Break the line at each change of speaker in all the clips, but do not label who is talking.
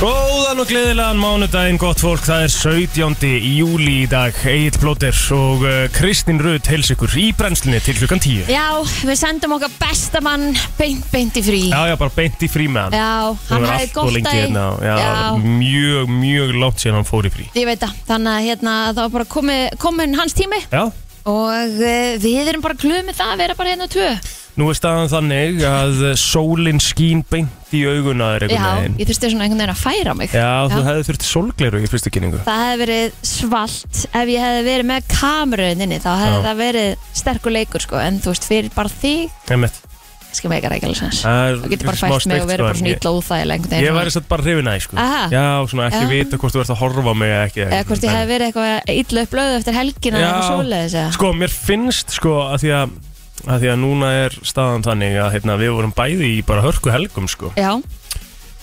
Góðan og gleðilegan mánudaginn, gott fólk, það er 17. júli í dag, Egil Blóter og uh, Kristín Rudd heils ykkur í brennslunni til klukkan 10.
Já, við sendum okkar besta mann beint, beint í frí.
Já, já, bara beint í frí með hann.
Já, hann hafði
og
gott
lengi
daginn.
hérna, já, mjög, mjög langt síðan hann fór í frí.
ég veit það. Þannig að hérna, það var bara komið, komin hans tími
Já,
og uh, við erum bara glöð með það að vera bara hérna tvö.
nú er staðan þannig að eh, sólin skín beint í auguna þér
Já,
einhvern veginn.
ég þurfti svona einhvern veginn að færa mig.
Já, þú hefði þurft sólgleru í fyrstu kynningu.
Það hefði verið svalt ef ég hefði verið með kamerunni þá hefði
Já.
það verið sterkur leikur sko en þú veist fyrir bara þig
Emmett.
skil meikar ekki alveg sens
Það
þú getur bara
smá
fært mig
steikt,
og verið
sko,
bara svona
en ég-
ítla úþægileg einhvern
Ég
veginn svona.
væri satt bara hrifin aðeins, sko.
Aha.
Já, svona ekki
Já.
vita hvort þú ert að horfa á mig eða ekki.
eða hvort ég hef verið eitthvað illa upplöðu eftir helgina eða
Já.
svoleiðis eða
Sko, mér finnst sko að því að, að, því að núna er staðan þannig að hérna, við vorum bæði í bara hörku helgum sko
Já,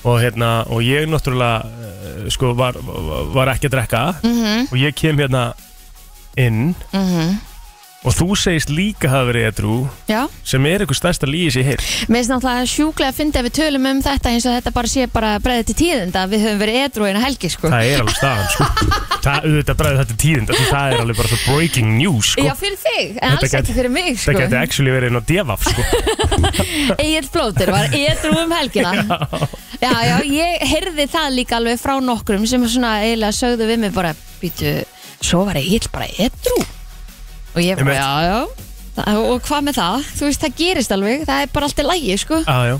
og, hérna, og ég náttúrulega eh, sko var, var ekki að drekka
mhm,
og ég kem hérna inn
mhm
og þú segist líka hafa verið edru
Já,
sem er eitthvað stærsta líi sér heyr
mér finnst náttúrulega sjúklega að fyndi að við tölum um þetta eins og þetta bara sé bara breyðið til tíðinda að við höfum verið edru eina helgi sko
það er alveg staðan sko það auðvitað bræði þetta tíðind því það er alveg bara svo breaking news sko
Já, fyrir þig, en
Þetta
alls
gæti-
ekki fyrir mig sko
það geti actually verið inn á devaf sko
Egil Blóter var edru um helgina já. já, ég heyrði það líka alveg frá nokkrum sem svona eiginlega sögðu við mig bara býtu, svo var Egil bara edru og ég bara,
Einmitt.
já, já Þa- og hvað með það, þú veist, það gerist alveg það er bara allt í lægi, sko
ah, já.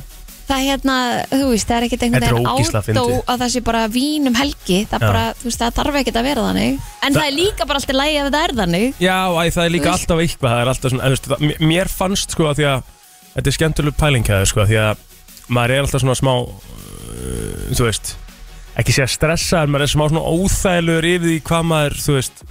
það er hérna, þú veist, það er ekkert
Þetta
einhvern
er ógeðslega
veginn ádó
fyndið.
að það sé bara vín um helgi, það
Já.
bara, þú veist, það þarf ekkert að vera þannig en það,
Það-
er líka bara allt í lægi ef það er þannig
Já, æ, það er líka
Þú veist.
alltaf eitthvað Það er alltaf svona, eða, veistu, það, mér- mér fannst sko að því að Þetta er skemmtileg pælingjaði sko að Því að maður er alltaf svona smá uh, Þú veist Ekki sé að stressa en maður er smá svona óþægilegur Yfir því hvað maður, þú veist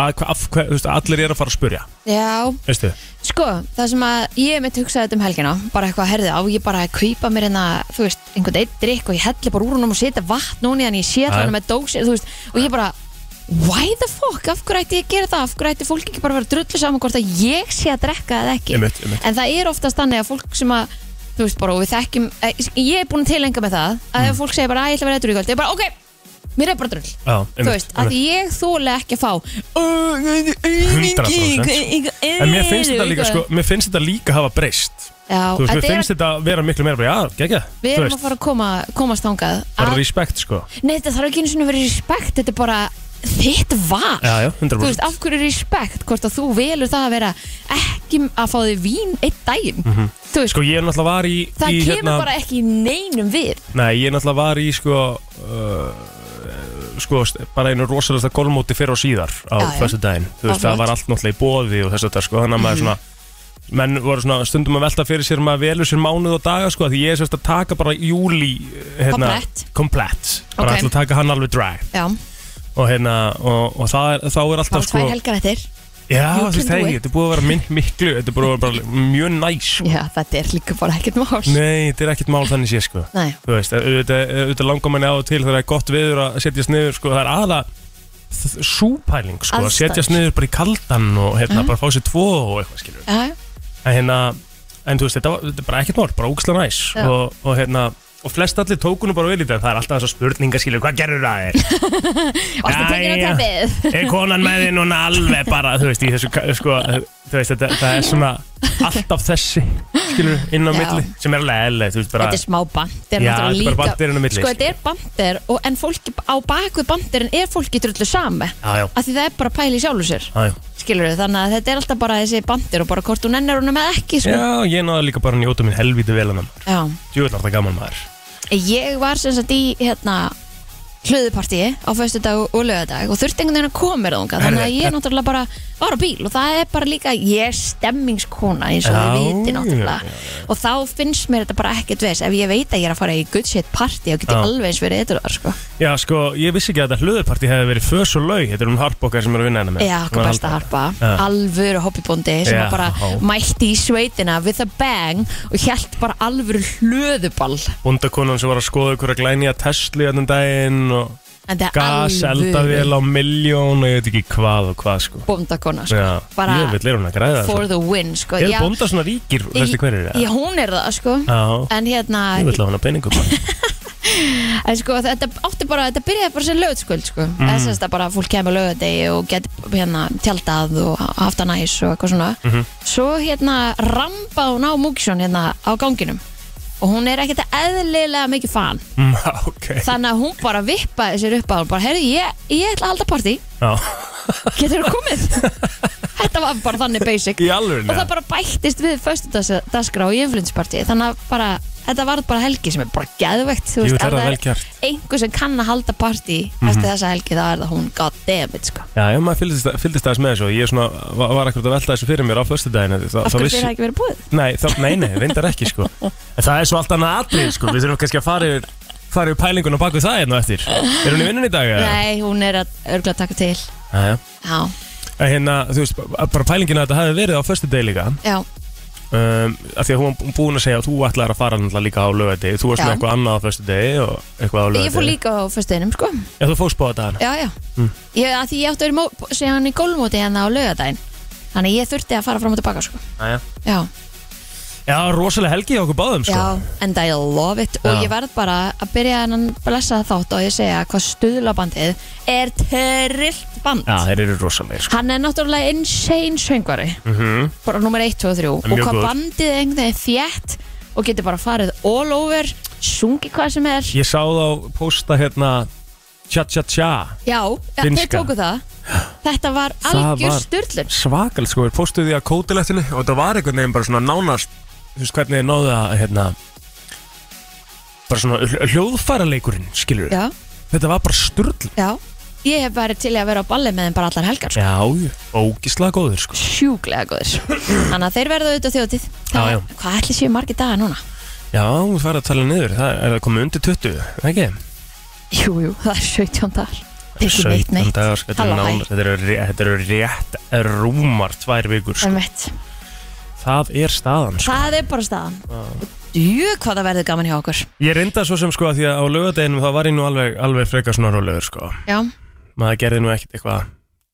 að, hva, af, hva, þú veist, Allir er að fara að spurja
já,
Veistu,
Sko, það sem að ég mitt hugsaði þetta um helgina bara eitthvað, herði á, ég bara að kaupa mér hérna, þú veist, einhvern eitt drikk og ég helli bara úr húnum og setja vatn núni en ég sé
Já, já.
þarna með dósi, þú veist, og ég bara why the fuck, af hverju ætti ég að gera það af hverju ætti fólk ekki bara að vera drullu saman hvort að ég sé að drekka eða ekki
einmitt, einmitt
en það er oftast þannig að fólk sem að þú veist bara, og við þekkjum, eh, ég er búin að tilenga með það,
Mm.
að ef fólk segir bara, að ég ætla að vera eitthvað í kvöld, ég er bara, ok, mér er bara drull
Já,
þú
einmitt,
veist, að
einmitt.
ég þóla ekki að fá
100%. En mér finnst þetta líka sko, Mér finnst þetta líka hafa breyst
Já,
Þú veist, mér
þetta er,
finnst þetta vera miklu meira bara, Já, gegja, þú
við erum að
veist
fara að koma, komast þangað
Það er
Að-
respekt sko
Nei, þetta þarf ekki einu sinni að vera respekt Þetta er bara þitt val
Já, já,
Þú
100%
veist, af hverju respekt Hvort að þú velur það að vera ekki að fá þig vín eitt daginn Þú veist,
Sko ég er náttúrulega var í
það
í, hérna-
kemur bara ekki neinum við
Nei, ég náttúrulega var í sko, uh, sko st- bara einu rosalega golfmóti fyrir og síðar
Já,
á
já.
þessu daginn þú veist,
Áhugavert.
það var allt náttúrulega í bóði og þess að sko, þannig að
Mhm.
maður svona menn voru svona stundum að velta fyrir sér maður velur sér mánuð og daga sko, því ég er sérst að taka bara júli hérna,
Komplett.
komplett, bara
Ok.
ætla að taka hann alveg drag
Já,
og hérna, og, og það er, þá er
bara
alltaf
tvær
sko,
helgar eftir
já,
You
þú veist,
can do
hei,
it.
þetta er búið að vera minn miklu, þetta er búið að vera bara mjög næs sko.
Já, þetta er líka bara ekkert mál
nei, þetta er ekkert mál þannig sé sko
Nei.
þú veist, auðvitað, auðvitað langar manni á og til þegar það er gott viður að setjast niður sko, það er aðla súpæling sko, að
Aðstæður.
setjast niður bara í kaldan og
Mhm.
hérna, bara fá sér tvo og eitthvað skilur
Já,
en hérna, en þú veist, þetta, var- þetta er bara ekkert mál, bara ógislega næs
Já.
og, og hérna, og flest allir tókunum bara vel í þetta, það er alltaf þessar spurningar skilur, hvað gerur það er?
varstu tekin á
Jæja.
teppið
er konan með þið núna alveg bara þú veist, í þessu, ka- sko, þú veist þetta, það er svona alltaf þessi skilur, inn á
Já.
milli, sem er alveg eðlilegt, þú veist, bara
Þetta er smá bandir
Já, þetta er bara banderinn á milli,
Sko, þetta er bandir og, En fólki á bakvið bandirinn er fólki drullu sami
já, já,
Af því það er bara pæli sjálfu sér
já, já.
skilur þannig að þetta er alltaf bara þessi bandir og bara hvort hún ennur hún með ekki sko.
Já, ég náði líka bara að njóta minn helvítið vel hann
Já.
Djúvill var það gaman maður
ég var sem sagt í hérna hlöðupartíi á föstudag og lögadag og þurfti einhvern veginn að koma mér þangað þannig að
Herri,
ég náttúrulega bara var á bíl og það er bara líka, ég er stemmingskona eins og
Já,
við viti
já,
náttúrulega og þá finnst mér þetta bara ekkert veist ef ég veit að ég er að fara í good shit party og geti
Já.
alveg eins verið eitthvað sko.
Já, sko, ég vissi ekki að þetta hlöðuparti hefði verið fös og laug Þetta er hún harpokkar sem er að vinna hennar með
Já,
Hún
hvað
er
besta
að halda.
harpa
Já.
Alvöru hobbybóndi sem
Já.
var bara mætti í sveitina with a bang og hjælt bara alvöru hlöðuball
Bóndakonan sem var að skoða ykkur að glæni að Tesla í þannig daginn og
En það er
gas,
alvöru
eldavél á miljón og ég veit ekki hvað og hvað, sko
Bóndakona sko.
Já,
Bara
ég vil er hún að græða
For
það
the win sko.
Er
Já,
bónda svona ríkir, veistu
ég-
hverju er Ah.
Já, hún er það sko.
Já,
En hérna
ég vil hafa hana peningum bara.
En sko þetta átti bara, þetta byrjaði bara sem lögutskvöld sko mm. Þess að þetta bara fólk kemur lögadegi og get hérna tjaldað og haft að næs og eitthvað svona Svo hérna rambaði hún á Múkisjón hérna á ganginum Og hún er ekkert eðlilega mikið fan
Mm, ok
Þannig að hún bara vippaði sér upp á hún Bara, heyrðu, ég, ég ætla að halda partí
Já.
Getur þú komið? þetta var bara þannig basic
Í alveg
Og það bara bættist við föstudagskrá í influenspartíi Þannig að bara, þetta var bara helgi sem er bara geðvegt
Jú, það er það vel gert Mhm.
einhver sem kann að halda partí eftir þessa helgi þá er það hún goddammit sko.
Já, ég maður fylgdist, fylgdist aðeins með þessu og Ég svona, var, var akkurat að velta þessu fyrir mér á föstudaginu Þá,
af
þá
hverju
vissi
þeir hafa ekki verið búið
Nei, þá, nei, nei, reyndar ekki sko En það er svo allt annað atrið sko Við þurfum kannski að fara yfir, fara yfir pælingun og baku það hérna á eftir Er hún í vinnunni í dag? eða?
nei, hún er að örgla taka til
Jæja.
já,
En hérna, þú veist, bara pælingin að þetta hafi verið á föstu deg líka
já,
um, af Því að hún var búin að segja að þú ætlar að fara náttúrulega líka á lögadegi Þú varst
Já.
með eitthvað annað á föstu degi og eitthvað á
ég fór
lögadegi
líka á föstuðinum sko,
Já, þú fórst bóða dagana
já, já
Mm.
ég, að því ég átti að vera síðan í gólmóti hérna á laugadaginn þannig að ég þurfti að fara fram og tilbaka sko.
Jæja.
já,
Já, rosalega helgi hjá okkur báðum sko
já, and I love it og
Já.
ég verð bara að byrja hennan blessa þátt og ég segja hvað stuðlabandið er trillt band
Já, þeir eru rosalega sko
Hann er náttúrulega insane söngvari
Mhm.
bara nummer 1, 2 og 3
En
og
mjög
hvað
góður.
bandið er einhvern veginn þjætt og getur bara farið all over sungi hvað sem er
Ég sá þá posta hérna Tja-tja-tja
já, ja, þeir
Finnska.
tóku það þetta var
Það
algjör
var-
styrlun
svakal sko, við postuði að kótilettinu og það var einhvern veginn bara svona nánast þú veist hvernig þið náðu að hérna bara svona hljóðfæra leikurinn, skilur við
já,
þetta var bara sturl
já ég hef verið til í að vera á balli með þeim bara allar helgar sko.
já, já, ógislega góður sko
sjúglega góðir þannig að þeir verða auðvitað þjótið Það-
Já, já.
hvað ætli séu margir dagar núna?
já, þú færði að tala niður, það er að koma undir 20 ekki?
jú, jú, það er 17 dagar ekki neitt
17
neitt
dagar, þetta
Halló,
er
hæ.
nánast- þetta eru ré- þetta eru rétt rúmar tvær vikur sko.
Einmitt.
það er staðan sko Ah.
það er bara staðan djú, hvað það verður gaman hjá okkur
ég reynda svo sem sko að því að á lögadeginum þá var ég nú alveg, alveg frekar svona rólegur sko
já,
maður gerði nú ekkert eitthvað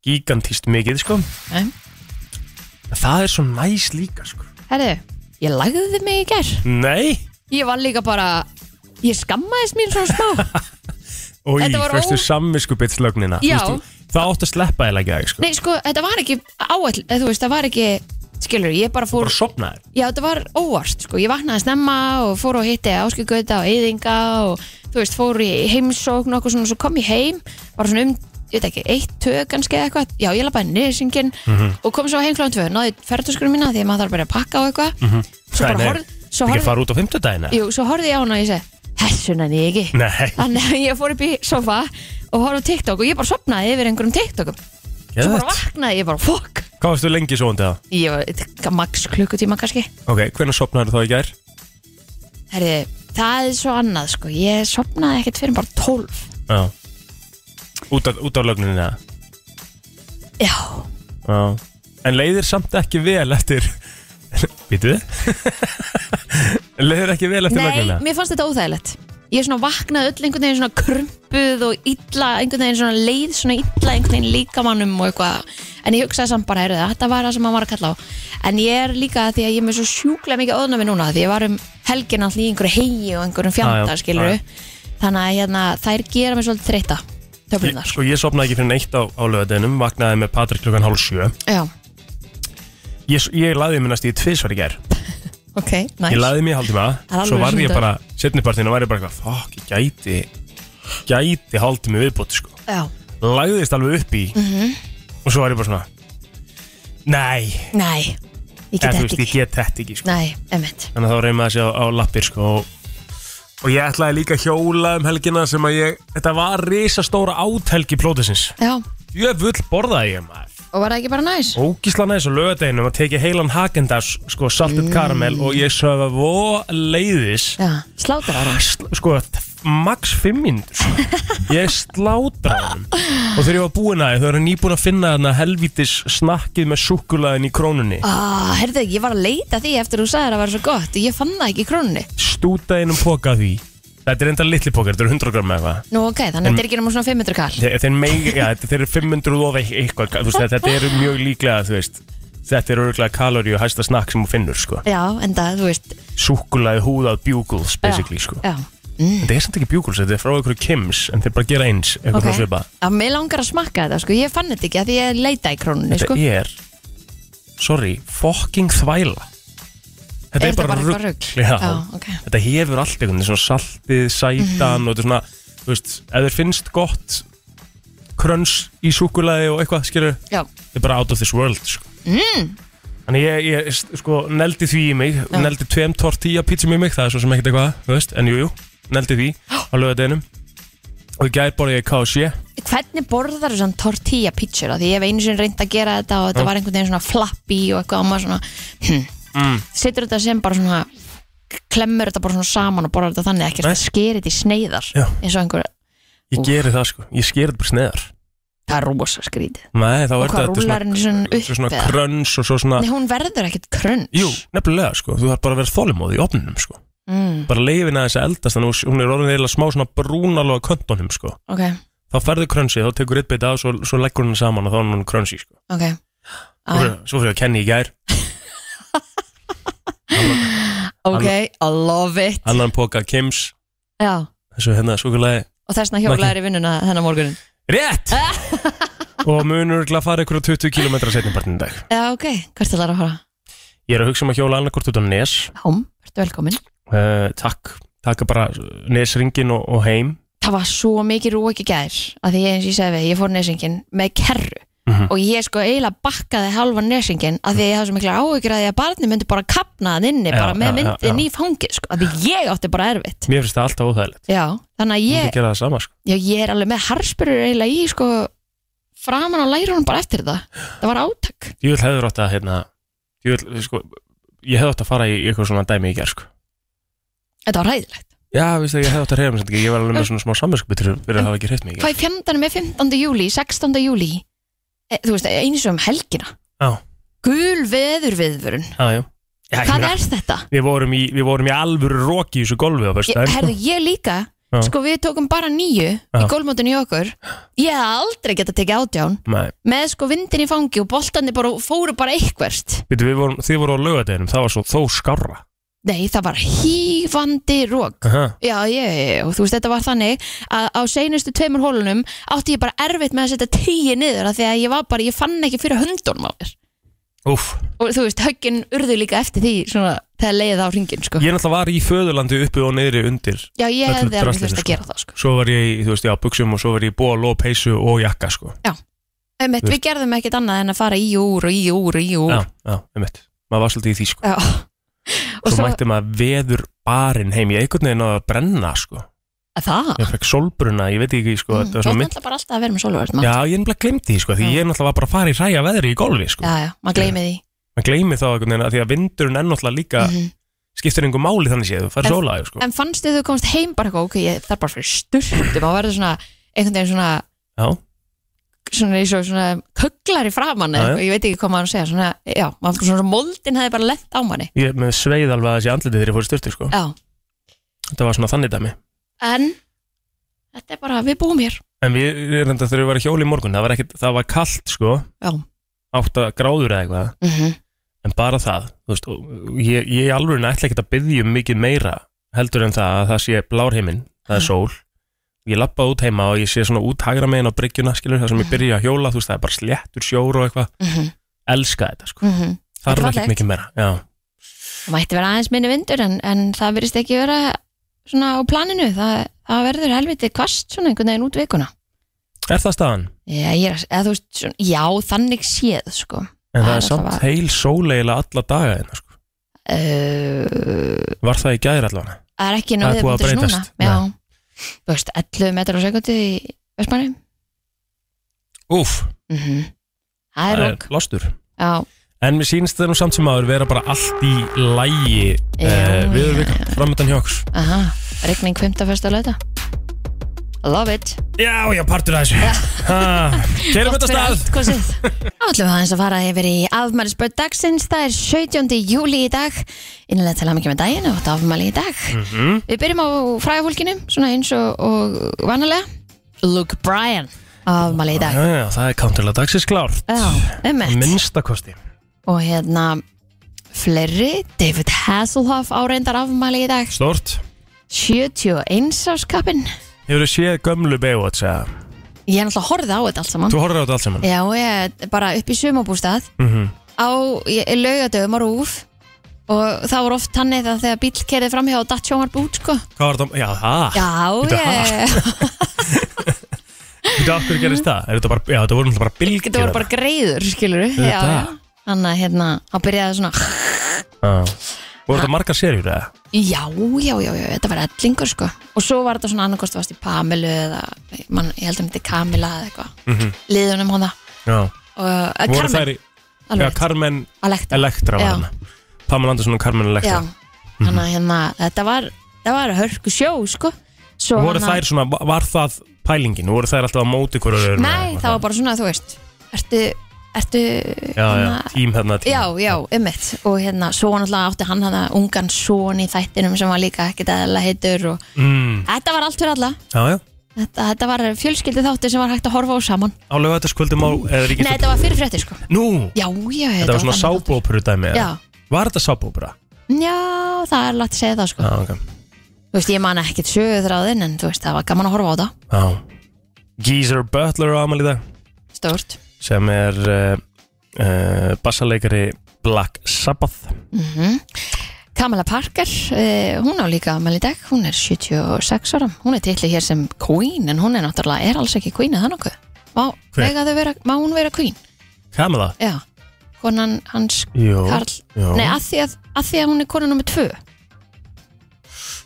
gigantíst mikið sko
Nei.
Það er svo næs líka sko
herðu ég lagði mig í gerð
Nei
Ég var líka bara Ég skammaðist mín svona smá
Í,
Þetta var
fyrstu
ó-
ó... sammiskubitslögnina
Já.
Það átt að sleppa eða ekki það sko
Nei sko, þetta var ekki áall eða Þú veist, það var ekki Skilur, ég bara fór
Bara sopna þér
Já, þetta var óvart sko Ég vaknaði snemma og fór og hitti áskjögauta og eyðinga og þú veist, fór í heimsókn og okkur svona Svo kom ég heim Bara svona um, ég veit ekki, eitt tög kannski eða eitthvað Já, ég labbaði nýrsingin mm
Mhm.
-hmm. Og kom svo heim klán tvö Náði ferðarskurum mína því að maður þarf bara að pakka og eitthvað mm -hmm. Svo
Mhm.
bara
Nei, nei.
horfði Svo
Ekki að
horfði
fara út á fimmtudagina
Jú, svo horfði ég á hana og ég segi Þessu nenni ég ekki
Nei
Þannig að ég fór upp í sofa og horfði á TikTok og ég bara sopnaði yfir einhverjum TikTokum Svo bara
Gæðvegt.
vaknaði ég bara fokk
Hvað varstu lengi svo undið það?
Ég var eitthvað max klukkutíma kannski
Ok, hvernig sopnaði þá í gær?
Herri, það er svo annað sko Ég sopnaði ekkert fyrir bara 12
Já Út af, út af lögnina
Já,
Já En leiðir samt ekki vel eftir Býtu Leiðir ekki vel eftir lögnina
nei, mér fannst þetta óþægilegt Ég svona vaknaði öll einhvern veginn svona krumpuð og illa, einhvern veginn svona leið svona illa einhvern veginn líkamannum og eitthvað en ég hugsaði samt bara, heyrðu, þetta var það sem maður var að kalla á en ég er líka því að ég er með svo sjúklega mikið óðnami núna því ég var um helgin alltaf í einhverju hegi og einhverjum
Já,
fjandar,
já,
skilur þannig að hérna, þær gera mig svolítið þreytta
Ég,
töflunar,
sko ég sopnaði ekki fyrir neitt á, á lögadeginum Vaknaði með Patrik klukkan hálf sjö
já,
Ég, ég laði mér næst í tvisvar í gær
ok, næs
Ég laði mér í hálftíma
Það er alveg
Svo varði ég
sunnudagur.
bara, setnipartinu var ég bara eitthvað Fuck, ég gæti Gæti hálftími viðbóti sko
já,
Lagðist alveg upp í
Mhm.
Og svo var ég bara svona Nei,
næ,
eða
ég get
þú
þetta
veist, ég
ekki
get þetta ekki sko.
næ, emmitt,
Þannig að þá reymaði þessi á, á lappir sko og, og ég ætlaði líka að hjóla um helgina Sem að ég, þetta var risastóra áthelgi plóðisins
já
Jöfull borðaði ég maður
og var það ekki bara næs?
ógíslan aðeins á lögadeginum að teki heilan Hagendas sko saltet karamel og ég sögða vo leiðis
Já, slátur ára
Sl- sko t- max 5 mínútur sko. ég slátra hann og þegar ég var búin aðeins þau eru nýbúin að finna hann að helvítis snakkið með súkulaðin í krónunni
Ah, herðu, ég var að leita því eftir þú sagðir að það var svo gott og ég fann það ekki í krónunni
stútaðinum poka af því þetta er enda litli pokar, þetta eru 100 gram eða eitthvað
Nú, ok, þannig að þetta er ekki náma svona 500 kall
Þe- þeir, megi, já, þetta- þeir eru 500 og vei- eitthvað þú veist, þetta eru mjög líklega þú veist, þetta eru örgulega kaloríu hæsta snakk sem þú finnur sko.
Já, en það, þú veist
súkulaði húðað bugles basically
já,
sko.
já.
Þetta er samt ekki bjúkuls, þetta er frá einhverju Kims En þeir bara gera eins, eitthvað okay. svipa
Já, mig langar að smakka þetta, sko, ég fann þetta ekki að því ég leita í krónunni,
Þetta
sko
er, sorry, fucking þvæla Þetta er,
þetta bara eitthvað
rugl,
rugl?
Já,
Já, Mhm. ok.
Þetta hefur allt einhvern veginn, svona saltið, sætan Og þetta er svona, þú veist, ef þér finnst gott Kröns í súkulaði og eitthvað, skilur
Já,
Þetta er bara out of this world, sko mm. Þannig ég, ég, sko, neldi því í mig Neldi tveim tortilla pítsum í mig Það er svo sem ekkert eitthvað, þú veist, en jú, jú Neldi því á lögadeinum Og í gær borði ég KFC
hvernig borðar þú svona tortilla pítsur því ég hef einu sinni reynd að gera þetta og þetta var einhvern veginn svona flappy og eitthvað og maður svona hm. setur þetta sem bara svona klemmur þetta bara svona saman og borðar þetta þannig ekki
Nei.
að skeri þetta í sneiðar
Já.
eins og einhver,
Ég
Úff.
geri það sko, ég skeri þetta bara sneðar
það er rosa skrítið
Nei, þá er
hvað,
þetta þetta er
rúllar henni svona upp
þetta er svona
eða?
kröns og svo svona
Nei, hún verður ekkert krönns
Jú, nefnilega sko, þú þarf bara að vera þolimóð í opninum sko
mm,
Bara leifin að þessi eldast, þannig að hún er orðin eða smá svona brúnalega köntunum sko
ok,
Þá ferðu krönsið, þá tekur eitt beit af, svo, svo leggur hún saman og þá er hún krönsi sko
ok
Svo
ah,
fyrir, svo fyrir að kenni í gær,
ok, I love it
annan póka Kims,
já,
þessu hérna svokulegi
og þessna hjólaður í vinnuna þennan morgunin
Rétt! og munur ekki að fara ykkur á 20 km setnibartin í dag
já, ok, hvert ætlar að fara?
Ég er að hugsa um að hjóla annarkort út á Nes
Hóm, ertu velkomin
uh, Takk, taka bara Nesringin og, og heim
það var svo mikið rók í gær að því ég eins og ég segi við, ég fór nesingin með kerru
Mhm.
og ég sko eiginlega bakkaði halva nesingin að því að ég hafði svo mikla áhyggjur að því að barni myndi bara kapna hann inni
Já,
bara með
já, já, já.
myndin í fangi sko, að því ég átti bara erfitt
Mér finnst það alltaf óþægilegt
já, þannig að
Ég
ég,
myndi gera það sama sko.
já, ég er alveg með harspurur eiginlega í sko framan á lærunum bara eftir það það var átak
Ég vil hefur átt að hérna, ég, vil, sko, ég hefði átt að fara í eitthvað svona dæmi í gerð sko.
þetta var ræðilegt
Já, víst það, ég hefði átt að reyða mig sem ekki Ég var alveg með svona smá samvinskubitur fyrir að hafa ekki reyðt mig í gerð
hvað er fjandanum með 15. júli, 16. júli e, þú veist, eins og um helgina
Já.
gul veður viðvörun
ah, Já, já ég
hvað
meina,
er þetta?
við, vorum í, við vorum í alvöru roki í þessu golfi á
Ég,
fyrsta
herðu, ég líka
Já.
Sko, við tókum bara nýju í
Já.
gólmótinu í okkur Ég hef aldrei geta tekið átján
Nei,
Með sko vindin í fangi og boltandi bara fóru bara eitthvert
veitu, við vorum, þið voru á laugadeginum Það var svo þó skarra
Nei, það var hífandi rók
Aha.
Já, ég, og þú veist, þetta var þannig að á seinustu tveimur hólunum átti ég bara erfitt með að setja tíu niður af því að ég var bara, ég fann ekki fyrir höndunum á mér
Úff,
og þú veist, höggin urðu líka eftir því svona, þegar leiði það á ringin, sko
ég náttúrulega var í föðurlandi uppi og niðri undir
Já, ég
öllu
hefði alveg
draslinu,
þurft
sko.
að gera það, sko
Svo var ég, í, þú veist, já, buksum og svo var ég í bóa, ló, peysu og jakka sko.
Einmitt,
Þú
Við gerðum ekkert annað en að fara í og úr og í og úr og í og úr
Já, já, einmitt Maður var svolítið í því sko.
Já. Og
Svo,
svo,
mætti maður veður barinn heim Ég einhvern veginn náði að brenna sko.
að það
Ég fekk solbruna, ég veit ekki sko,
Mm,
þetta var
Þú ert
svona mynd
náttúrulega bara alltaf að vera með sólvörð
Já, ég nefnilega glemdi því sko, því
Já.
ég náttúrulega var bara að fara í ræja veðri í golfi sko.
já, já, maður gleymi því
Man gleymi þá einhvern veginn að því að vindurinn er náttúrulega líka
Mhm.
skiptir einhver máli þannig séð, þú fær
En-
sólaði sko.
En fannstu þú komst heim bara eitthvað, ok, ég þarf bara fyrir styrtum og verður svona, einhvern veginn svona
Já,
svona eins og svona kögglar í framann eða
Já, já.
eitthvað, ég veit ekki hvað maður að segja svona, já, maður svona, svona moldin hefði bara lett á manni
ég með sveið alveg að þessi andliti þegar ég fór í styrti sko.
Já,
Þetta var svona þannig dæmi
en þetta er bara, við búum hér
En við erum þetta þegar við varum hjóli í morgun Það var, ekkit, það var kalt sko,
Já,
8 gráður eða eitthvað
mm -hmm.
en bara það þú veist, og ég, ég alveg ætla ekkert að byggja um mikið meira heldur en það að það sé blár heiminn það er
Mm.
sól, ég lappa út heima og ég sé svona út hagra meginn á bryggjuna skilur, það sem ég byrja að hjóla, þú veist, það er bara sléttur sjór og eitthvað,
Mm -hmm.
elska þetta sko. það er
Þetta er
ekkert
fallegt.
mikið meira já,
mhm. Mætti vera aðeins minni vindur en, en það verðist ekki vera svona á planinu, það, það verður helviti kvast svona einhvern veginn út vikuna
er það staðan?
Já, ég er, að- eða, þú veist, svona, já þannig séð sko.
en það,
Það er
er samt
alltaf að-
heil sól eiginlega alla daga hérna, sko.
uh,
var það í gæðir allavega?
það er ekki
Það er
náðið
búið að
punktur núna
breytast,
já, þú veist, 11 metrar á sekundi í Vestmanni
Úf,
mm það er
það
lók
er lostur
já,
en mér sýnst það nú samt sem áður vera bara allt í lægi
Já,
uh, við erum
já,
vika, framöndan hjá okkur
aha, regning 51. lauta love it
Já, já, partur að þessu Keirum
Gott
þetta
fyrir
stað
allt, kosið. Þá ætlum við aðeins að fara yfir í afmælisbörn dagsins það er 17. júli í dag innlega til að mikið með daginn og þetta afmæli í dag
Mhm.
við byrjum á fræðafólkinu svona eins og, og vanalega Luke Bryan afmæli í dag
Já, já, það er counterlega dagsins klárt
Já, emmett
Minnstakosti
og hérna fleiri, David Hasselhoff á reyndar afmæli í dag
Stort
71 áskappin
Hefur þú séð gömlu Baywatch eða?
Ég er náttúrulega horfið á þetta allt saman
Þú horfður á þetta allt saman
Já, ég er bara upp í sumabústað
mm
á laugadöfum á rúf og það voru oft þannig að þegar bíl kerði framhjá og datt sjónvarp út sko
Hvað var þetta? Já, það
Já,
Bíddu,
ég
Þetta okkur gerist það Er þetta bara, já, þetta voru náttúrulega bara bylgjur
Þetta voru bara greiður, skilur
Þetta.
Þannig að hérna, þá byrjaði svona
bara Voru þetta margar serjur eða?
Já, já, já, já, þetta var ellingur sko Og svo var þetta svona annarkost varst í Pamilu eða, man, ég held að þetta er Kamila eða eitthvað
Mm
Liðunum hana
Já
og,
Voru
eh, Carmen,
þær í Já,
alveg,
Carmen
Alekta
Elektra var
Já.
hann Pamela Anderson og Carmen Elektra
Já, þannig að hérna, þetta var, þetta var hörku sjó sko Svo
Voru
hana-
þær svona, va- var það pælingin? Voru þær alltaf á móti hverju öðru?
Nei, það var bara svona, þú veist Ertu, ertu hérna,
Já, já, hérna, tím þarna tím
já, já, ummitt Og hérna, svo náttúrulega átti hann hana ungan son í þættinum sem var líka ekkit eðla heitur og
mm,
Þetta var allt fyrir alla
Já, já
Þetta, þetta var fjölskyldi þáttir sem var hægt að horfa á saman
Á lögataskvöldum á eða
Nei,
ríkist
þetta var fyrir fréttir sko
Nú,
Já, já,
þetta var svona
þannig þáttur.
sábópuru dæmi eða?
Já,
Var þetta sábópura?
já, það er látt að segja það sko
Já, ok
Þú veist, ég man ekkit sögurþráðin en þú veist, það var gaman að horfa á það
Já Geezer Butler á amal í dag
Stórt
sem er uh, uh, bassaleikari Black Sabbath
mm Kamala Parker, uh, hún á líka amal í dag, hún er 76 ára hún er titli hér sem Queen en hún er náttúrulega, er alls ekki Queen eða nokkuð má,
Hver?
mega þau vera, má hún vera Queen
Kamala
já, konan hans
Jú,
Karl,
jú.
nei, að því að, að því að hún er konan nummer tvö,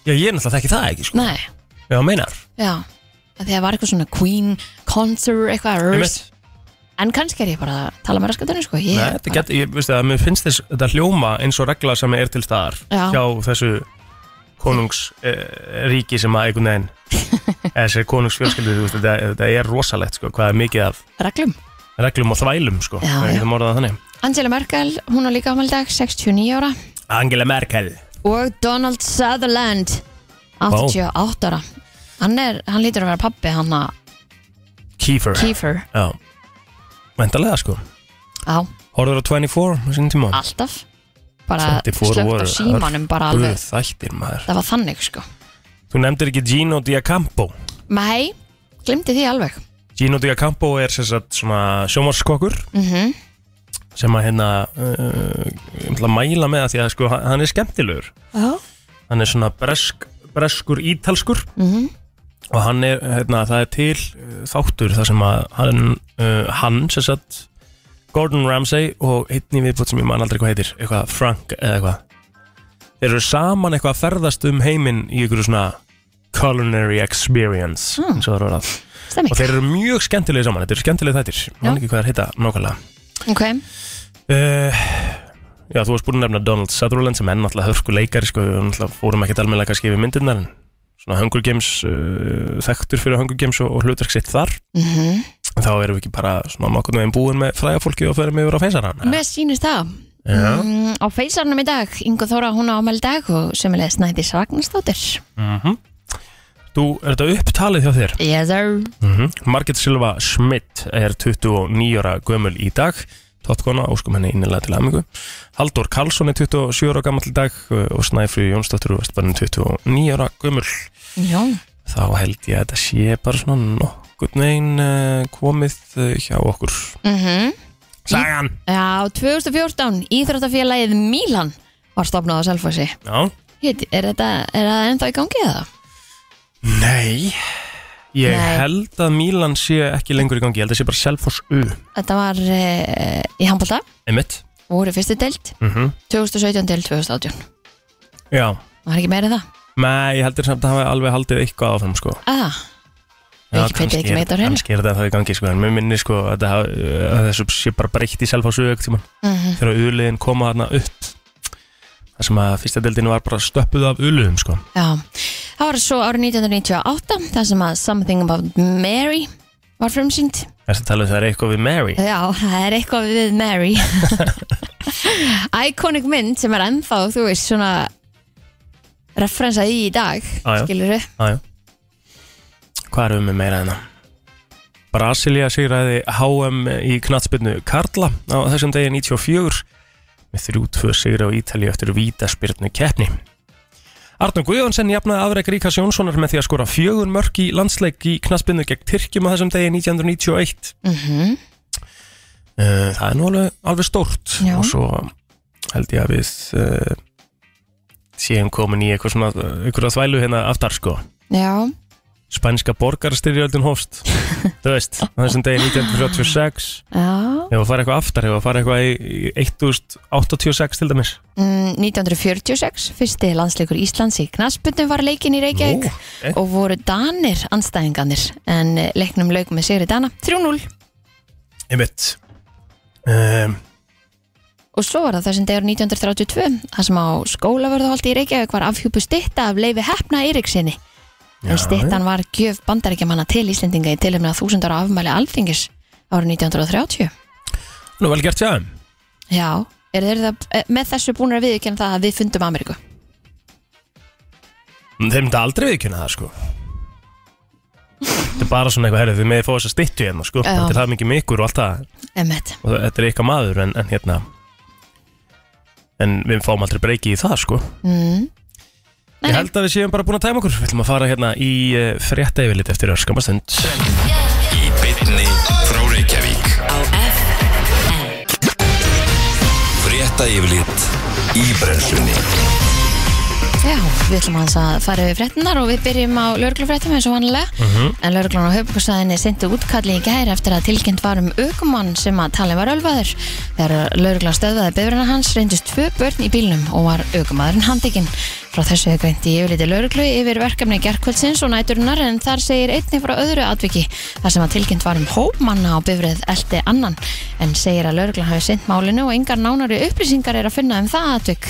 Já, ég er náttúrulega þekki það ekki sko
nei,
Já, meinar
já að því að var eitthvað svona Queen concert eitthvað,
Einmitt.
en kannski er ég bara að tala með raskatunni, sko ég,
Nei, þetta get, ég veist það, mér finnst þess þetta hljóma eins og regla sem er til staðar
Já.
hjá þessu konungsríki eh, ríki sem að einhvern veginn eða þessi konungsfjölskyldu, þú veist, þetta, þetta er rosalegt sko, hvað er mikið af
reglum
reglum og þvælum sko,
Já,
það er
já.
ekki það morðað þannig
Angela Merkel, hún á líka amal í dag 69 ára
Angela Merkel
og Donald Sutherland 88 ára hann, er, hann lítur að vera pappi hann að
Kiefer,
Kiefer
Já, vendalega sko
á,
Horður á 24, á sínum tíma
alltaf bara
24
slögt á
voru
símanum bara
Guð,
alveg,
þættir maður
það var þannig sko
Þú nefndir ekki Gino D'Acampo
mei, glimti því alveg
Gino D'Acampo er sem sagt svona sjómarskokkur
mm -hmm.
sem að hérna uh, ég ætla að mæla með að því að sko, hann- hann er skemmtilegur hann er svona bresk, breskur ítalskur
Mhm.
og hann er, hérna, það er til uh, þáttur þar sem að hann, uh, hann sem sagt Gordon Ramsay og einni viðbútt sem ég man aldrei hvað heitir, eitthvað Frank eða eitthvað þeir eru saman eitthvað að ferðast um heiminn í einhverju svona culinary experience
Mm.
eins og það er orðað
stemming
og þeir eru mjög skemmtilegir saman, þetta eru skemmtilegir þættir ég man
Já.
ekki hvað það heita nákvæmlega
ok,
Uh, já, þú varst búin að nefna Donald Sutherland sem enn alltaf hörku leikari sko, við náttúrulega fórum ekkert almennilega kannski yfir myndirnar en svona Hunger Games uh, þekktur fyrir Hunger Games og, og hlutverk sitt þar
mm
en þá erum við ekki bara svona nokkurnu einn búin með fræga fólki og ferum yfir á feysaran
mér sýnist það
Já,
mm, á feysarnum í dag, Ingo Þóra hún á amal í dag og semulegis Snædís Ragnarsdóttir
mhm Þú, er þetta upptalið hjá þér?
yes sir
Mm Margit Silva Schmidt er 29 ára gömul í dag Tóttkona, óskum henni innilega til aðmingu Haldur Karlsson er 27 ára gammal í dag uh, og Snæfri Jónsdóttur og Vestbarnin 29 ára gömul
já,
þá held ég að þetta sé bara svona nokkurn veginn uh, komið uh, hjá okkur
mhm
Sagan
Já, 2014, Íþróttafélagið Mílan var stopnað á Selfossi.
Já
Hitt, er þetta er það ennþá í gangi eða?
Nei Ég
Nei.
held að Mílan sé ekki lengur í gangi Ég held að sé bara Selfoss U
Þetta var e, í handbólta,
Einmitt
voru fyrstu deild,
mm
2017 til 2018.
Já
Það er ekki meira en það.
Nei, ég heldur samt að hafa alveg haldið eitthvað áfram sko
Aða,
Já,
Wikipedia
kannski
ekki
er-
með þetta á hreinu.
Kannski er þetta það í gangi sko En mér minni sko að, það, að þessu sé bara breytt í Selfoss U ekkert tímann
mhm,
Þegar uliðin koma þarna upp Það sem að fyrsta deildin var bara stöppuð af uliðum sko
já. Það var svo árið 1998, það sem að Something About Mary var frumsýnd.
Það er að tala um það er eitthvað við Mary
Já, það er eitthvað við Mary. Iconic mynd sem er ennþá, þú veist, svona referensað í í dag,
Ah, Já, já.
skilur þau?
Jájá Hvað erum við með meira enna? Brasilia sigraði HM í knatsbyrnu Karla á þessum degi 94 með 3-2 sigra á Ítalíu eftir vítaspyrnu keppni Arnur Guðjónsson jafnaði afreg Ríkas Jónssonar með því að skora fjögur mörk í landsleik í knaspinu gegn Tyrkjum á þessum degi 1991
mm
Mhm.
-hmm.
uh, það er nú alveg, alveg stórt
Já.
og svo eh, held ég að við uh, séum komin í eitthvað svona einhverja þvælu hérna aftar sko
Já,
spænska borgarstyrjöldin hófst þú veist, á þessum degi 1936
já
ef að fara eitthvað aftar, ef að fara eitthvað í, í 1086 til dæmis
mm, 1946, fyrsti landsleikur Íslands í knaspundum var leikin í Reykjavík
Nú, ok.
og voru danir anstæðinganir en eh, leiknum lauk með Sigri Dana 3-0
einmitt um,
og svo var það þessum degur 1932 það sem á skólavörðuhaldi í Reykjavík var afhjúpu stytta af leifi hefna Eiriksinni en styttan var gjöf bandarækjamanna til Íslendinga í tilhefna þúsundar afmæli alþingis árið 1930
nú vel gert séðan
Já, er þeir það eh, með þessu búin að viðkjöna það að við fundum Ameríku
Mm, Þeim þetta aldrei viðkynna það sko Þetta er bara svona eitthvað herrið Þið meði fá þess að styttu hérna sko
Já.
Þetta er það mikið mikur og allt það
Emmett,
Og það- þetta er eitthvað maður en, en hérna En við fáum aldrei breyki í það sko
mm. Nei,
Ég
nei,
held að við séum bara búin að tæma okkur Við ætlum að fara hérna í uh, frétta yfirlit eftir örskamastund
Í bytni frá Reykjavík
á FM
Frétta yfirlit í brennslunni
já, við ætlum aðeins að fara yfir fréttinar og við byrjum á lörglufréttum eins og vanlega en lörglun á höfbúkstæðinni sendi útkalli í gær eftir að tilkynnt var um aukumann sem að talin var ölvaður þegar lörgla stöðvaði bifurinn hans reyndist tvö börn í bílnum og var aukumadurinn handikinn frá þessu er greint í yfirliti lörglu yfir verkefni gerkvöldsins og næturinnar en þar segir einnig frá öðru atviki þar sem að tilkynnt var um hópmanna á bifrið eldi annan en segir að lörgla hafi sint málinu og engar nánari upplýsingar er að finna um það atvik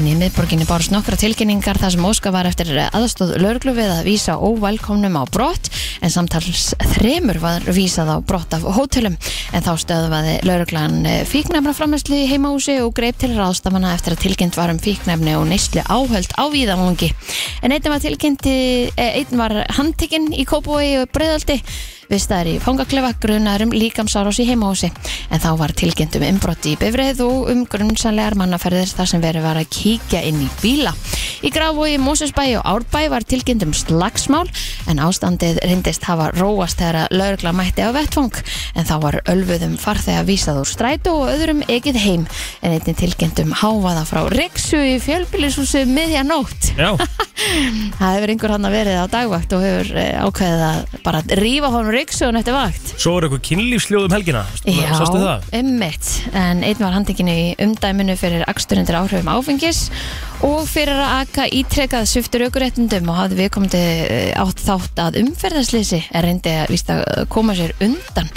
en í miðborginni bárst nokkra tilkynningar þar sem óska var eftir aðstóð lörglu við að vísa óvælkomnum á brott en samtals þremur var vísað á brott af hótelum en þá stöðvaði lauruglan fíknefna framherslu í heimahúsi og greip til ráðstafana eftir að tilkynnt var um fíknefni og neyslu áhöld á víðanlungi en einn var tilkynnt í- eh, einn var handtekinn í Kópavogi og Breiðaldi vistaðar í fangaklefa grunar um líkamsárás í heimahúsi en þá var tilkynnt um umbrotti í bifrið og um grunnsanlegar mannaferðir þar sem verið var að kíkja inn í bíla. Í Grafói, Mósusbæi og Árbæi var tilkynnt um slagsmál en ástandið reyndist hafa róast þegar að laurugla mætti á vettvang en þá var ölfuðum farþega vísað úr strætu og öðrum ekið heim en einnig tilkynnt um hávaða frá Rexu í fjölbýlishúsi miðja nótt.
Já,
Það hefur einhver hann að verið á dagvakt og hefur eh, ákveðið að bara rífa honum Rexuðun eftir vakt.
svo er eitthvað kynlífsljóð um helgina Sástu
Já,
það?
ummitt en einn var handtekinu í umdæminu fyrir aksturindir áhrifum áfengis og fyrir að aka ítrekað sviftur aukuréttundum og hafði viðkomandi eh, átt þátt að umferðarslýsi en reyndi að víst að koma sér undan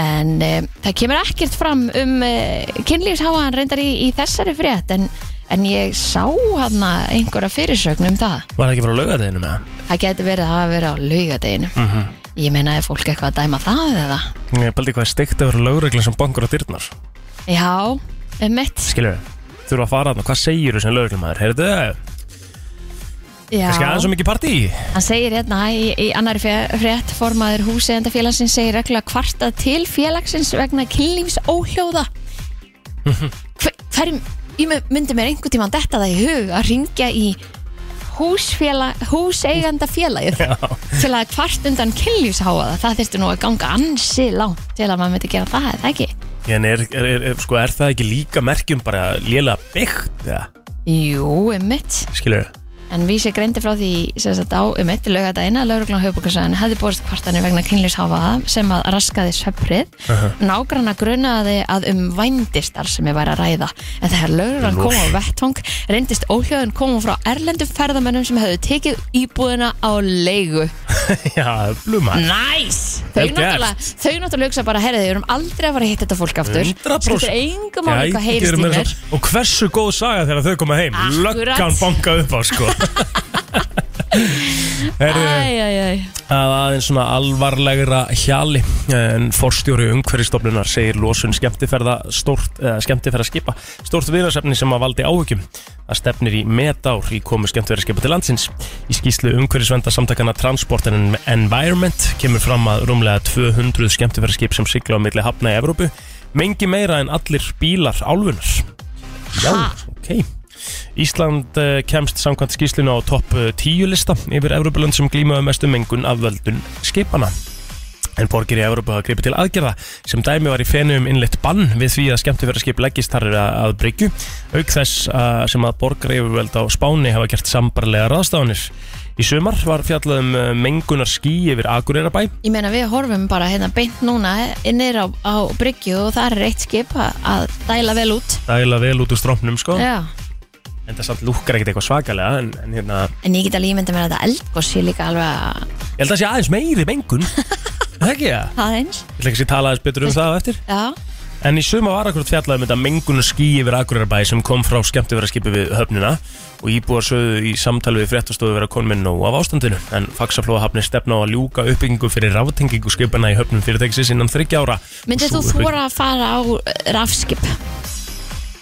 en e, það kemur ekkert fram um e, kynlífsháaðan reyndar í, í þessari frétt en, en ég sá hann einhverja fyrirsögn um það
Var það ekki bara að lauga þeirnum eða?
það geti verið að hafa verið á laugadeginu ég meina er fólk eitthvað að dæma það eða
Ég baldi hvað er steikt að vera lögreglinn sem bankar á dyrnar
já, ummitt
Skilur við? Þurfa að fara þarna, hvað segir þú sem lögreglumæður? Heyrðu, kannski aðeins um- og mikið partí
Hann segir hérna í, í annari fe- frétt formaður húsegndafélagsins segir reglulega kvartað til félagsins vegna kynlífs óhljóða. Hver, hverjum, ég mu- myndi mér einhvern tímann detta það í hug að ringja í húsfélag, húseigandafélagið til að kvart undan kynlífsháaða. Það þurfti nú að ganga ansi langt til að maður myndi gera það, er það ekki?
En er, er, er, er, sko, er það ekki líka merkjum bara lélega byggt, eða?
Jú, emmitt.
Skilur
En vísi greindi frá því sem sagt á um eitt lögadaginn að lauruglan höfbúkarsæðin hefði borist kvartanir vegna kynlífsháfaða sem að raskaði söprið. Nágranna grunaði að um vændistar sem ég væri að ræða. En þegar lauruglan kom á vettvang reyndist óhljóðin komum frá erlendum ferðamönnum sem hefðu tekið íbúðina á leigu.
Já, bluma
Nice! Þau
Vel gert.
náttúrulega, þau náttúrulega hugsa bara, herriði, við erum aldrei að fara að hitta þetta fólk aftur.
100%.
Skiptir engum áli hvað heyrist í mér.
Og hversu góð saga þegar þau koma heim
Akkurat.
Löggan bankað upp á sko Herðu,
Æ, æ, æ.
að aðeins svona alvarlegra hjali en forstjóri umhverfistofnunar segir losun skemmtiferða stort, eða skemmtiferða skipa stort viðarsefni sem að valdi áhugjum að stefnir í metár í komu skemmtiferða skipa til landsins í skýslu umhverfisvenda samtakana Transport and Environment kemur fram að rúmlega 200 skemmtiferða skip sem sigla á milli hafna í Evrópu mengi meira en allir bílar álfunar Já,
Ha?
ok Ísland eh, kemst samkvæmt skýslinu á topp eh, 10 lista yfir Evrópulönd sem glímaðu mestu mengun af völdun skipana. En borgir í Evrópu hafa gripið til aðgerða sem dæmi var í fenum innleitt bann við því að skemmtifjörðarskip leggist þar að, að bryggju auk þess að, sem að borgar yfirvöld á Spáni hafa gert sambarlega ráðstafanir. Í sumar var fjallað um eh, mengunar ský yfir Akureyrabæ
Ég meina við horfum bara hérna beint núna innir á, á bryggju og það er eitt skip að, að dæla vel út
dæla vel út úr stróknum sko
Já.
en það samt lúkkar ekkert eitthvað svakalega en, en hérna,
En ég get alveg ímyndað mér að þetta eldgóð sé líka alveg að
ég held að það sé aðeins meiri mengun Er það ekki það?
það eins
Ég ætla ekki að sé tala aðeins betur um það á eftir
Já,
En í suma var akkurat fjallað um þetta mengun ský yfir Akureyrabæ sem kom frá skemmtifæraskipi við höfnina og íbúar sögðu í samtali við fréttastofu vera konum með nóg af ástandinu en faksaflóa hafni stefna á að ljúka uppbyggingu fyrir ráftengingu skipana í höfnum fyrirtækisins innan þryggja ára
myndið þú
Og sú uppbygging-
þóra að fara á eh, rafskip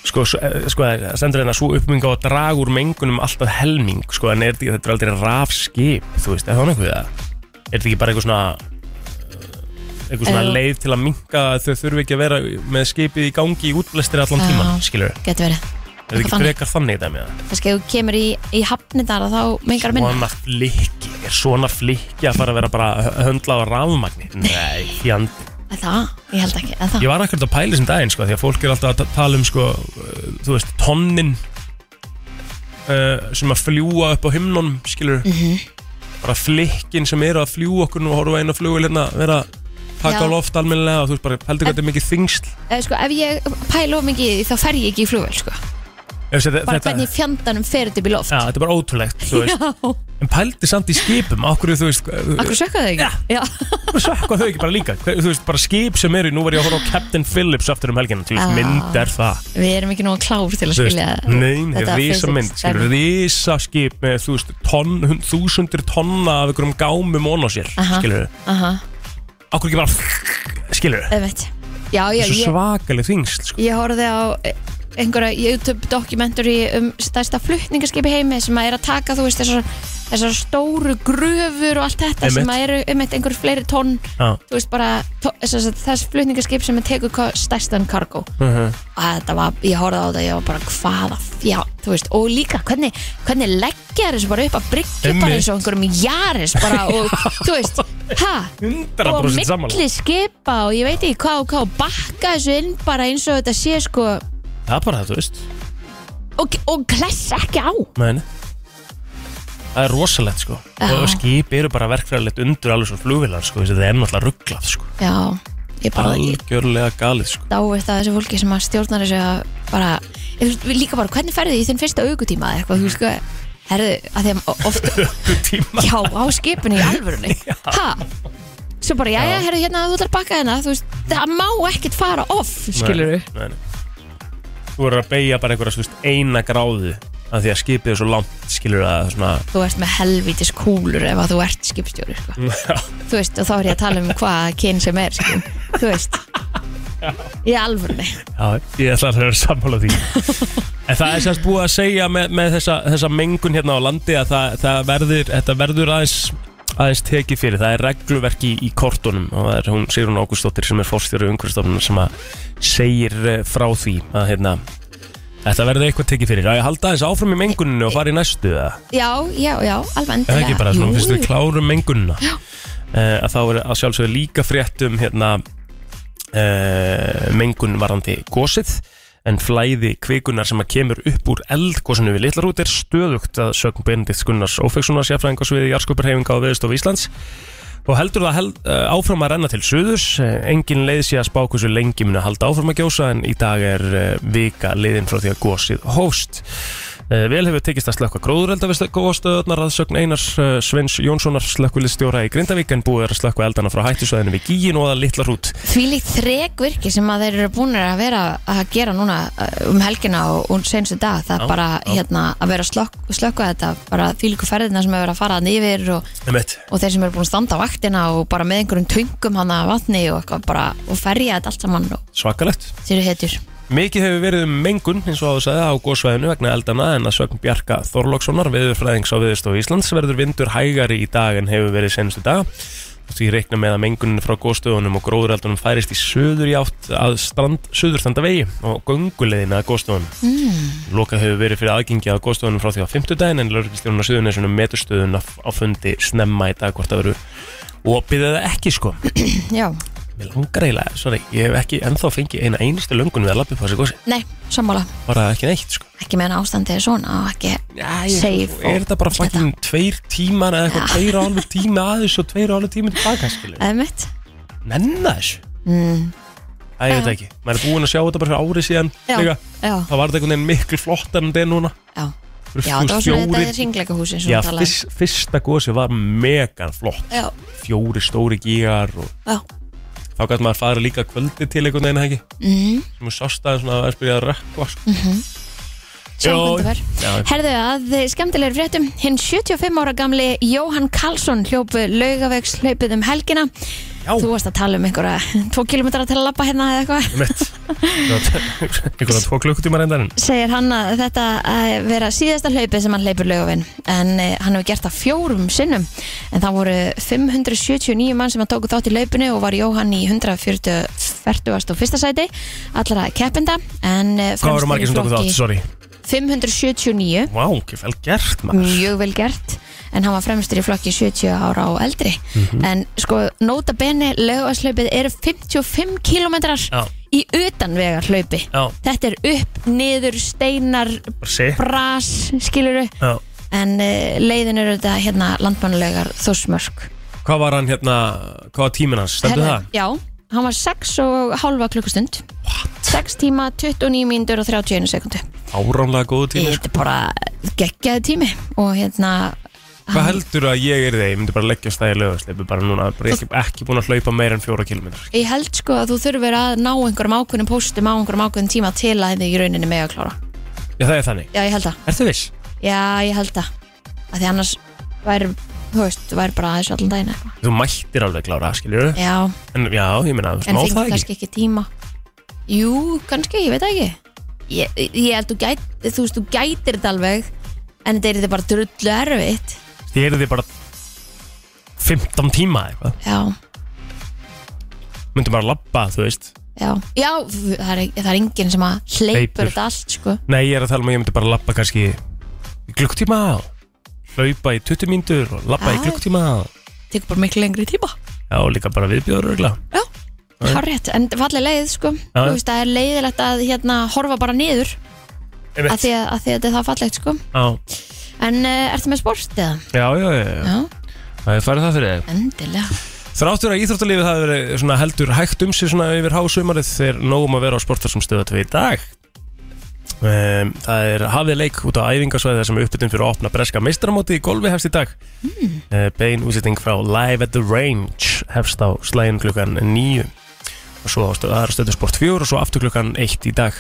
sko, s- eh, sko, það stendur hérna svo uppmyng á að draga úr mengunum alltaf helming sko, en er, þetta- þetta er aldrei rafskip þú veist, er það nokkuð það? Er þetta ekki bara eitthvað svona eh, eitthvað svona
Eh,
leið til að minka að þau þurfi ekki að vera með skipið í gangi í útblæstir allan
Já.
tíman, skilur
Geti verið
er þetta ekki
Þannig.
frekar þannig dæmi það?
Kannski ef þú kemur í, í hafni þar að þá mengar minna
Svona flikki, er svona flikki að fara að vera bara að höndla á rafmagni Nei, fjand
Er Það, ég held ekki er það?
Ég var akkurat að pæli sem daginn sko, því að fólk er alltaf að ta- tala um sko, uh, þú veist, tonnin uh, sem að fljúa upp á himnunum, skilur
Mhm.
bara flikkin sem eru að fljúa okkur nú horfa einu flugil hérna, vera að taka
Já.
á loft almennilega og þú veist bara, heldur hvað þetta er mikið þingsl
Ef, sko, ef ég pæla of mikið í því, þá fer ég ekki í flugvel sko.
Ef þetta,
bara
þetta,
hvernig fjandanum fer þetta upp í loft
ja, þetta er bara ótrúlegt, þú veist
akkur
en pældi samt í skipum, okkur þú veist
sökka þau
Já.
ekki Já.
sökka þau ekki bara líka Hver- þú veist, bara skip sem eru, nú var ég að horfa á Captain Phillips aftur um helgina, þú veist,
Já.
mynd er það
við erum ekki nóg klár til að
Þú veist,
Ah. skilja
Nein, þetta
þetta
er
physics
risamynd
dæmi.
Risaskip með þú veist, tonn, hund, þúsundir tonna af einhverjum gámum ón á sér
Aha.
Skilur
Aha,
Akkur ekki bara Skilur við
einmitt. já, já,
Þessu
ég,
svakaleg þingsl sko.
ég horfði á eh, einhverja YouTube dokumentari um stærsta flutningaskipi heimi sem að er að taka þú veist þessar, þessar stóru gröfur og allt þetta
Einmitt.
sem að eru um eitt einhver fleiri tonn
Já.
þú veist bara to, þess, þess flutningaskip sem að tekur ko- stærstan kargó
Mhm.
og þetta var, ég horfði á þetta ég var bara hvaða fjá, þú veist og líka hvernig, hvernig leggja þessu bara upp að bryggja bara
Einmitt.
eins og einhverjum jaris bara og þú veist, ha
100%
og
sammála.
milli skipa og ég veit ekki hvað og hvað og bakka þessu inn bara eins og þetta sé sko
Það er bara það, þú veist
og, og klessa ekki á
Men. Það er rosalegt sko
Já.
Og skip eru bara verkfræðilegt undur alveg svo flugvilar sko, þessi, Það er náttúrulega rugglað sko.
já, ég bara, ég
Algjörlega galið sko.
dáist að þessu fólki sem að stjórnar þessu að bara, ég, þú veist, við líka bara hvernig ferðu í þinn fyrsta augutíma eða eitthvað, þú veist hvað herðu, að þeim oft
Tíma
já, á skipinu í alvörunni ha, svo bara, já, já, herðu hérna þú ætlar að bakka hérna, þú veist, það má ekkert fara off, skilur
Nei, nei, nei. Þú verður að beigja bara einhverja þú veist, eina gráðu af því að skipið er svo langt skilur að það er svona
þú ert með helvítis kúlur ef að þú ert skipstjóri, sko
Mm,
þú veist, og þá er ég að tala um hvað kyn sem er skil. þú veist í alvörni
Já, ég ætla að vera sammála því En það er sérst búið að segja með, með þessa, þessa mengun hérna á landi að það, það verður, þetta verður aðeins aðeins tekið fyrir, það er regluverk í, í kortunum og það er hún Sigrun Ágústóttir sem er fórstjóri umhverfstofnun sem að segir eh, frá því að hérna, þetta verður eitthvað tekið fyrir að ég halda aðeins áfram í menguninu og fara í næstu eða?
já, já, já, alveg
Er það
endilega
ekki bara svona,
Jú,
fyrst við
jú.
klárum mengununa uh, að þá er að sjálfsögðu líka fréttum hérna uh, mengun varandi gósið en flæði kvikunar sem að kemur upp úr eldgósinu við litlarút er stöðugt að sögum Benedikt Gunnars Ófekssonar sérfræðing á sviði jarðskuparhefinga á viðstof Íslands og heldur það held, uh, áfram að renna til suðurs uh, engin leið sé að spá hversu lengi muni að halda áfram að gjósa en í dag er uh, vika leiðin frá því að gósið hófst uh, vel hefur tekist að slökka gróðurelda við góðstöðunar að sögn Einars uh, Svens Jónssonar slökkulistjóra í Grindavík en búið er að slökka eldana frá hættisvæðinu við Gíin og að litla hrút
því líkt þregvirki sem að þeir eru búinir að vera að gera núna uh, um helgina og, og senstu dag það
Já,
bara
já.
hérna að vera að slökk, slökka þetta bara því líku ferðina sem hefur verið að fara hann yfir og, og þeir sem eru búin að standa á vaktina og bara með einhverjum tungum hann að vatni og eitthvað bara og ferja þetta allt saman og
svakalegt
þeir eru hetjur
Mikið hefur verið um mengun, eins og áður sagði, á góðsvæðinu vegna eldana en að sögn Bjarka Þorlókssonar, viðurfræðings á viðurstofu Íslands, verður vindur hægari í dag en hefur verið senstu dag. Því reikna með að mengunin frá góðstöðunum og gróðureldunum færist í söður í átt að strand, söðurstanda vegi og gönguleiðina að góðstöðunum. Mm. Lokað hefur verið fyrir aðgengi að góðstöðunum frá því á 50 daginn en lörgistjónun á söðunesunum meturstöðun á á fundi snemma í dag hvort það veru opið eða ekki sko.
Já,
Mér langar eiginlega, sorry, ég hef ekki ennþá fengið eina einustu löngun við að lappi upp á þessu gósi.
nei, sammála
Bara ekki neitt sko.
Ekki meðan ástandið er svona og ekki
Já,
safe og
er þetta bara fækkin tveir tímar eða eitthvað tveir og alveg tíma aðeins og tveir og alveg tíma tilbaka skilur
Æmitt
nenna þessu
Mm.
það er þetta ekki, maður er búinn að sjá þetta bara fyrir árið síðan
Já,
líka,
já,
það var þetta einhvern veginn miklu flottar en þetta er núna
já
Fyrir þú
Já, það var svona
fjórir-
þetta er hringleika húsin
já, fyrst, fyrsta gósi var megan flott
um. Já,
fjóri stóri gígar og
já
þá gæti maður að fara líka kvöldi til einhvern veginn eða ekki
mm,
sem er sástaðin svona að spyrja að rökkva sko.
Sjáum
Já.
hvernig það var
Já.
Herðu að skemmtilegur fréttum Hinn 75 ára gamli Jóhann Karlsson hljóp laugavegs hlaupið um helgina
Já.
Þú varst að tala um einhverja 2 km til að labba hérna eða eitthvað
Einmitt. einhverja tvo klukkutíma reyndar en
segir hann að þetta að vera síðasta hlaupið sem hann hleypur laugavinn en eh, hann hefur gert það fjórum sinnum en það voru 579 mann sem hann tóku þátt í laupinu og var Jóhann í 141. sæti allra keppinda en eh,
hvað
fremstur
voru
í
margir sem tóku
flokki-
þátt, sorry
579
Vá, ekki vel gert maður
mjög vel gert en hann var fremstur í flokki 70 ára og eldri
Mhm.
en sko, nota bene laugaslaupið eru 55 kilometrar
Já.
í utanvegar hlaupi
Já,
þetta er upp, niður, steinar
bara sé
bras, skiluru
Já.
en uh, leiðin eru þetta hérna landmannulegar þósmörk
Hvað var hann hérna, hvað var tíminn hans, stendur það?
Já, hann var 6 og halva klukkustund What? 6 tíma, 29 mínútur og 31 sekundu
Áránlega góðu tími sko.
Þetta er bara geggjaði tími og hérna
Hvað heldur að ég er þeir, ég myndi bara leggja stæði lögasleipi bara núna, bara ég er ekki búin að hlaupa meira en fjóra kilometrar
Ég held sko að þú þurfir að ná einhverjum ákveðnum póstum á einhverjum ákveðnum tíma til að þið í rauninni með að klára
Já, það er þannig
Já, ég held það,
Ertu viss?
já, ég held það að Því annars væri, þú veist, væri bara aðeins allan daginn eitthvað
Þú mættir alveg klára, skilju
Já,
En já, ég meina, þú
En
má
fengi
það ekki
kannski ekki tíma Jú, kannski, ég veit það ekki Ég, ég held þú gæt, þú veist, þú gætir þetta alveg En þetta er þetta bara drullu erfitt
Þið eru þið bara 15 tíma eitthvað
Já,
Myndi bara labba, þú veist
já, já, f- það er, það er enginn sem að
Hleypur.
hleypur þetta allt, sko
Nei, ég er að tala um að ég myndi bara labba kannski í klukkutíma Hlaupa í 20 mínútur og labba í
Já.
klukkutíma
Tekur bara miklu lengri tíma
Já, og líka bara viðbjóður örgla
Já,
Já.
hárrétt, en falleg leið, sko
Já.
Þú veist, það er leiðilegt að hérna horfa bara niður
Einmitt.
að því að, að því að þetta er það fallegt, sko
Já,
En uh, ertu með sport, eða?
já, já, já, já.
Já,
Það er farið það fyrir þig.
endilega
Þráttur að íþróttalífið hafi verið svona heldur hægt um sig svona yfir hásumarið þegar nógum að vera á sportarsum stöða tvið í dag. Um, það er hafið leik út á æfingasvæði þar sem uppbytun fyrir að opna breska meistaramóti í golfi hefst í dag. Mm. bein útsetting frá Live at the Range hefst á slægin klukkan 9 og svo á stöð, aðra stöðu sport 4 og svo aftur klukkan 1 í dag.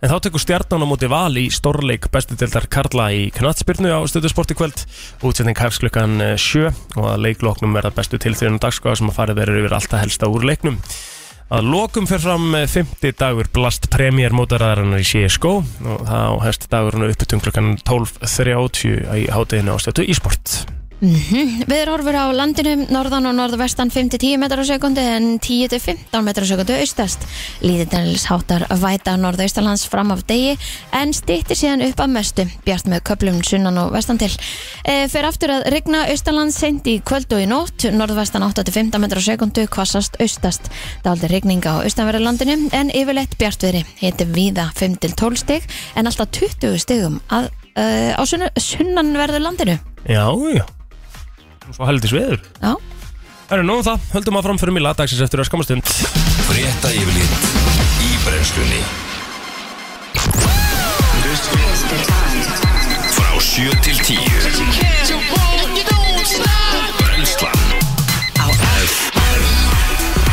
En þá tekur stjarnan á móti val í stórleik bestu deildar Karla í knatsbyrnu á stöðu sport í kvöld. Útsending hefst klukkan eh, 7 og að leikloknum verða bestu tilþjóðunum dagskóða sem að farið verður yfir alltaf helsta úr leiknum. Að lokum fer fram eh, 50 dagur Blast Premier mótaraðarinnar í CSGO og þá hefst dagurinn uppbytun klukkan 12.30 í hátíðinu á stöðu e-sport.
Viðrorfur Mhm. á landinu, norðan og norðvestan 5-10 metrar á sekundu en 10-15 metrar á sekundu austast. Líðindanilis háttar væta norðaustalands fram af degi en stýttir síðan upp að mestu, bjart með köplum sunnan og vestan til. E, fer aftur að rigna austalands seint í kvöld og í nótt, norðvestan 8-15 metrar á sekundu, kvassast austast. Daldi rigning á austanverðu landinu en yfirleitt bjartviðri, hiti víða 5-12 stig en alltaf 20 stigum að, e, á sunnan, sunnanverðu landinu.
Já, já. Og svo heldur sveður.
Já.
Það er nóg um það, höldum að framförum í lagdagsins eftir að skamastund.
Frétta yfirlit í brennslunni Frá 7 til 10 Brennslan á F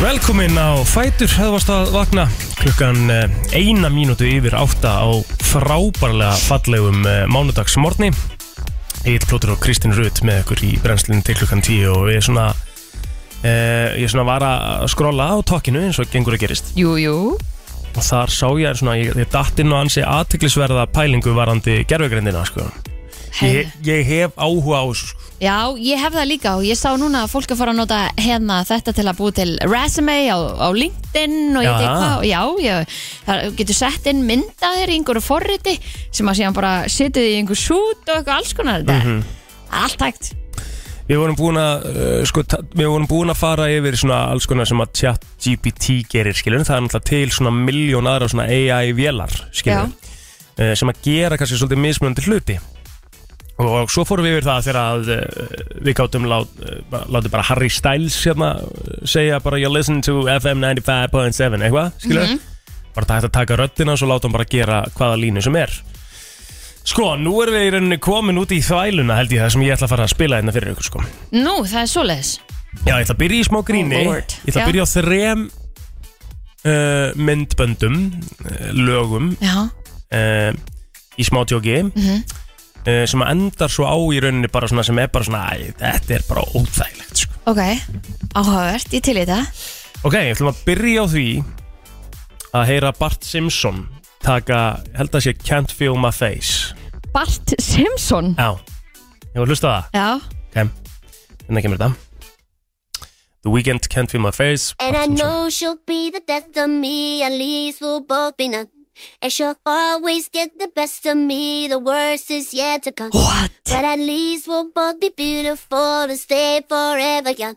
Velkomin á Fætur, það varst að vakna klukkan eh, eina mínútu yfir átta á frábærlega fallegum eh, mánudagsmorgni. Egil Plótur og Kristinn Rutt með ykkur í brennslinn til klukkan tíu og ég svona, eh, ég svona var að skrolla á tokkinu eins og gengur að gerist.
Jú, jú.
Og þar sá ég svona, ég, ég datt inn á ansi aðtiklisverða pælingu varandi gerfugrindina sko. ég, ég hef áhuga á þessu sko.
Já, ég hef það líka og ég sá núna að fólk er fara að nota hérna þetta til að búi til resume á, á LinkedIn og ég
Já.
veit hvað Já, ég, það getur sett inn mynda þér í einhverju forriti sem að síðan bara setið í einhver sút og eitthvað alls konar þetta
Mhm.
mm Allt hægt
Við vorum búin að uh, sko, ta- við vorum búin að fara yfir svona alls konar sem að chat GPT gerir skilur það er náttúrulega til svona miljón aðra svona AI vélar skilur uh, sem að gera kannski svolítið mismunandi hluti og svo fórum við yfir það þegar að uh, við gáttum lát, uh, bara- látið bara Harry Styles hérna uh, segja bara you listen to FM 95.7 eitthvað skilur bara það hægt að taka röddina og svo láta hann bara gera hvaða línu sem er Sko, nú erum við í rauninni komin út í þvæluna held ég það sem ég ætla að fara að spila hérna fyrir ykkur sko
Nú, það er svoleiðis
Já, ég ætla að byrja í smá gríni
Oh lord.
Ég ætla að byrja á þrem uh, myndböndum uh, lögum
Já,
uh, í smá tjóki
Mhm.
uh, sem að endar svo á í rauninni bara svona sem er bara svona æ, þetta er bara óþægilegt sko.
ok, áhugavert, ég til í þetta
Ok, ég ætla að byrja á því að heyra Bart Simpson taka, held að sé Can't Feel My Face
Bart Simpson
Já, ég var að hlusta á það
Já,
Ok, hérna kemur þetta The Weeknd Can't Feel My Face
And I
Bart Simpson.
know she'll be the death of me, at least we'll both be none. And she'll always get the best of me, the worst is yet to come.
what?
But at least we'll both be beautiful and stay forever young.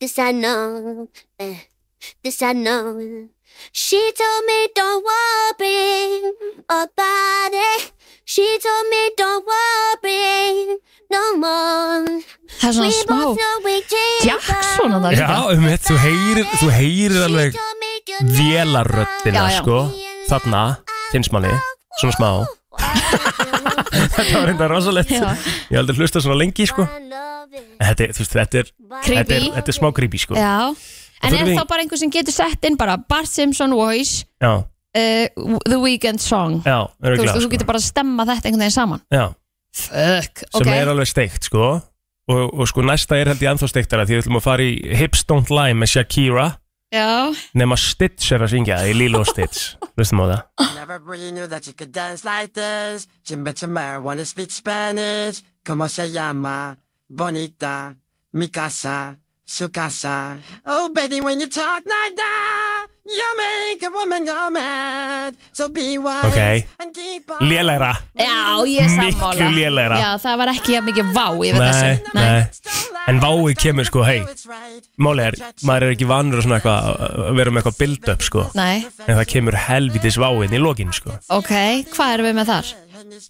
This I know, eh, this I know. She told me don't worry about it. She told me don't worry no more.
Það er svona
We
smá
both know we can't
Jackson að það
Já,
líka
um þú heyrir, þú heyrir alveg vélarröddina,
Já, já.
sko Þarna, finnst manni, svona smá Þetta var reynda rosalegt
Já.
Ég held að hlusta svona lengi, sko En Þetta, er, þú veist, þetta er, þetta er,
Creepy.
þetta er smá creepy, sko Já,
Já, en
þurfum
er
við-
þá bara einhver sem getur sett inn bara Bart Simpson voice
já,
uh, The Weeknd song Þú
örgulega,
veist, þú
sko
getur bara að stemma þetta einhvern veginn saman
Já,
Fuck,
sem
ok
er alveg steikt, sko og, og sko, næsta er held ég ennþá steiktara Því við ætlum að fara í Hips Don't Lie með Shakira
Já,
nema Stitch er að syngja það í Lilo Stitch Hlustum á það
Never really knew that you could dance like this. Chimbachamba, wanna speak Spanish. Como se llama? Bonita. Mi casa. Su casa. Oh, baby, when you talk like that, you make a woman go mad. So be wise
Okay.
and keep on.
Lélæra
já, ég er
Miklu
sammála
lélegra.
Já, það var ekki jafn mikið vá yfir
Nei,
þessu
nei En
En
váið kemur, sko, hey. Málið er, maður er ekki vanur að svona eitthvað að vera með eitthvað build-up sko
Nei,
En það kemur helvitis váinn í lokin sko
ok, hvað erum við með þar?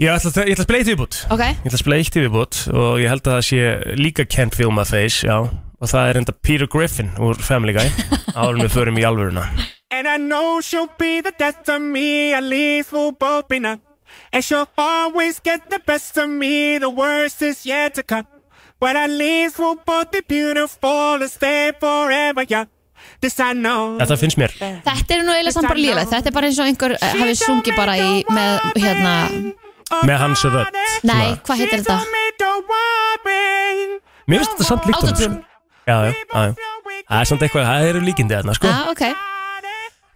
Ég ætla, að- ég ætla að spila eitt viðbútt
Ok,
Ég ætla að spila eitt viðbútt og ég held að það sé líka Can't Feel My Face, já Og það er enda Peter Griffin úr Family Guy Árum við förum í alvöruna
And I know she'll be the death of me, at least we'll both be numb. And she'll always get the best of me, the worst is yet to come. But at least we'll both be beautiful and stay forever young. This I know.
Þetta finnst mér
þetta er nú eiginlega samt bara lélega Þetta er bara eins og einhver eh, hafi sungið bara í með, hérna
Með hans rödd
Nei, hvað heitir þetta?
Mér finnst þetta samt líkt honum,
Autotune.
sko Já, já, já, já Það er samt eitthvað, það eru líkindi þarna sko
Já, Ah, ok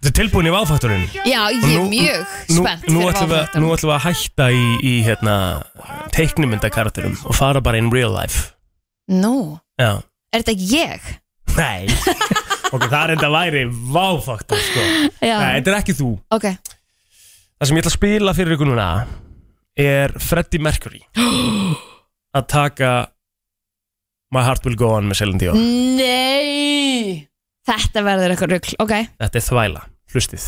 Þetta er tilbúin í váfaktorinn
Já, ég er mjög spennt
nú, nú,
fyrir
ætlum við,
váfættum
nú ætlum við að hætta í, í hérna, teiknumyndakarakterum og fara bara in real life
Nú,
Já,
er þetta ég?
nei Ok, það er enda væri váfaktor sko.
Já,
Nei, þetta er ekki þú
ok
Það sem ég ætla að spila fyrir ykkur núna er Freddie Mercury að taka My Heart Will Go On með Celine Dion
Nei Þetta verður eitthvað rugl, ok
Þetta er þvæla, hlustið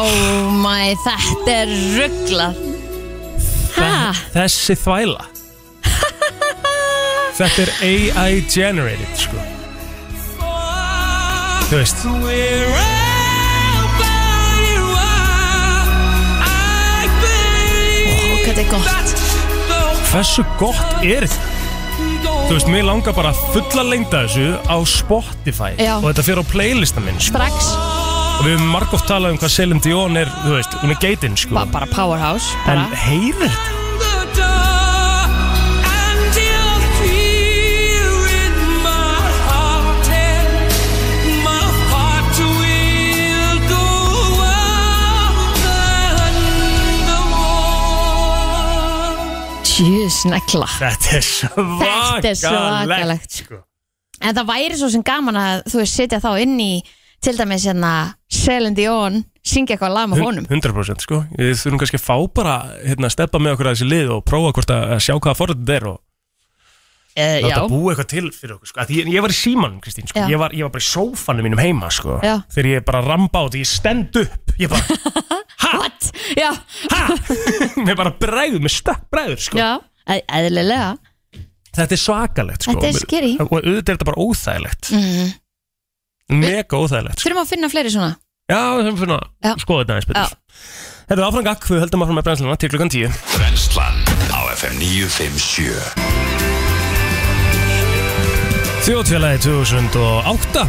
Oh my, þetta er rugglað Ha?
Þessi þvæla Þetta er AI generated sko Þú veist
Ó, hvað þetta er gott
Hversu gott er þetta? Þú veist, mér langar bara að fulla lengda þessu á Spotify
Já.
og þetta fyrir á playlista minn sko.
Strax,
og við hefum margótt talað um hvað Celine Dion er, þú veist, hún er geitinn sko
bara, bara powerhouse
en
bara.
heyrið þetta?
Jú, snegla
Þetta er svakalegt
Þetta er svakalegt.
sko.
En það væri svo sem gaman að þú veist setja þá inn í til dæmis hérna Celine Dion syngja eitthvað lag með honum
100% sko, við þurfum kannski að fá bara hérna, steppa með okkur að þessi lið og prófa hvort að að sjá hvaða forrið þetta er og
Eh, Já,
láta búa eitthvað til fyrir okkur sko. Af því ég, ég var í símanum Kristín sko.
Já.
ég, var, ég var bara í sófanum mínum heima sko.
Já.
þegar ég bara ramba á því, ég stend upp ég bara,
what? Já,
mér bara bregður, mér stökk bregður sko.
já, e- eðlilega
þetta er svakalegt sko.
Þetta er scary.
og auðvitað er þetta bara óþægilegt
mm.
mega óþægilegt sko.
Þurfum að finna fleiri svona
já, við höfum finna
Já.
að skoða þetta aðeins
Já.
betur Þetta er áfram gakk, við höldum áfram með brennsluna til klukkan 10
Brennslan á FM 957
Þjóðfélagi 2008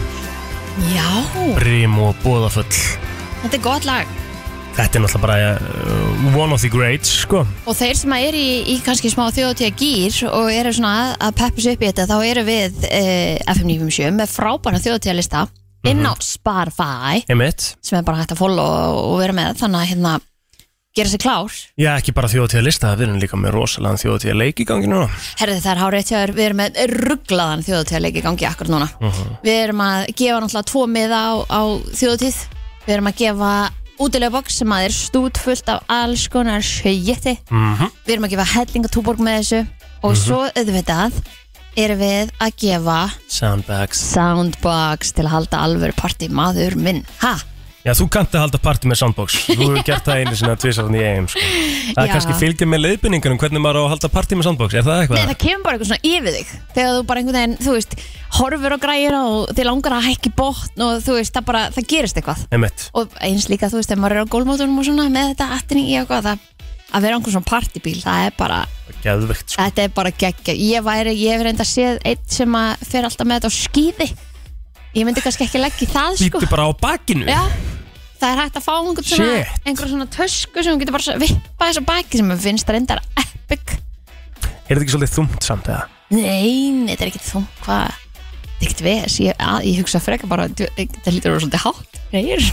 Já,
Rím og bóðafull
þetta er gott lag
Þetta er náttúrulega bara uh, one of the greats sko.
Og þeir sem að eru í, í kannski smá þjóðtíða gýr og eru svona að, að peppu sig upp í þetta þá eru við eh, FM 957 með frábæna þjóðtíðalista inn á Spotify
Einmitt
sem er bara hægt að follow og, og vera með þannig að hérna gera sér klár
Já, ekki bara þjóðtíða lista, við erum líka með rosalega þjóðtíða leik í gangi núna
Herði það er hárið til að við erum með rugglaðan þjóðutíðarleik í gangi akkur núna Við erum að gefa náttúrulega tvo miða á, á þjóðutíð Við erum að gefa útilega box sem að er stút fullt af alls konar sjöjetti Við erum að gefa hellinga túborg með þessu Og svo auðvitað erum við að gefa
Sandbags
soundbox til að halda alvöru partí maður minn Ha?
Já, þú kannt að halda partí með Sandbox Þú hefur gert það einu sinna tvisarðan í eigum sko. Það er
Já.
kannski fylgja með leiðbynningunum hvernig maður á að halda partí með Sandbox Er það
Nei,
eitthvað?
það kemur bara eitthvað svona yfir þig Þegar þú bara einhvern veginn, þú veist, horfur á græjuna og þið langar að hækki botn og þú veist, það bara, það gerist eitthvað
Einmitt
og eins líka þú veist, ef maður er á gólmótunum og svona með þetta attinni í eitthvað það, að vera á einhvern svona partybíl, það er bara
Geðvegt sko.
þetta er bara geggja, ég væri ég hef reynda séð einn sem að fer alltaf með þetta á skýði, ég myndi kannski ekki leggja í það sko,
Býtu bara á bakinu
já það er hægt að fá einhvern svona,
Shit.
einhver svona tösku sem hún getur bara vippa þessu baki sem hún finnst reyndar epic
Er þetta ekki svolítið þungt samt eða?
nei, nei, þetta er ekkert þú, hvað þetta er ekkert ves, ég, að, ég hugsa frekar bara djú- þetta lítur að vera svolítið hátt reyr.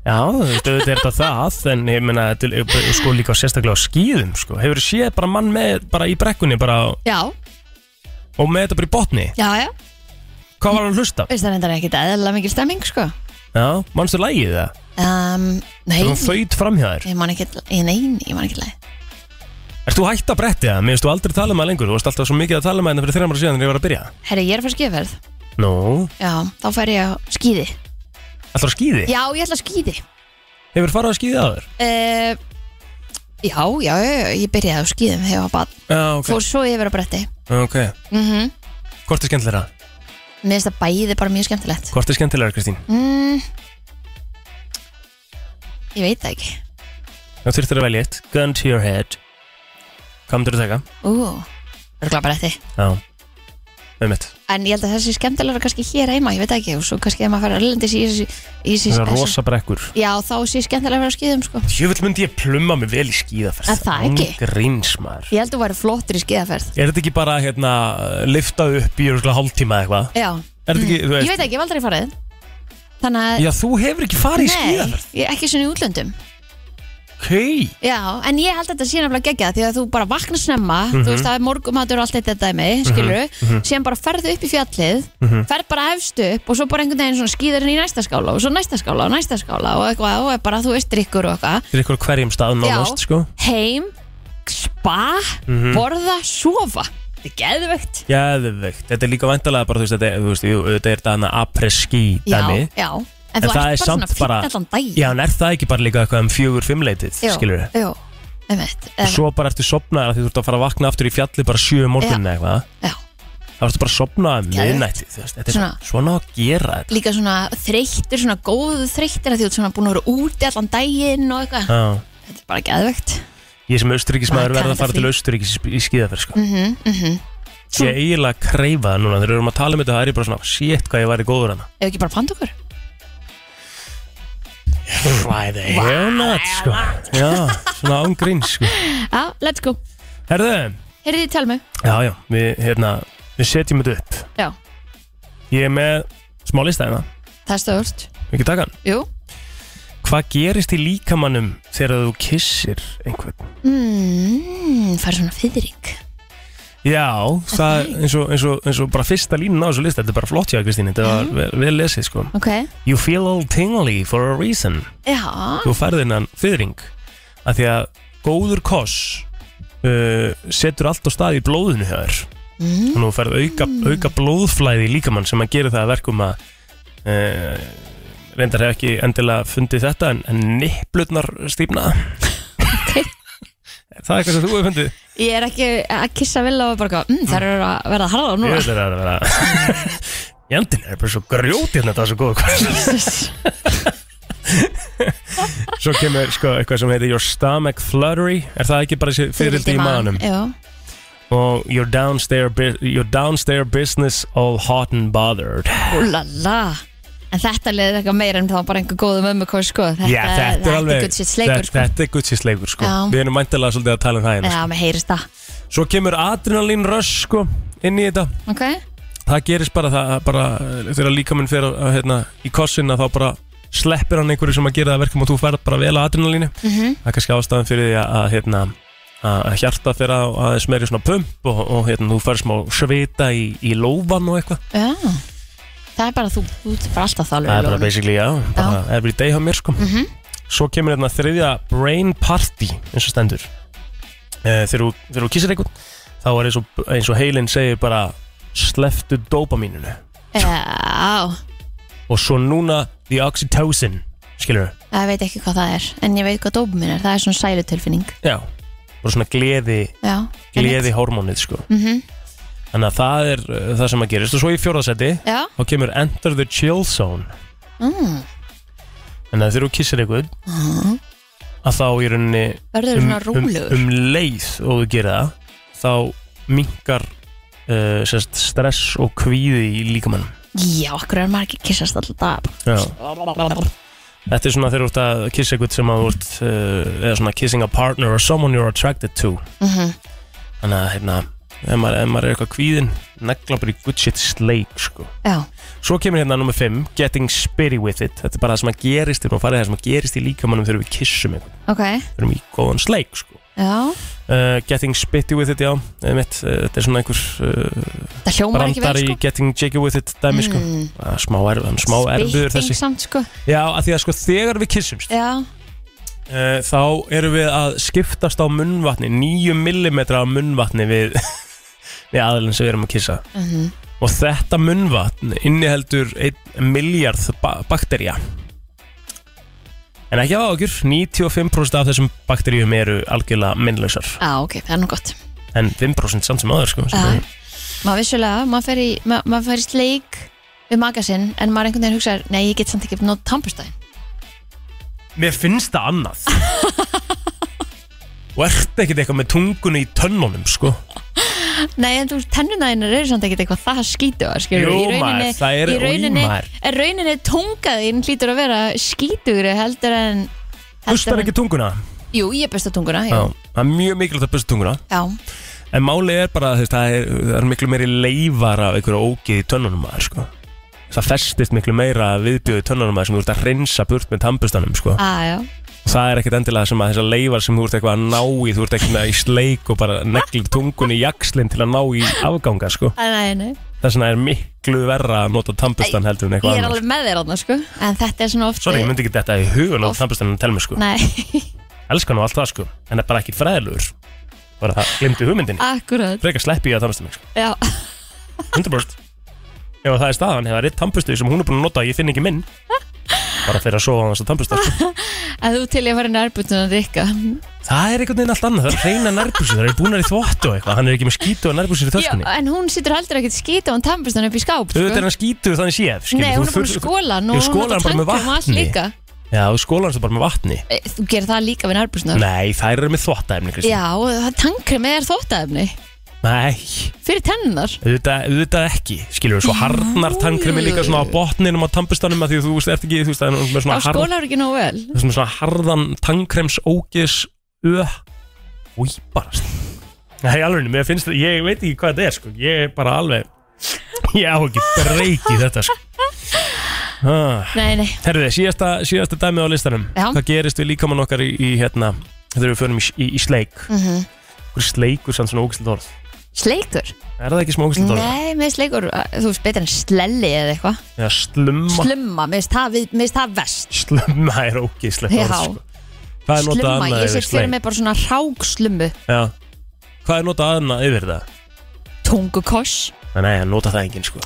Já, þú veist, auðvitað er þetta það En ég meina, til, sko líka sérstaklega á skýðum sko. Hefur séð bara mann með, bara í brekkunni bara,
já,
Og með þetta bara í botni
já, já,
Hvað var hann að hlusta?
veist það reyndar ekkert eðlilega mikil stemming sko
Já, manstu lægið það?
Um, nei,
Er hún þaut framhjáður?
ég man ekki, ég, nei, ég man ekki leið.
Ert þú hægt að bretti það? Mér finnst þú aldrei tala um það lengur Þú varst alltaf svo mikið að tala um það hérna fyrir þreymar síðan þegar ég var að byrja
Herri, ég er að fara skifverð.
Nú,
Já, þá fær ég á skýði.
alltaf að skýði?
Já, ég ætla að skýði.
Hefur farið að skýði aður?
Uh, já, já, já, já, ég byrjaði á skýðum þegar ég var bann.
Já, ok,
Fór svo yfir á bretti.
ok
Mm -hmm.
Hvort er skemmtilegra?
Mér finnst það bæði bara mjög skemmtilegt.
Hvort er skemmtilegra, Kristín?
Mm, ég veit það ekki.
Nú þurftir að velja eitt Gun to your head Hvað myndir þú taka?
Ú, örgla bretti.
Já Með mitt
En ég held að þessi skemmtilega kannski hér heima, ég veit það ekki. Og svo kannski ef maður fær erlendis í þessi... í þessi-
Þessar rosa brekkur
Já, þá sé skemmtilega að vera á skýðum, sko.
Jöfull myndi ég plumma mig vel í skýðaferð
Er það ekki?
Gríns maður
Ég held að þú væri flottur í skeiðaferð
Er þetta ekki bara hérna Lifta upp í örugglega hálftíma eða eitthvað?
Já,
Er þetta ekki, þú
Mm, ég
veist
veit ekki, ég hef aldrei farið Þannig að,
Já, þú hefur ekki farið í skýðaferð
nei, ég er ekki svona í útlöndum
Ok
Já, en ég held að þetta sé nefnilega geggjað því að þú bara vaknar snemma,
Mhm.
þú veist það er morgumatur og allt þetta dæmi, skilur síðan bara ferðu upp í fjallið,
Mhm.
ferð bara efst upp og svo bara einhvern veginn svona skýðar henni í næsta skála og svo næsta skála og næsta skála og eitthvað og er bara þú veist drikkur og eitthvað
Þetta er ykkur á hverjum stað nánast, sko.
heim, spa,
Mhm.
borða, sofa Þetta er geðvögt
Jæðvegt. Þetta er líka vantalega bara, þú veist, þetta er, þú veist, jú, þetta er þarna après-ski
Já,
dæmi.
já, en, þú ert bara svona fýtt allan daginn
Já, en er það ekki bara líka eitthvað um fjögur-fimm leitið,
Jú,
skilur við?
jú, einmitt,
Svo bara ertu sopnaðar að því þú ert að fara að vakna aftur í fjalli bara sjö um morgunni eða eitthvað.
já,
Það varstu bara að sopna að
Geðveikt.
miðnætti þú veist, Þetta er
Svona.
svona, svona á að gera þetta
líka svona þreyttur, svona góðu þreyttur að því þú ert svona búin að vera úti allan daginn og eitthvað,
Já.
þetta er bara geðvegt
Ég sem austuríkismæður
Bara
verða að fara
kalda
til
frí.
austuríkis í skíðaferð sko. mm -hmm, Ég er eiginlega að kreifa það núna Þegar við erum að tala um þetta, það er ég bara svona Shit, hvað ég væri góður hana
ef ekki bara panta okkur
Why the hell not, sko Já, svona án grín, sko
já, let's go,
Herðu,
heyrðu þið tala mig
já, já, við, hérna, við setjum þetta upp
já,
Ég er með smá listæðina
það er stöðust
Ekki taka hann
jú,
Hvað gerist í líkamannum þegar þú kissir einhvern?
mm, fara svona fyrring
Já, það eins og, eins, og, eins og bara fyrsta línan á þessu lista Þetta er bara flott hjá Kristín, þetta var vel, vel lesið sko
ok,
You feel all tingly for a reason
já,
Þú færði hennan fyrring að Því að góður koss uh, setur allt á stað í blóðinu hjá þér mm. Nú færði auka, auka blóðflæði í líkamann sem að gera það að verkum að uh, reyndar hef ekki endilega fundið þetta en, en nipplutnar stífna
Ok.
Er það eitthvað sem þú hefur fundið?
ég er ekki að kissa vel og bara, eitthvað, mm, það eru að verða harða
Ég
núna
veit það er að vera Jandinn er bara svo grjótið þetta er svo góð kvöld Svo kemur sko eitthvað sem heitir Your stomach fluttery Er það ekki bara fyrirldi í maðanum?
já,
Og your downstairs, bu- your downstairs business all hot and bothered
úlala en þetta leðið eitthvað meira en það var bara einhver góðu mömmu kóð sko, þetta,
Já, þetta er alveg
good shit sleikur
þetta,
sko.
þetta er gutsið sleikur sko
Já.
Við erum mæntilega svolítið að tala um það hérna
já, mér heyrist það,
sko. Svo kemur adrenalin rush sko inn í þetta
ok
Það gerist bara það bara, eh, þegar líkaminn fer að, að, hérna, í kossinna þá bara sleppir hann einhverju sem að gera það að verkum og þú færð bara vel á adrenalínu
Mhm.
Það er kannski ástæðan fyrir því að, að, hérna, að að hjarta þeirra aðeins meiri svona pump og, og hérna, þú færð smá svita í, í lófan og eitthvað
Já, það er bara þú, þú ert bara alltaf þálur
Það er bara basically, já, bara every day hjá mér sko Svo kemur hérna þriðja brain party, eins og stendur Eh, Þegar þú- þegar þú kissir einhvern þá er eins og, eins og heilin segir bara sleftu dopamíninu
Já,
og svo núna the oxytocin skilur við
það veit ekki hvað það er En ég veit hvað dópumin er, það er svona sælutilfinning
já bara svona gleði
Já, Mhm.
gleði hormónið sko -hmm. þannig að það er uh, það sem að gerist og svo í fjórðasetti
einmitt. Já,
þá kemur enter the chill zone
mm.
en að þegar þú kissir eitthvað að þá í rauninni
verður
um,
svona
um,
rúlegur
um leið og þú gerir það þá minkar uh, sérst, stress og kvíði í líkamann
Já, okkur er margir kissast alltaf
já Þetta er svona þegar þú ert að kissa eitthvað sem að þú ert uh, eða svona kissing a partner or someone you're attracted to
Mhm.
Þannig að hérna ef maður, ef maður er eitthvað kvíðin negla bara í good shit sleik sko.
Já,
Svo kemur hérna nummer 5 Getting spitty with it Þetta er bara það sem að gerist þegar maður farið það sem að gerist í líkamannum þegar við hérna. kissum eitthvað
ok,
þegar við erum í góðan sleik sko.
já
uh, Getting spitty with it, já einmitt, uh, Þetta er svona einhver uh,
Það hljómar ekki
brandar
vel
í
sko
getting jiggy with it dæmi sko.
Mm.
Ah, Smá, erf, smá erfiður
Spitting
þessi
samt sko
Já, af því að sko þegar við kissumst
Já,
Uh, þá erum við að skiptast á munnvatni 9 mm af munnvatni við, við aðlun sem við erum að kissa
Mhm.
og þetta munnvatn inniheldur 1 miljard ba bakterja en ekki af ágjur 95% af þessum bakterjum eru algjörlega minnlausar
já ok, það er nú gott
en 5% samt sem aður sko, sem
Já.
er-
Maður vissulega, maður fer í, ma maður fer í sleik við magasinn en maður einhvern veginn hugsar Nei, ég get samt ekki nót tampustæðin
mér finnst það annað og ert ekkert eitthvað með tungunni í tönnunum sko
Nei, en þú veist, tennunæðinar eru samt ekkert eitthvað það skítu að skilur
Jú, maður, það eru-
í
oj,
rauninni,
maður.
En rauninni tungaðin hlýtur að vera skítugri heldur en
bustar
en-
ekki tunguna
Jú, ég busta tunguna, jú
Já, það er mjög mikilvægt að busta tunguna
Já,
En málið er bara að það er, það er miklu meiri leifar af einhverju ógið í tönnunum maður sko. Það festist miklu meira viðbjöð í tönnunum maður sem þú ert að hreinsa burt með tampustanum sko.
að Ah, já
Og það er ekkert endilega sem að þessar leifar sem þú ert eitthvað að ná í, þú ert ekkert með í sleik og bara neglir tungun í jakslinn til að ná í afganga sko.
Æ, nei, nei.
Þess vegna er miklu verra að nota tampustan heldur en
Ég
eitthvað
er
annars
alveg með þér þarna, sko En þetta er svona oft
Sorry, ég myndi ekki þetta í hugun á tampustanum að telmi sko.
Nei,
Elskar nú allt það sko, en það er bara ekki fræðilegur Bara það glimti hugmyndinni
akkurat
Frekar sleppi ég að tampustanum sko.
Já,
100% Ef það er staðan, hefur það ritt tampustu sem hún er búin að nota ég finn ekki minn bara fyrir að sofa á þess að tannbustar sko.
að þú til ég var í nærbútun að rikka
Það er einhvern veginn allt annað, það er reyna nærbúsi Það er búnar í þvottu og eitthvað, hann er ekki með skítu og nærbúsir í töskunni
en hún situr heldur ekkert skýta og tannbustan upp í skáp sko.
Þú veit er hann skítu þannig séð skilur,
Nei,
þú
hún er búin að um
þurr-
skóla
Jú, skólar hann bara með vatni
vatni
Já, þú skólar hann svo bara með vatni
Eh, Þú gerir það líka við nærbústunar
Nei, þær eru með þvottaefni, Kristi
Já, tankrið með er þóttaefni
Nei,
Fyrir tennar
auðvitað, auðvitað ekki skilur við, svo harnar tannkremi líka svona á botninum á tannbustanum að því að þú veist, ert ekki þú veist, það er með svona,
Á
harð,
skólar ekki nóg vel
svona, svona harðan tankremsókis ö új, bara nei, alveg, mér finnst þetta, ég veit ekki hvað þetta er sko, ég er bara alveg ég á ekki breyki þetta sko ah.
Nei, nei,
herruði, síðasta, síðasta dæmið á listanum
Já.
hvað gerist við líkamann okkar í, í hérna, þegar við förum í, í, í sleik mm
Mhm.
-hmm. sleikur samt svona ógæslega orð
sleikur
er það ekki smá ógæslega orð?
Nei, með sleikur, uh, þú veist betur en slelli eða eitthvað
eða slumma
Slumma, mér finnst það, við- mér finnst það vest
Slumma er ógíslegt
Já,
orð sko. Hvað er notað
slumma,
annað
ég
yfir
sér fyrir
sleik?
mig bara svona rákslummu
Já. Hvað er notað annað yfir það?
Tungukoss
Nei, Nei, hann nota það enginn sko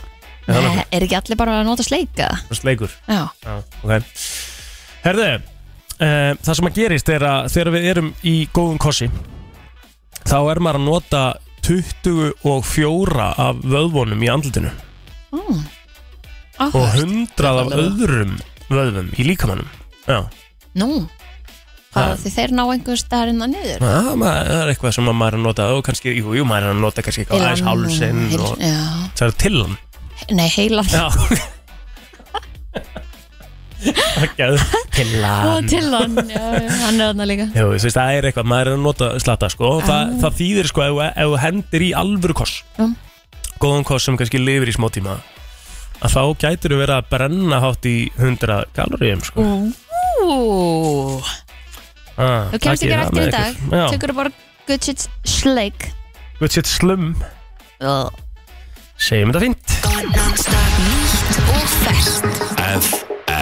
Er það
Nei,
nokkuð?
Eh, Er ekki allir bara að nota sleika?
Bara Sleikur
Já,
Já, ok Herðu, uh, það sem að gerist er að þegar við erum í góðum kossi þá er maður að nota 24 af vöðvunum í andlutinu og
áhört
100 af öðrum vöðvum í líkamannum Já,
Nú, hvað því þeir ná einhver staðarinn að niður
Já, maður, það er eitthvað sem að maður er að nota og kannski, jú, jú, maður er að nota kannski eitthvað aðeins hálsinn
Heil-
og
Já,
það er til hann
nei, heilan
Já Geð,
Ó,
Pillan
til hann, já, já, hann er hann líka
Jú, þú veist, það er eitthvað, maður er að nota slata sko, og það, það þýðir sko, ef, ef þú hendir í alvöru koss
Ah. Já.
góðan koss sem kannski lifir í smá tíma að þá gætur þú verið að brenna hátt í 100 kaloríum sko.
Ú,
ah,
þú kemst
takið
ekki
það
rætt í
með
dag
ykkur. Já,
Tökur bara good shit sleik
good shit slum
Já.
segjum þetta fínt
Nýtt og ferskt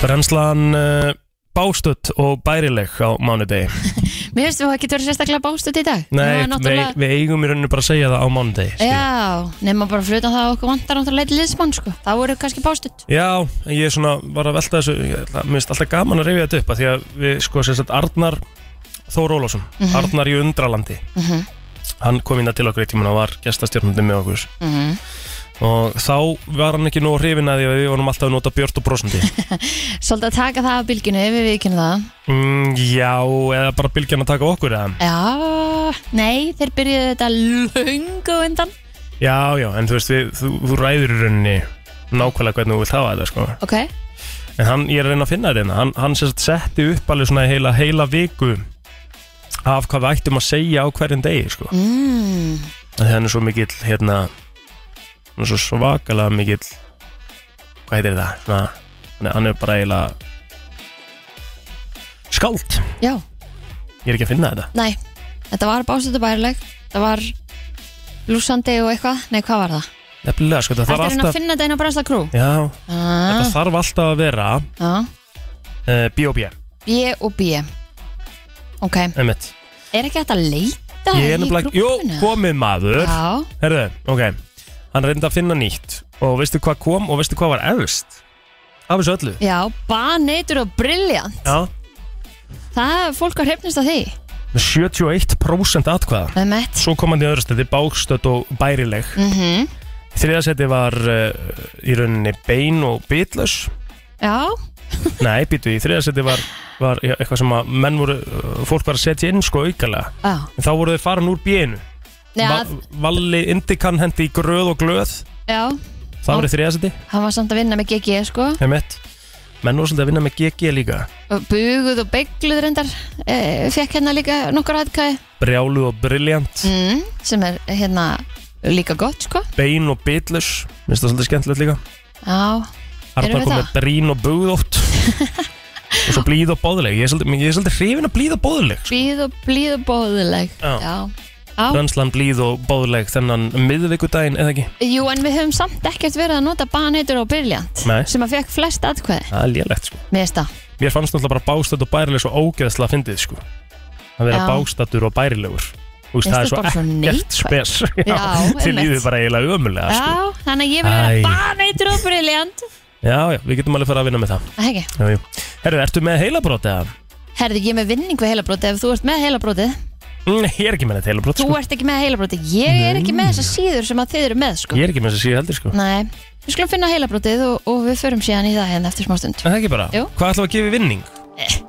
Brennslan uh, bástödd og bærileg á mánudegi
Mér finnst þú ekki törðu sérstaklega bástuð í dag Nú
Nei,
er
við,
náttúrulega-
við eigum í rauninu bara að segja það á mánudegi skilur.
Já, nema bara flutan það að okkur vantar náttúrulega eitt liðsmann sko. Þá eru kannski bástuð
Já, en ég svona var að velta þessu ég ætla- Mér finnst alltaf gaman að rifja þetta upp að Því að við, sko, sem sagt, Arnar Þór Ólásson, Arnar í Undralandi Hann kom inn að til okkur í tíman og var gestastjórnandi með okkur Og þá var hann ekki nú hrifin að því að við vorum alltaf að nota björt og brosandi
Svolítið að taka það af bylginu ef við kynna það
mm, Já, eða bara bylgjan að taka okkur eða
Já, nei, þeir byrjuðu þetta löngu undan
Já, já, en þú veist, við, þú, þú ræður í rauninni nákvæmlega hvernig þú vilt hafa þetta, sko
Ok,
En hann, ég er að reyna að finna þetta hérna. Hann, hann sérst setti upp alveg svona heila, heila viku Af hvað við ættum að segja á hverjum degi sko. mm. Það er svo mikill hérna, Hann er svo svakalega mikill Hvað heitir það? Svona, hann er- hann er bara eiginlega Skáld
já,
Ég er ekki að finna þetta
nei Þetta var bástuð bærileg Það var lúsandi og eitthvað Nei, hvað var það?
Nefnilega, sko, það
Þetta
þarf
er að
alltaf
finna þetta inn á brensla krú
Já,
Ah,
það þarf alltaf að vera
já.
uh, B.O.B.
B og B Ok,
einmitt.
er ekki hægt að leita
Ég er nefnilega, jú,
Jú,
komið maður
Já,
Herðu, ok Hann reyndi að finna nýtt Og veistu hvað kom og veistu hvað var efst Af þessu öllu
já, baneitur og brilljant
Já
Það er fólk að hrefnist að því
Með 71% atkvæða
Með mett
Svo kom hann í öðru stæti Bákstödd og bærileg mm
Mhm.
-hmm. Þriðasæti var uh, Í rauninni bein og bitlös
Já,
Nei, býtu í þriðasæti var, var já, Eitthvað sem að menn voru uh, Fólk var að setja inn sko aukalega
já,
En þá voru þau farin úr bíinu
já,
Va Valli Indikan hendi í gröð og glöð
já
Það var í þriðasæti
Hann var samt að vinna með GG sko
Einmitt. Menn voru svolítið að vinna með GG líka
Buguð og beigluð reyndar e, Fekk hérna líka nokkur aðkæði
Brjálu og brilljant
mm, Sem er hérna líka gott sko
bein og bitlus minnst það svolítið skemmtilegt líka
Já,
Arnar
við
kom
það?
með brín og bugðótt og svo blíð og bóðleg ég er svolítið, ég er svolítið hrifin að blíð og bóðleg
blíð og blíð og bóðileg
Já.
já. Já.
Rönnslan blíð og bóðleg þennan miðvikudaginn eða ekki
Jú, en við höfum samt ekkert verið að nota baneitur og brilljant
Nei.
sem að fekk flest atkvæði
það er lélegt sko
Mér finnst það
mér fannst náttúrulega bara bástöld og bærileg svo ógeðslega að fyndið sko að vera
Já.
bástöldur og bærilegur Úst,
Finnst
það
þér
er svo
bara svo
ekkert
neikvætt?
spes
Já,
til
einmitt.
lífið bara eiginlega ömulega sko.
Já, þannig að ég vil vera
Æ.
baneitur og brilljant
Já, já, við getum alveg fara að vinna með það
Það ekki.
Jú, jú. Herru, ertu með heilabrót eða?
Herðu, ég er með vinning við heilabrótið ef þú ert með heilabrótið.
Mm, Ég er ekki með þetta heilabrót
Þú
sko.
ert ekki með heilabrótið. Ég er ekki með þessar síður sem að þið eru með, sko.
Ég er ekki með þess að síða heldur sko
Nei, við skulum finna heilabrótið og, og við förum síðan í það hérna eftir smá stund.
Er Það ekki bara
Jú.
Hvað ætlum við að gefa í vinning?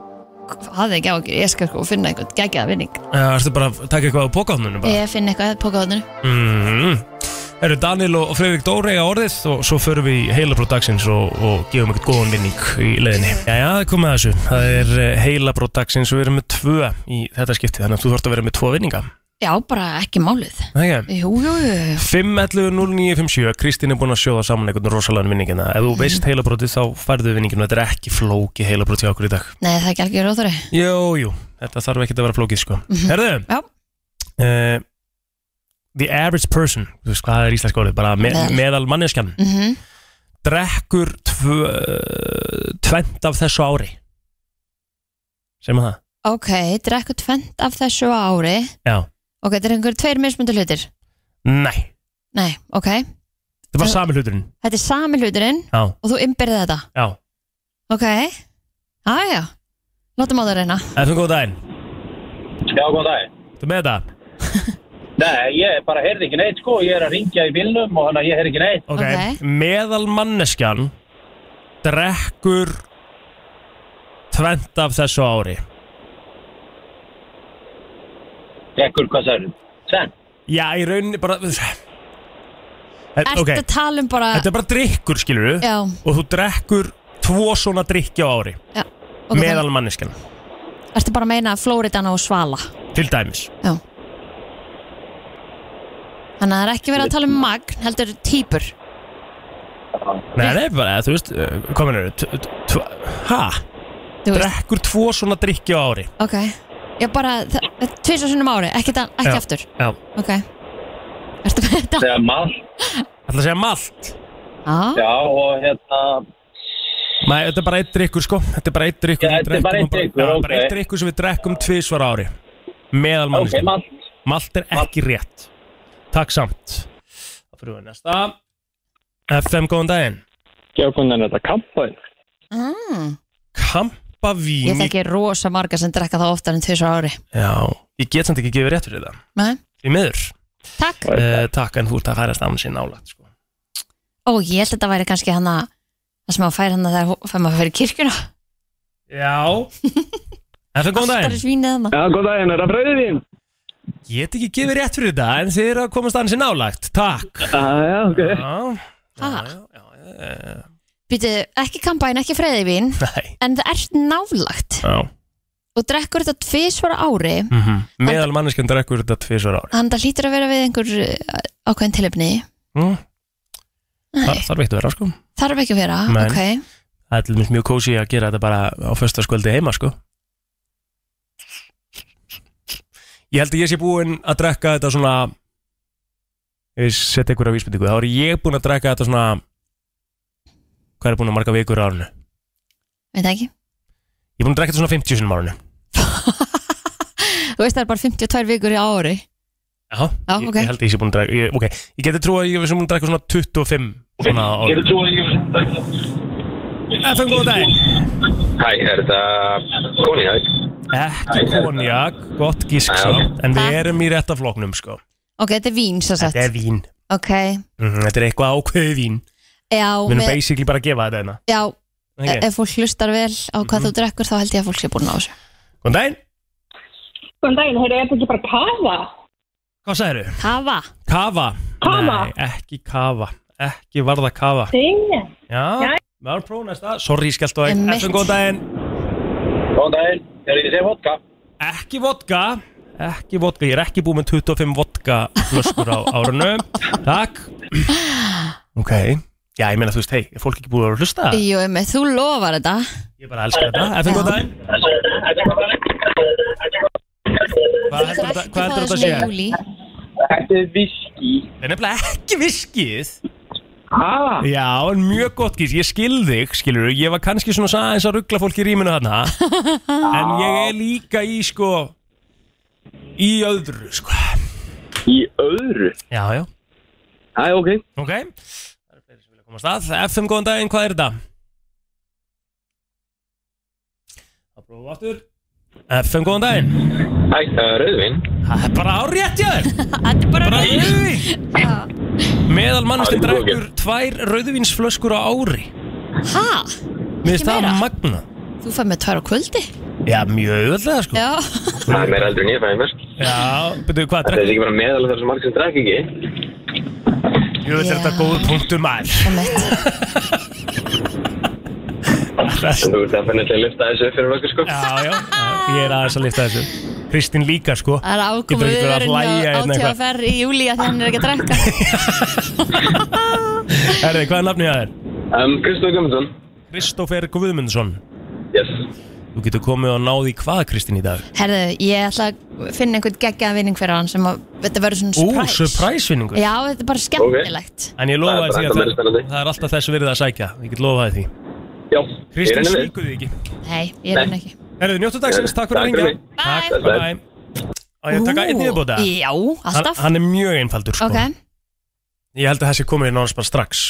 Hafði ekki á okkur, ég skal sko finna einhvern geggjaða vinning.
Það ertu bara að taka eitthvað á bókáðunum bara
Ég finn eitthvað pókaðunum.
Mhm. Eru Daniel og og Freyvík Dóri eiga orðið og svo förum við í heilabrót dagsins og, og gefum eitthvað góðan vinning í leiðinni. Jæja, það er komið að þessu. Það er eh, heilabrót dagsins og við erum með tvö í þetta skipti þannig að þú þarfst að vera með tvo vinninga.
Já, bara ekki málið.
Það er ekki?
Jú, jú, jú, jú.
5.11.09.57 Kristín er búin að sjóða saman einhvern rosalega vinningina. Ef þú
Mm.
veist heilabrótið þá færðu vinningin og þetta er ekki flóki heilabrót hjá okkur í dag.
Nei, það er ekki algjör óþóri.
Jú, jú, þetta þarf ekki að vera flókið sko. Herðu,
Mhm. Já,
eh, the average person, þú veist hvað er íslensk orðið, bara me
Meðal.
meðal manneskjan.
mhm.
drekkur tvö, uh, tvent af þessu ári sem að það
Ok, drekku tvend af þessu á ári.
já,
Ok, þetta er einhver tveir mismundu hlutir.
nei,
Nei, ok.
þetta var sami hluturinn
Þetta er sami hluturinn
já,
og þú ymbirði þetta.
já,
Ok. Æja, látum á það reyna.
eftir góð daginn
Já, góðan dag.
þú með þetta,
Nei, ég bara heyrði ekki neitt sko, ég er að ringja í bílnum og þannig að ég heyrði ekki neitt.
ok,
Ok.
meðal manneskjan drekkur tvent af þessu ári
Ekkur, hvað sagður? Sen?
já, í rauninni bara
Ertu
ok,
að tala um bara...
þetta er bara drikkur skilur við
Já,
og þú drekkur tvo svona drikki á ári
já. ok,
meðal manneskjan,
þannig- Ertu bara að meina Flóridana og Svala?
til dæmis
Já. Þannig að það er ekki verið að tala um magn, heldur týpur.
Nei, það er bara, þú veist, uh, kominur Hæ?
Þú veist,
Drekkur tvo svona drikki á ári
ok. Já, bara tvis og sinnum á ári, ekki, það- ekki
Já.
aftur.
Já
Ok. Ertu með þetta?
Þegar maður?
Það að segja malt
Já.
Já, og hérna,
Nei, þetta er bara einn drikkur, sko Þetta er bara einn drikkur
Já,
sem við
þetta er bara
drekkum
einn
og
drykkur,
Já, bara
ok.
einn drikkur sem við drekkum tvisvar á ári Meðal
ok,
manneski
maður.
Malt er ekki rétt Takk samt Það fyrir við næsta FM, góðan daginn
Já, góðan dag, þetta kampaðin.
Mm. Ég
Kampavín í-
þekki rosa marga sem drekka það oftar en tvisar ári
Já, ég get samt ekki gefið rétt fyrir það
Nei.
Í miður
Takk
uh, Takk, en þú ert að færast án sér nálægt, sko
Ó, ég held að þetta væri kannski hann að Það sem maður fær hann að það er fær maður fyrir kirkjuna
Já FM, góðan
Alltaf
daginn
er svínið hann
Já, góðan dag, er það bröðið þín?
Ég get ekki gefið rétt fyrir þetta en þið eru að komast aðeins í nálægt Takk
Já, já, ok.
Já, já,
Ha?
já, já, já,
Býtu, ekki kampæn, ekki freyðivín
Nei
En það ert nálægt
já.
Og drekkur þetta tvisvar á ári
Mm Meðal manneskjönd drekkur þetta tvisvar ári
Þannig það hlýtur að vera við einhver eh, ákveðin tilefni
mm. Þa,
Nei,
Þarf eitt að vera sko
þarf ekki að vera
Nei.
Ok,
Það er til dæmis mjög kósi að gera þetta bara á föstaskvöldi heima sko Ég held að ég sé búinn að drekka þetta svona Ég seti ykkur á vísbyndingu Þá er ég búinn að drekka þetta svona Hvað er búinn að marga vikur á árinu?
veit það ekki
Ég er búinn að drekka þetta svona 50 sinum á árinu
Þú veist það er bara 52 vikur í ári
Já,
Já,
ég,
ok.
ég held að ég sé búin að drekka ég, okay. ég geti trú að ég sé búin að drekka svona 25 svona á
Ég er svo engið.
FM góðan dag
Hæ, er þetta konjak?
Ekki konjak, gott gísk samt En við
Takk.
erum í rétta floknum sko
Ok, þetta er vín svo sett
Þetta er vín
Ok,
mm, Þetta er eitthvað ákveðið vín
já,
Við erum
með,
basically bara að gefa þetta hérna
já
okay.
Ef fólk hlustar vel á hvað
Mhm.
þú drekkur þá held ég að fólk sé búin á þessu
Góðan daginn,
Góðan daginn, heyrðu, er þetta ekki bara kafa?
hvað sagðirðu?
Kafa
Kafa
Kafa?
Nei, ekki kafa Ekki varða kafa
Ding.
Já, við erum prófum næsta Sorry, skellt á einn
Einmitt.
FM góðan daginn
Góðan dag, er þetta sem vodka?
Ekki vodka Ekki vodka, ég er ekki búið með 25 vodka flöskur á árunum Takk Ok Já, ég meina þú veist, hei, er fólk ekki búið að vera að hlusta?
Jú, emmi, þú lofar þetta
Ég bara elska þetta, ef einhvern daginn Hvað heldur þetta- hvað heldur þetta að sé?
júli
Þetta er viski.
Það er nefnilega ekki viskið
Hæ?
Já, en mjög gott gís, ég skil þig, skilur Ég var kannski svona aðeins að ruggla fólk í rýminu þarna En ég er líka í, sko Í öðru, sko
Í öðru.
Já, já,
Æ, ok.
ok Það eru fleiri sem vilja Komast að, FM góðan daginn, hvað er þetta? Það prófum við aftur FM góðan daginn
Hæ, það er Rauðvin
Það er bara árétt hjá þér
Þetta er bara
rauðvín Meðal mannustinn
Það er
drekkur tvær rauðvínsflöskur á ári
Hæ?
Mér finnst það magna
Þú fær með tvær á kvöldi
Já, mjög öðvöldlega sko
Já,
Það er meira heldur en ég fæði mér
Já, betur hvað
Þetta er
drekkur?
ekki bara meðal þar sem margir sem drekki ekki
Jú, þetta er þetta góður punktur maður
En þú ert að finna til að lifta þessu upp fyrir okkur sko
Já, já, já, ég er aðeins að lifta þessu Kristín líka sko
það er
Getur
ákomið
ekki verið að hlæja
á
hérna eitthvað.
TFR í júli að því hann er ekki að drekka
Herði, hvað er nafnið það er?
um, Kristóf Guðmundsson
Kristófer Guðmundsson
Yes
Þú getur komið og náði hvað Kristín í dag?
Herðu, ég ætla að finna einhvern geggjaðan vinning fyrir hann sem að þetta verður svona
Ú,
surprise
surprise vinningur
Já, þetta er bara skemmtilegt
En ég
Það
lofa
er
því að það,
bara ennþá meira spennandi.
það er alltaf þess virðið að sækja Ég get lofaði því
Já, ég
Kristín
reyna við
svíkuði ekki
Nei, ég er hann ekki
Herðu, njóttu dagsins, takk fyrir að
Takk fyrir
ringja
mig.
Takk,
Bye.
bye bye Og ég að taka einn yfirbóta
Ú, Já,
hann,
alltaf
hann er mjög einfaldur sko.
Ok,
Ég held að þessi komið nánast bara strax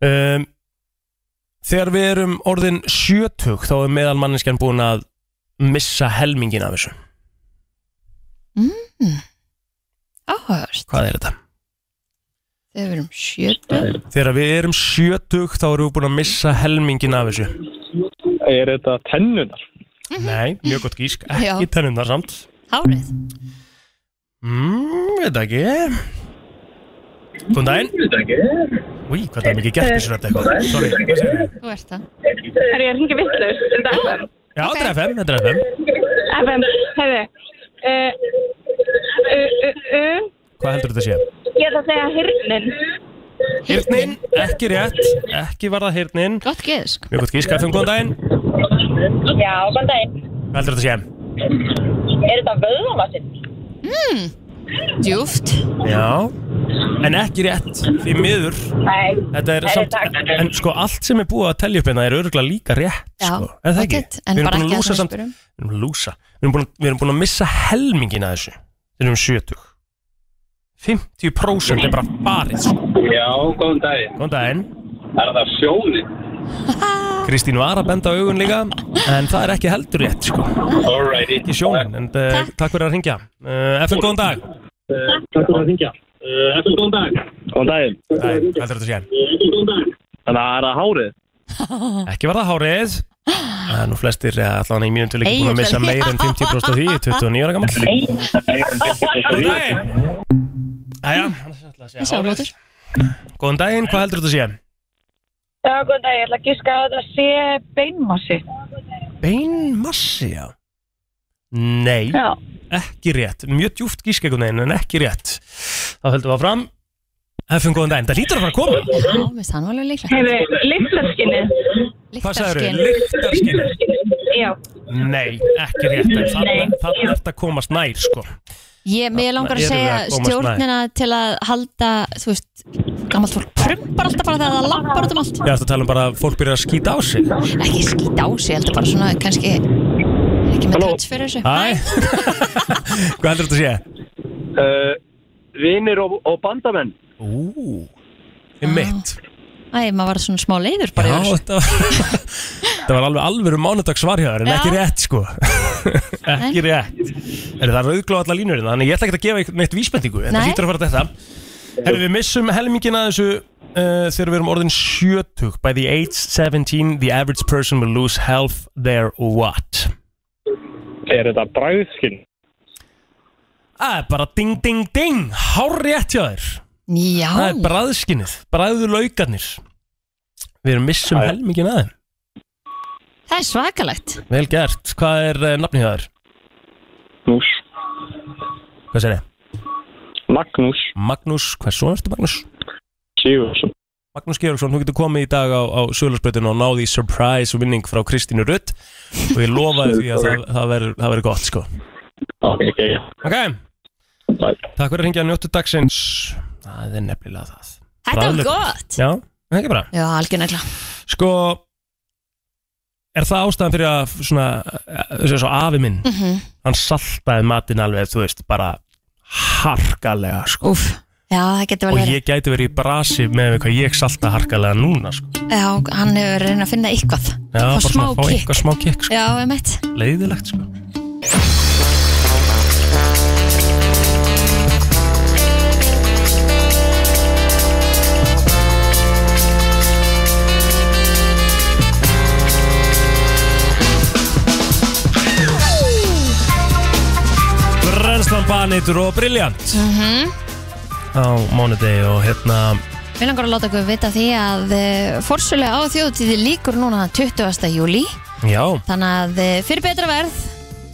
um, Þegar við erum orðin sjötug þá er meðal manneskjan búin að missa helmingin af þessu
áhörst
Hvað er þetta?
Þau verum sjötu
Þegar við erum sjötug þá erum við búin að missa helmingin af þessu
Er þetta tennunar?
Nei, mjög gott gísk,
Mhm. Já.
ekki tennundar samt
Hárið
Mmm, veit ekki Góðan daginn Veit ekki Úi, hvað það er mikið gert þessu rætt eitthvað Sorry, hvað segir þið?
Þú ert það
Er ég að hringja vittlust? Er þetta FM?
Já, þetta er FM, þetta er FM
FM, hefði. Uh, uh, uh, uh,
Hvað heldur þetta sé?
ég ætla að segja hirnin.
Hirtnin, ekki rétt, ekki var það hirtnin
Gott geðsk
Mjög gott gísk, FM, góðan daginn
Já, góðan daginn.
Hvað heldur þetta sé?
Er þetta vöðvamassinn?
Djúft
Já En ekki rétt, því miður
Nei.
Þetta er samt, en sko allt sem er búið að telja upp hérna er örgulega líka rétt
Já,
sko, er það ekki?
pottþétt, en
Við erum
bara
búin að
ekki það
lúsa
sem við
samt-
spurðum.
Við erum búin að lúsa Við erum búin að, við erum búin að missa helmingin að þessu Við erum 70 50% er bara farið sko.
Já, góðan daginn
Góðan daginn
Er það sjóni?
Kristín var að benda á augun líka En það er ekki heldur rétt sko.
Alrighty
Ekki sjónin, en uh, takk. fyrir að ringja uh, FN, góðan dag
Takk fyrir að ringja. Eftir Eh, góðan dag. Góðan daginn.
Æ, heldur þetta sé
Þannig að það er að hárið.
Ekki var það hárið Það er nú flestir, eða allan í mínum til ekki búin að
Egill,
missa
já.
meir en 50% af því, 29 ára gammal Góðan daginn Æja, annars ætla að
Þessi
segja hárið
ámótur
Góðan daginn, hvað heldur þetta sé?
Já, góðan daginn. Ég ætla að gíska að þetta sé beinmassi.
Beinmassi, já Nei,
Já.
ekki rétt Mjög djúft gískegunegin, en ekki rétt Þá höldum við áfram Hefum góðan daginn, það lítur að fara að koma
Já, minnst hann var alveg líklegt
Hefði, lyktarskinnið.
Hvað sagður
Lyktarskyn.
þau? Lyktarskinn
Já.
Nei, ekki rétt En þannig er þetta komast nær, sko
Ég, mér langar að
Þarna erum við
segja
að komast
stjórnina til að halda, þú veist, gammalt fólk prumpar alltaf bara þegar það lappar út um allt.
Ég ætla að tala um bara að fólk byrja að skýta á sig
Ekki skýta á sig, heldur bara svona, kannski, er ekki með touch fyrir þessu.
Hæ Hvað heldur þetta að sé?
Uh, Vinnir og, og bandamenn.
Ú Í mitt
Æ, maður var svona smá leiður
Já,
Ah, bara yfir þessu.
þetta var Þetta var alveg alvöru mánudags varhjáður En
Já.
ekki rétt sko Ekki rétt Er það rauðglóð allar línur hérna, Þannig ég ætla ekki að gefa ykkur neitt vísbendingu Þetta
Nei.
hlýtur að fara þetta Herru við missum helmingin að þessu Uh, þegar við erum orðin sjötug By the age 17 The average person will lose half their what
Er þetta bræðskinn?
Það er bara ding ding ding Hár rétt hjá þér Það er
Já,
bræðskinnið, bræðu laukarnir Við erum missum helmingin aðeim
það er svakalegt.
Vel gert, hvað er uh, nafnið það er?
Magnús.
Hvað sér þið?
Magnús
Magnús, hvað svo ertu Magnús?
Sigursson.
Magnús Georgsson, þú getur komið í dag á, á Sölursbreytinu og náði í surprise vinning frá Kristínu Rutt og ég lofaði því að það, það verður það verður gott sko
Ok, ok, já.
Ok,
Bye.
takk fyrir að hringja njóttu dagsins Það er nefnilega það
Þetta var
Bræðlegt.
gott.
Já, það er ekki bara
Já, algjörnægla.
Sko Er það ástæðan fyrir að svona, þessi svo afi minn
Mhm.
hann saltaði matinn alveg, þú veist, bara harkalega, sko
Úf, Já, það getur
Og
vel verið
ég gæti verið í brasi með hvað ég salta harkalega núna sko.
Já, hann hefur reynið að finna eitthvað
Já, bara
Fá smá
svona, fá
kick.
eitthvað smá kick sko.
Já, emitt
Leiðilegt sko. Brennslan Baneitur og Brilliant
mm -hmm.
á mánudegi og hérna
Við langar að láta okkur vita því að fórsölega á þjóðtíði líkur núna 20. júli
Já,
Þannig að eh, fyrir betra verð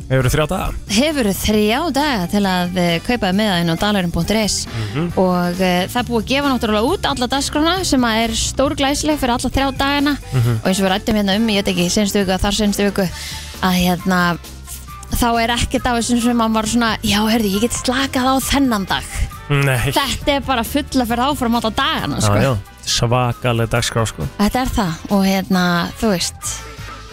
hefur þrjá daga
hefur þrjá daga til að eh, kaupa meðaðinn á dalarum.is
Mhm.
og uh, það er búið að gefa náttúrulega út alla dagskrána sem að er stórglæsileg fyrir alla þrjá dagana
Mhm.
og eins og við rættum hérna um, ég veit ekki, senstu viku að þar senstu viku að hérna þá er ekkert af þessum sem að maður svona já, herðu, ég get slakað á þennan dag
Nei
þetta er bara fulla fyrir áfram alla dagana, sko
Já, já, svakaleg dagskrá sko
Þetta er það og hérna, þú veist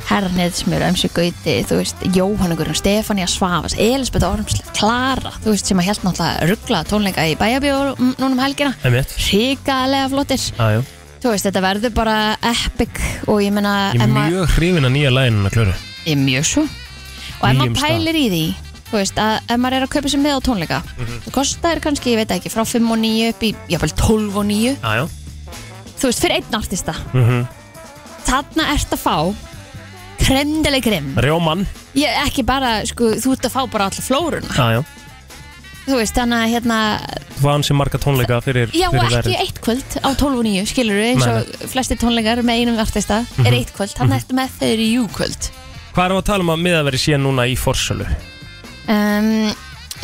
Hernhedsmjör, MC Gauti, þú veist Jóhanna Guðrún, Stefania Svavas Elisbeth Ormsl, Klara, þú veist sem að held náttúrulega ruggla tónleika í bæjabíó mm, núna um helgina,
Einmitt.
ríkalega flottir
Já, já
þú veist, þetta verður bara epic og ég meina,
Ég er
ef maður-
mjög hrifin að nýja læginu klöru
Ég er mjög svo og ef maður pælir í því þú veist, að ef maður er að kaupa sér með á tónleika
Mhm.
þú kostar kannski, ég veit ekki, frá 5 og 9 upp í, jáfnvel 12 og 9
Já, já
þú veist, fyrir einn artista
Mhm.
þarna ert að fá kremdileg krem
Rjómann
ég, ekki bara, sko, þú ert að fá bara alla flóruna
Já, já
þú veist, þannig að hérna
Þú var ansi marga tónleika fyrir
já, og
fyrir
ekki
verið.
eitt kvöld á 12 og 9 skilur við, eins
Nei,
og flesti tónleikar með einum artista
Mhm.
er eitt kvöld, þannig ertu með þeirri júkvöld
Hvað erum við að tala um að miðaveri sé núna í forsölu?
um,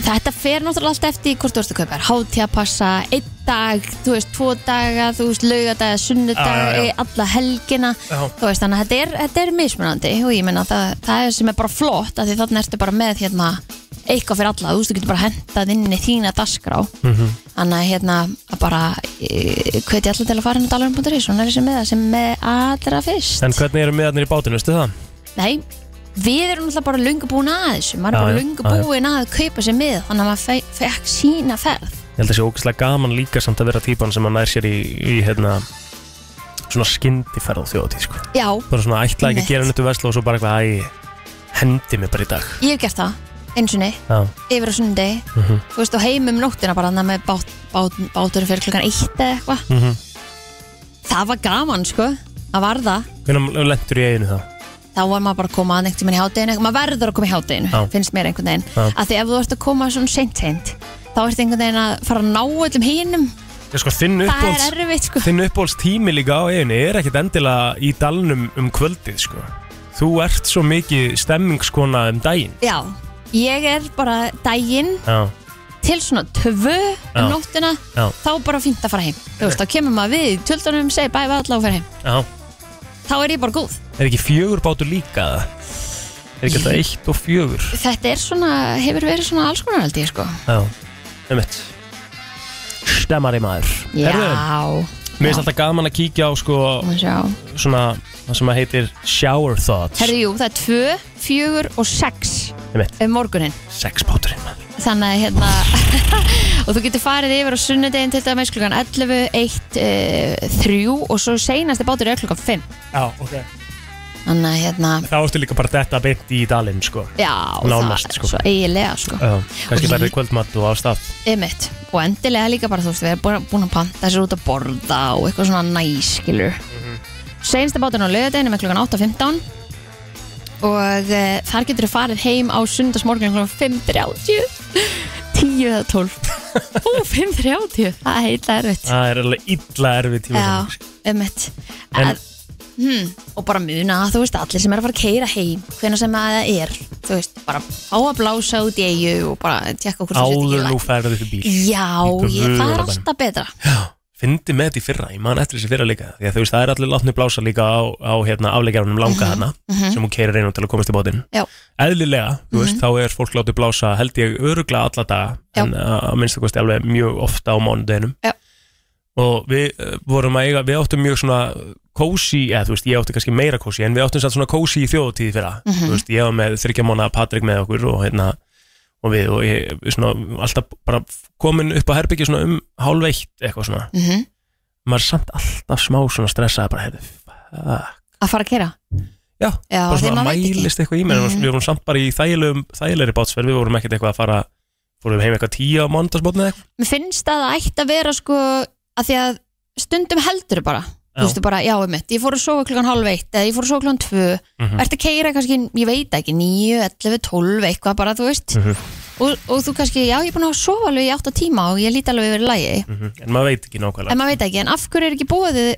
þetta fer náttúrulega allt eftir hvort þú ert að kaupa þér hátíðapassa, einn dag þú veist, tvo daga, þú veist, laugadaga sunnudag,
Ah, Já, já, já.
alla helgina
Já.
þú veist, þannig að þetta er, þetta er mismunandi og ég meina það, það er sem er bara flott að því þannig ertu bara með hérna eitthvað fyrir alla, þú veist, þú getur bara hendað inn í þína dagskrá
Mhm.
Þannig að hérna að bara eh, hveti alltaf til að fara inn á dalarum.is og næri sem með það sem með allra fyrst
En hvernig eru miðarnir í bátinu, veistu það?
Nei, við erum alltaf bara lungu búin að þessu
Já,
maður er bara
já,
lungu
já, já.
búin að kaupa sér mið þannig að maður fe- fekk sína ferð
Ég held að sé ógæslega gaman líka samt að vera típan sem að nær sér í, í hérna svona skyndiferð á þjóðatíð sko.
Já,
Bara svona ætla ekki
Einmitt.
að gera nýttu veslu og svo bara eitthvað æ, hendi mig bara í dag
ég hef gert það eins og niður,
Já,
yfir á sundi
mhm,
þú veist, og heim um nóttina bara þannig með bát, bát, bátur fyrir klukkan eitt eða eitthvað
mhm
það var gaman, sko, það var það
Hvernig lendur í eiginu þá?
þá var maður bara að koma að einhvern tímann í hádeginu maður verður að koma í hádeginu,
Já.
finnst mér einhvern veginn
Já.
að því ef þú ert að koma svona seint seint þá ert einhvern veginn að fara að ná öllum hinum
Ég sko, þinn
Það er
uppbólst
erfitt, sko.
Þinn uppbólst tími líka á eiginu er ekkit endilega í dalnum um kvöldið sko. Þú ert svo mikið stemmingskona um daginn
já, ég er bara daginn
Já,
til svona tvö
Já.
um nóttina
já,
þá er bara fínt að fara heim þú veist, þá kemur maður við í tjöldunum, segir bæ, við allavega og fer heim
já
þá er ég bara góð
Er ekki fjögur bátur líka það? Er ekki alltaf eitt og fjögur?
þetta er svona, hefur verið svona alls konar held ég sko
Já, einmitt Stemmari maður
Já.
Herðu, Mér finnst alltaf gaman að kíkja á sko
Sjá.
Svona, það sem að heitir shower thoughts
herri, jú, það er tvö, fjögur og sex
Einmitt,
um morgunin
sex báturinn maður
þannig að hérna og þú getur farið yfir á sunnudegin til dæmis klukkan 11, 1, uh, 3 og svo seinasti bátur er klukkan 5
Já, ok
þannig að hérna
Þá ertu líka bara þetta beint í dalinn sko
Já,
Nánast,
það
sko.
svo eiginlega sko
Já, kannski
Og
bara í kvöldmatt og ástaf
Einmitt. og endilega líka bara þú veist við erum búin- búin að panta sér út að borða og eitthvað svona næs skilur
Mhm.
seinsta báturinn á lögadeginu með klukkan 8.15 og e, þar getur þú farið heim á sundagsmorgun klukkan 5.30 10 eða 12 Ú, 5.30 það er heitlega erfitt
Það er alveg illa erfið tíma sko.
Já, einmitt
En-
en, hmm, og bara muna þú veist allir sem er að fara að keira heim hvena sem að það er þú veist, bara á að blása út í eigu og bara tjekka okkur
Áður nú færðu upp í bíl
Já,
Í
ég, það er
guðanabænum.
alltaf betra
fyndi með þetta í fyrra, ég man eftir þessi fyrra líka því að þú veist, það er allir látni blása líka á, á hérna, afleggjarunum langa hana
mhm.
sem hún keirir einu til að komast í bátinn
Já.
eðlilega, þú veist,
Mhm.
þá er fólk látið blása held ég öruglega alla daga en að að minnstu kosti alveg mjög ofta á mánudeginum
Já.
og við eh, vorum að eiga, við áttum mjög svona kósi, eða þú veist, ég átti kannski meira kósi en við áttum satt svona kósi í þjóðtíð fyrra
Mhm.
þú veist, ég var með þryggja mánuða Patrik með okkur og hérna og við og ég svona, alltaf bara komin upp á herbyggju svona um hálf eitt eitthvað svona
Mhm.
maður er samt alltaf smá svona stressaði bara heyrðu, fuck
Að fara að kera?
Já,
Já
bara
því
svona
maður veit ekki.
mælist eitthvað í mér
Mhm.
við vorum samt bara í þægilegum, þægilegri bátsferð við vorum ekkert eitthvað að fara fórum heim eitthvað tíu á mándagsbótni eitthvað
Mér finnst að það ætti að vera sko að því að stundum heldur bara
Já.
Þú veistu bara, já, um mitt, ég fór að sofa klukkan halv eitt eða ég fór að sofa klukkan tvö
Mhm.
Ertu að keira kannski, ég veit ekki, 9, 11, 12 eitthvað bara, þú veist
Mhm.
og, og þú kannski, já, ég er búin að sofa alveg í 8 tíma og ég líti alveg yfir lægi
Mhm. en maður veit ekki nákvæmlega
en maður veit ekki, en af hverju er ekki bóðið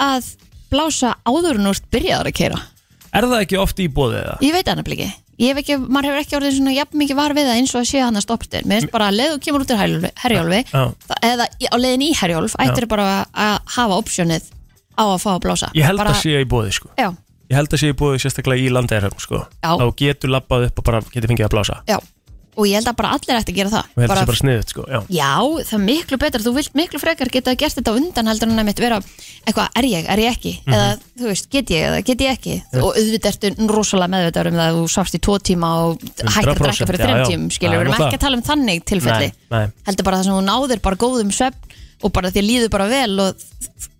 að blása áður en úrst byrjaðar að keira?
Er það ekki oft í bóðið eða?
Ég veit það nefnilega ekki. Ég hef ekki, maður hefur ekki orðið svona jafn mikið var við það eins og að sé hann að stoppstöður. Mér finnst bara að leið og kemur út úr Herjólfi- herjólfi,
Já.
þá- eða í- á leiðin í herjólf,
Já.
ættir bara að hafa optionið á að fá að blása.
Ég held
bara,
að sé í bóði sko
Já,
Ég held að sé í bóði sérstaklega í landeirhöfn sko
Já.
Þá getur labbað upp og bara getur fengið að blása
já. Og ég held að bara allir ætti að gera það.
Ég held að sé bara sniðut sko Já,
Já, það er miklu betra, þú vilt miklu frekar geta gert þetta á undan heldur en að mitt vera eitthvað, er ég, er ég ekki,
Mhm.
eða þú veist, get ég eða get ég ekki
Já.
og auðvitað ertu rosalega meðvitað um það að þú sást í tvo tíma og
100%,
hættir að drekka fyrir
já, já.
þrejum tímum, skilur,
Já,
við erum
nú það.
ekki að tala um þannig tilfelli,
Nei, nei.
heldur bara það sem þú náðir bara góðum svefn og bara þér líður bara vel og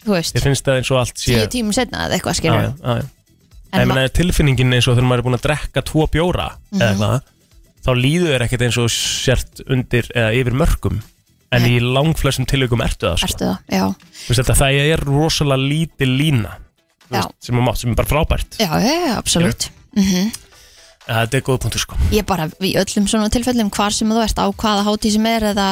þú veist,
ég finnst það eins og allt sé
tíu tímum setna eða eitthvað,
Já,
skilur,
já, já, já.
En
En
ma-
meina, tilfinningin eins og þegar maður er búin að drekka tvo bjóra eða
Mhm.
eitthvað, þá líður þér ekkert eins og sért undir eða yfir mörgum en í langflestum tilvikum ertu það, sko.
ertu það, já,
Þú veist, þetta, það er rosalega lítil lína þú
Já.
veist, sem, er mátt, sem er bara frábært
já, já, já, absolutt. Mm
Eða, Þetta er góð punktur sko
Ég bara í öllum svona tilfellum hvar sem þú ert á hvaða hátíð sem er eða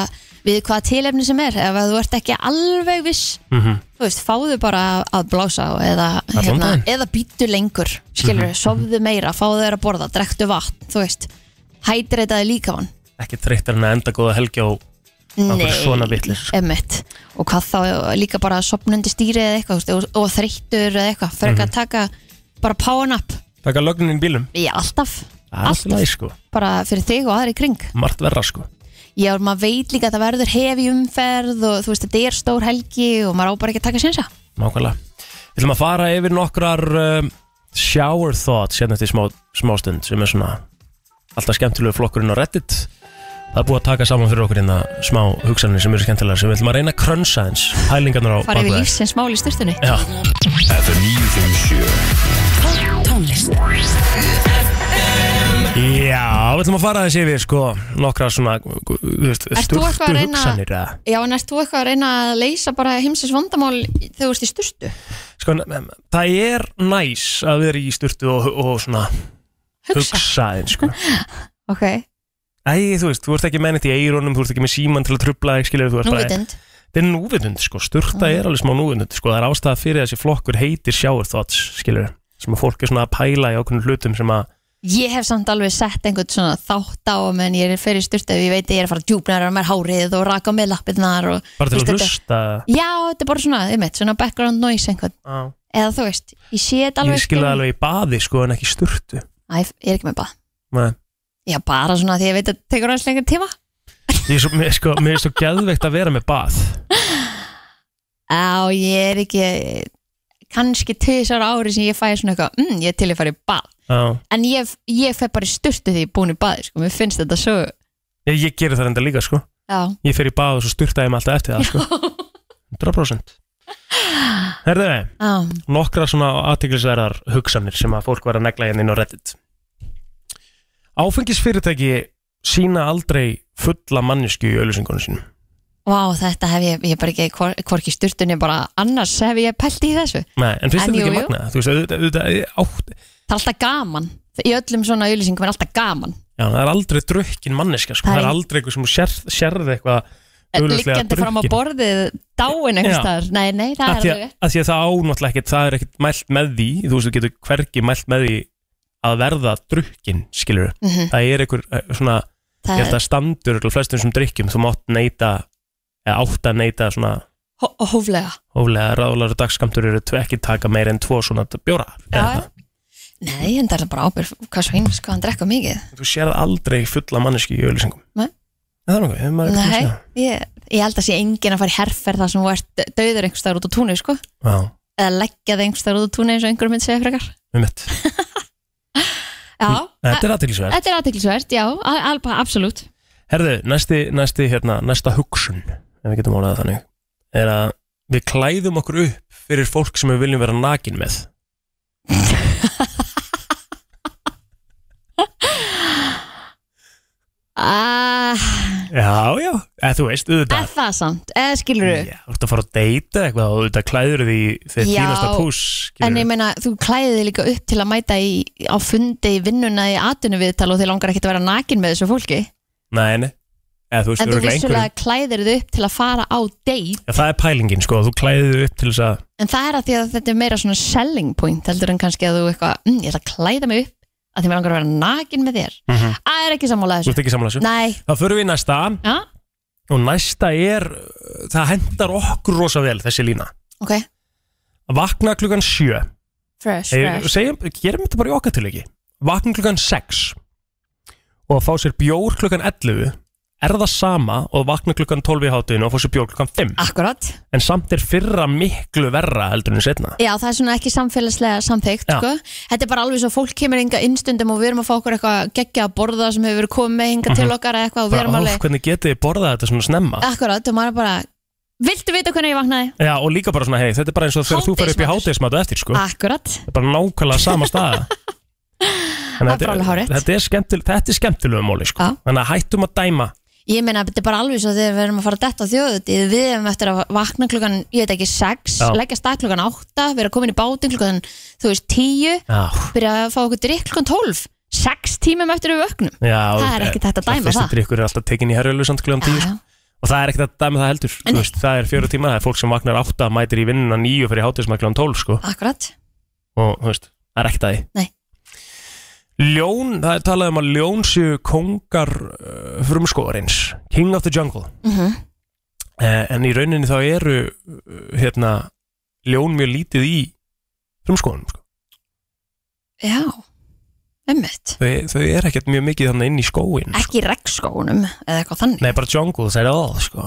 við hvaða tilefni sem er ef að þú ert ekki alveg viss
mm -hmm.
þú veist, fáðu bara að blása á eða, hérna,
Allan daginn.
eða býtu lengur skilur,
Mhm.
sofðu meira, fáðu þeir að borða drektu vatn, þú veist hætreitaði líka hann
Ekki þreyttar en að enda góða helgi á á einhverju svona sko. vitlis
Emmett, og hvað þá líka bara sopnundi stýri eða eitthvað þú veist, og, og þreyttur eða eitthvað, fyrir
Mhm.
að taka bara power nap,
Taka lögnin í bílum
já, alltaf
Það er alltaf læg sko
bara fyrir þig og aðri í kring
Margt verra sko
Já, maður veit líka að það verður hefi umferð og þú veist, þetta er stór helgi og maður á bara ekki að taka sénsa.
Nákvæmlega Við ætlum að fara yfir nokkrar um, shower thoughts hérna eftir smá, smástund sem er svona alltaf skemmtilegu flokkurinn á Reddit Það er búið að taka saman fyrir okkur hérna smá hugsanir sem eru skemmtilega sem við ætlum að reyna að krönsa eins hælingarnar á
Fara yfir
bakvið.
lífsins mál í styrtunni.
Já FM 957
Tónlist
Já, við ætlum að fara þessi yfir sko nokkrar svona þú veist,
Ert þú eitthvað
sturtu
að reyna-
hugsanir eða
Já, en ert þú eitthvað að reyna að leysa bara heimsins vandamál í- þegar þú ert í styrtu?
Sko, það er næs að vera í sturtu og, og svona
Hugsa.
hugsa eins sko
Ok,
Æ, þú veist, þú ert ekki með neitt í eironum, þú ert ekki með síman til að trubla þig, skilur, þú ert
Núvitund.
Þetta er núvitund, sko, sturta
Mm.
er alveg smá núvitund, sko, það er ástæða fyrir að þessi flokkur heitir shower thoughts, skilur, sem að fólk er svona að pæla í ákveðnum hlutum sem að,
ég hef samt alveg sett einhvern svona þátt á að menn ég er fyrir styrtu ef ég veit að ég er að fara djúpnæra með hárið og raka með lappirnar og...
bara til að
þú veist, þetta-
hlusta,
Já, þetta er bara svona, einmitt, svona background noise einhvern.
Já.
Eða þú veist, ég sé þetta alveg...
ég skilur það alveg í baði, sko, en ekki í sturtu.
Æ, ég er ekki með bað.
Nei.
Já, bara svona því ég veit að þetta tekur aðeins lengur tíma.
Ég er svo, mér, sko, mér er svo geðveikt að vera með bað.
Á, ég er ekki kannski tvisar ári sem ég fæ svona eitthvað, mm, ég er til að fara í bað
Já.
en ég, ég fer bara í sturtu því ég er búin í bað sko, mér finnst þetta svo
Ég, ég gerir það enda líka, sko.
já,
Ég fer í bað og svo sturta ég mig alltaf eftir það, sko. 100%. Herðu,
um,
nokkra svona aðtiklisverðar hugsanir sem að fólk var að negla hérna inn á Reddit Áfengisfyrirtæki sína aldrei fulla mannisku í auðlýsingunum sínum
vá, þetta hef ég ég er bara ekki, hvor- hvorki í sturtunni bara annars hef ég pælt í þessu
Nei, en finnst
En
þetta
jú,
ekki
jú.
magna? Þú veist, auðvitað, auðvitað, átt,
það er alltaf gaman, í öllum svona auðlýsingum er alltaf gaman
já, það er aldrei drukkin manniska, sko.
Það
það
er
er
ein-
aldrei eitthvað sem þú sérð, sérð eitthvað augljóslega
liggjandi fram á
drukkin.
borðið dáin
Já.
einhvers staðar, nei, nei, það
Af
er
því að,
alveg
að því að það ánáttúrulega ekkert, það er ekkert mælt með því, þú veist, þú getur hvergi mælt með því að verða drukkin, skilur
Mhm.
það er einhver eh, svona,
Það
ég held
er-
að standur örugglega flestum sem drikkjum, þú mátt neyta eða átt að neyta svona
Hó- hóflega
hóflega ráðlar og dagskamtur eru tve- ekki taka meir en tvo svona bjóra
já, nei, en það er bara ábyrg hvað svo hins, hvað sko, hann drekka mikið
þú sérð aldrei fulla manneski í auðlýsingum
Nei.
Er það er nokkuð, hefur maður
Nei,
ekki
ég, ég held að sé enginn að fara í herferð þar sem þú ert döður einhvers staðar út á túnu, sko
Já,
eða leggja þig einhvers staðar út á túnu eins og einhver mynd segja frekar e,
um mitt
Já,
Hm, Þetta er aðtilsverð
þetta er aðteklisvert, já, a- alba, absolutt
Herðu, næsti, næsti, hérna, næsta hugsun ef við getum orðað það þannig er að við klæðum okkur upp fyrir fólk sem við viljum vera nakin með
Ah,
Já, já, eða þú veist, auðvitað
er það samt, Eh, eða skilur þú?
Já, Þú ert að fara að deyta eitthvað og auðvitað klæður því þegar tínast að pús
en ég meina, þú klæðið þig líka upp til að mæta í, á fundi í vinnuna í atinu viðtal og þið langar ekki að vera nakin með þessu fólki
Nei, nei, eða þú veist,
en þú
örugglega
vissulega
einhverjum-
klæðir þig upp til að fara á date
Já, Það er pælingin, sko, þú klæður því upp til þess að
en það er að því að þetta er meira svona selling point heldur en kannski að þú eitthvað mm, ég ætla að klæða mig upp að því mér langar að vera nakin með þér
mm
Það er ekki sammála
Þú
þessu
ert ekki sammála þessu?
Nei.
Þá förum við í næsta
ja?
og næsta er, uh, það hendar okkur rosa vel þessi lína
Ok,
Að Vakna klukkan sjö
fresh,
Hey,
fresh
segjum, gerum þetta bara í okkar tilviki Vakna klukkan 6 og að fá sér bjór klukkan 11 er það sama og að vakna klukkan 12 í hátinu og fá sér bjór klukkan 5
Akkurat
En samt er fyrra miklu verra heldur en setna
Já, það er svona ekki samfélagslega samþygt
Já.
sko. Þetta er bara alveg svo fólk kemur inga innstundum og við erum að fá okkur eitthvað geggja að borða sem hefur verið komið hinga til
Mhm.
okkar eða eitthvað og við
bara,
erum
ó,
alveg
Hvernig getið þið borðað þetta svona snemma
Akkurat, og maður er bara Viltu vita hvernig ég vaknaði?
Já, og líka bara svona, hei, þetta er bara eins og þegar þú fer upp í hátegismat eftir, sko
Ah. Akkurat
Það er bara nákvæmlega sama staða Þannig að
Það er alveg
þetta er,
hárrétt.
þetta er, skemmtil, þetta er skemmtilegu móli, sko Þannig að hættum að dæma
Ég meina, þetta er bara alveg svo þegar við erum að fara að detta á þjóðutíð Við erum eftir að vakna klukkan, ég veit ekki, 6
Já.
Leggja stað klukkan 8 Við erum komin í bátinn klukkan, þú veist, 10
Já,
Byrja að fá okkur drikk klukkan 12 6 tímum eftir við vöknum
já
Það er ekkert hægt að dæma
Fyrstu
það.
drikkur eh, er alltaf tekin í herjölu samt kljóðan tíu, sko Og það er ekkert að dæma það heldur Þú veist, Það er fjóru tíma, það er fólk sem vaknar átta mætir í vinnuna nýju fyrir hátegismat kljóðan tólf, sko
Akkurat
Og, þú veist, það er ekkert að því
Nei.
Ljón, það er talað um að ljón séu kongar uh, frumskóðarins King of the Jungle
mm
Eh, en í rauninni þá eru uh, hérna, ljón mjög lítið í frumskóðunum sko.
Já, ömmit
þau, þau eru ekkert mjög mikið þannig inn í skóin
Ekki í regnskónum eða eitthvað þannig
nei bara jungle, það er all sko.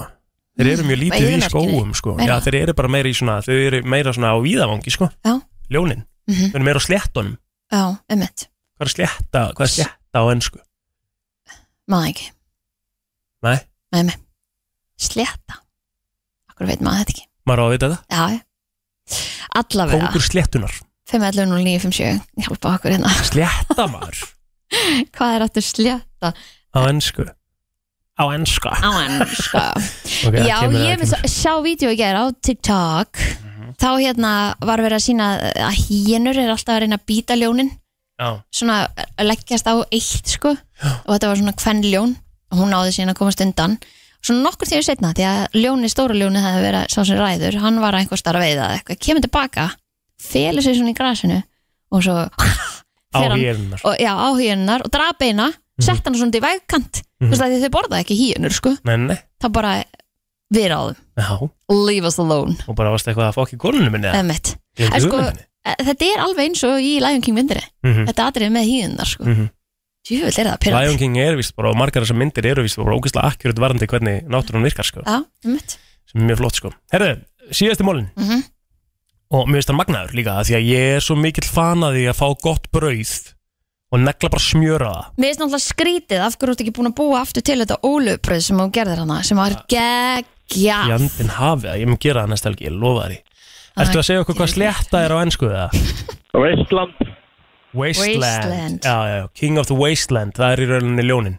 þeir eru mjög lítið í
eyðimörkinni.
skóum sko.
Mm, Meira.
Já, þeir eru bara meira í svona þau eru meira svona á víðavangi sko.
Já.
ljónin,
Mhm.
þau eru meira á sléttunum
Já, ömmit,
hvað er slétta, hvað er slétta á ennsku
maður ekki
nei,
Nei, nei, slétta Akkur veit maður þetta ekki
maður á að vita það
Já, já. allavega
kongur sléttunar,
5.11.09.57 Hjálpa okkur hérna
slétta maður
Hvað er aftur slétta?
á ennsku á ennska
Á ennska
okay, það
Sko. Já,
kemur- það
ég
kemur. Mhm.
með sjá vídeo í gera á TikTok Þá hérna var verið að sína að hínur er alltaf að reyna að býta ljónin
Já.
Svona að leggjast á eitt sko Og þetta var svona hvern ljón Og hún náði síðan að komast undan Svona nokkur tíu setna Því að ljóni, stóra ljóni það hefði verið sá sem ræður Hann var einhver starf að veiða eða eitthvað Kemur tilbaka, felur sig svona í grasinu Og svo
Á
fer hann-
hýenurnar.
og, Já, á hýjennar og drapa eina
Mhm.
Sett hann svona til vegkant Þú veist að því þau borða ekki hýjennur sko
nei, nei,
Það bara við ráðum
já
Leave us alone
og bara varst eitthvað að fá ekki gólunum minni eða?
Emmett
Ég
En
hef
sko,
ekki hugmynd.
þetta er alveg eins og í Lion King myndinni
Mhm.
Þetta atrið með hýðunar sko
Mhm.
Jöfull er það pyrrandi
Lion King er vist bara og margar þessar myndir eru vist bara ógeðslega akkurat varandi hvernig náttúrun virkar sko
Já, emmett
sem er mjög flott sko Herðu, síðasti mólin
Mhm.
og mér finnst það magnaður líka af því að ég er svo mikill fan að því að fá gott brauð og negla bara smjöra það
Mér finnst náttúrulega skrítið af hverju þú ert ekki búin að búa aftur til þetta ólubröð sem þú gerðir hana sem var
í
geggja
andin hafi að ég mun gera það næsta helgi, ég lofa því
Ah,
Ertu að segja okkur hvað slétta er á ennsku það?
Wasteland
Wasteland,
Wasteland.
Já, já, King of the Wasteland, það er í rauninni ljónin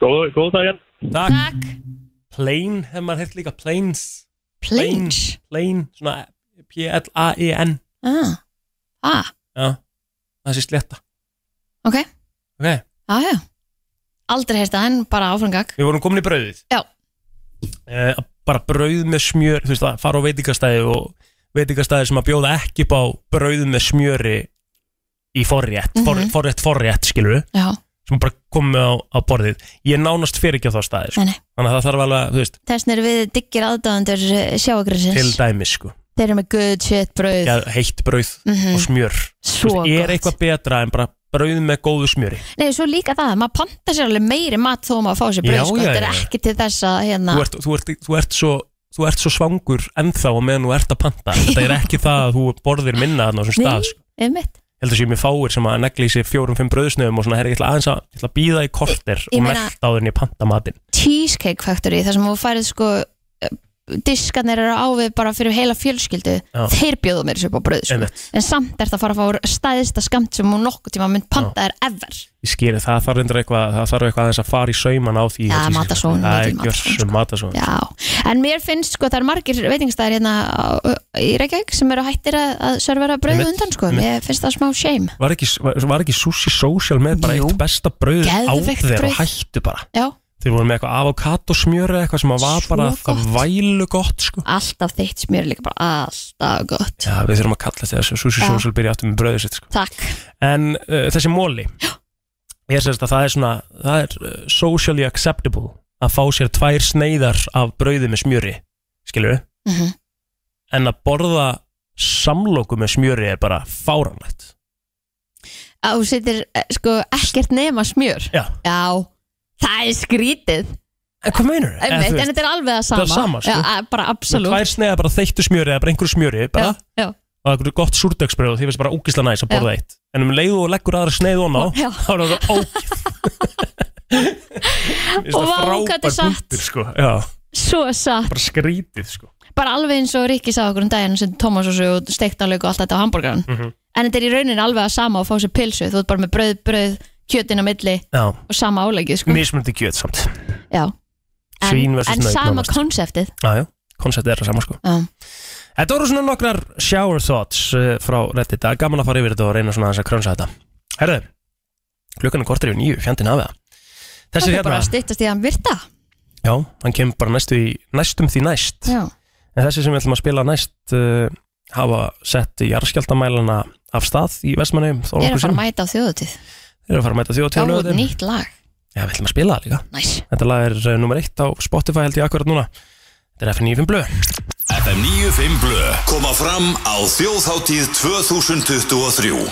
Góð, góð daginn
Takk,
Ah.
Takk. Plain, hefur maður heilt líka Plains
Plains?
Plain, svona P-L-A-I-N
ah. ah,
E Já, það sé sletta
ok,
Ok,
já já Aldrei heyrst það en bara áframgag
við vorum komin í brauðið
Já.
Eh, að Bara brauð með smjör, þú veist það, fara á veitingastæði og veitingastæði sem að bjóða ekki upp á brauð með smjöri í forrétt, mm
Mhm.
forrétt, forrétt, skilur við
Já,
sem bara komið á, á borðið Ég nánast fyrir ekki á þá staði sko.
Nei, nei.
Þannig að það þarf alveg, að, þú veist,
þess vegna eru við diggir aðdáðandur
til
sjáagrinsins
dæmis sko.
Þeir eru með good shit bröð
Geð- heitt brauð
Mhm.
og smjör
Svo
Þú Er eitthvað betra en bara brauð með góðu smjöri
Nei, svo líka það, maður panta sér alveg meiri mat þó að maður fá sér bröð,
Já,
sko,
já,
þetta er
já, já.
ekki til þess að hérna,
þú ert, þú, ert, þú, ert svo, þú ert svo svangur ennþá og meðan þú ert að panta Þetta er ekki það að þú borðir minna þarna á þessum stað sko.
einmitt,
held að séu mér fáir sem að negli sér fjórum-fimm bröðsnöðum og svona, herri, ég ætla aðeins að, ég ætla að býða í korter
Ég
og
meina-
melta áður en ég panta matinn.
Cheesecake Factory þar sem þú færið sko eh, diskarnir eru ávið bara fyrir heila fjölskyldu
Já.
þeir bjóðu mér þessu upp á bröð sko.
Einmitt.
en samt er það að fara að fá stæðista skamt sem hún nokkuð tíma mynd panta þér ever
Ég skýri, það þarf reyndar eitthvað, það þarf eitthvað aðeins að fara í sauman á því.
Já,
hjá Cheesecake.
matasóun,
Það
mikil
er gjörsum matasón.
Já, en mér finnst sko það er margir veitingstæðir hérna á- í Reykjavík sem eru hættir að, að servera bröð
Einmitt,
undan sko,
einmitt.
mér finnst það smá shame
Var ekki, var, var ekki Sushi Social með bara eitt besta brauð á
Geðveikt
þeir
brauð.
og hættu bara?
Já,
Þeir voru með eitthvað avokatosmjöri eitthvað sem að var
Svo
bara
gott.
vælu gott sko.
alltaf þitt smjör er líka bara alltaf gott
Já, við þurfum að kalla þetta þessu Sushi
Já.
Social byrja aftur með brauðið sitt sko.
Takk
En uh, þessi móli Ég sérst að það er svona Það er uh, socially acceptable Að fá sér tvær sneiðar af brauði með smjöri Skilur við
Mhm.
En að borða samloku með smjöri er bara fáranlegt
að þú setir eh, sko ekkert nema smjör
Já,
það er skrítið
En hvað meinar
En, en, þetta er alveg að sama,
Það er sama, sko.
já, að- bara
Með tvær
absolutt
sneiðar bara þeittu smjöri eða bara einhverju smjöri bara,
já, já.
Og einhverju gott súrdöksbrauð Því finnst bara ógisla næs að borða
Já.
eitt En um leiðu og leggur aðra sneið on á
Já.
Þá er það ógist
Og vá, hvað þetta er satt.
sko. Já,
Svo satt,
bara skrítið sko.
bara alveg eins og Rikki sagði okkur um daginn sem Thomas og svo steiktanleik og allt þetta á hamburgaran
Mhm.
En þetta er í rauninni alveg að sama að fá sér pilsu Þú ert bara með brauð, brauð, kjötin á milli
Já,
og sama álegið sko
mismunandi kjöt samt
Já En,
Svín versus
en
naut
sama
nánast.
konseptið
Jájá, konceptið er það sama sko
Já.
Þetta voru svona nokkrar shower thoughts uh, frá Reddit Það er gaman að fara yfir þetta og reyna svona aðeins að krönsa þetta Herðu, klukkan er kortur yfir nýju, fjandinn af það
Það
Þessi
er bara
hérna,
að styttast í að virta
já, hann kemur bara næstu í, næstum því næst
Já,
En þessi sem við ætlum að spila næst uh, hafa sett jarðskjaldamælana af stað í Vestmanni
ég er að fara að mæta á þjóðutíð
Þeir eru að fara að mæta
Þá
þjóðtíðan
er nýtt lag
Já, við ætlum að spila það líka
Næs
Þetta lag er uh, nummer eitt á Spotify held ég akkurat núna Þetta er FN95 Blöð
FM 95 Blö koma fram á þjóðháttíð 2023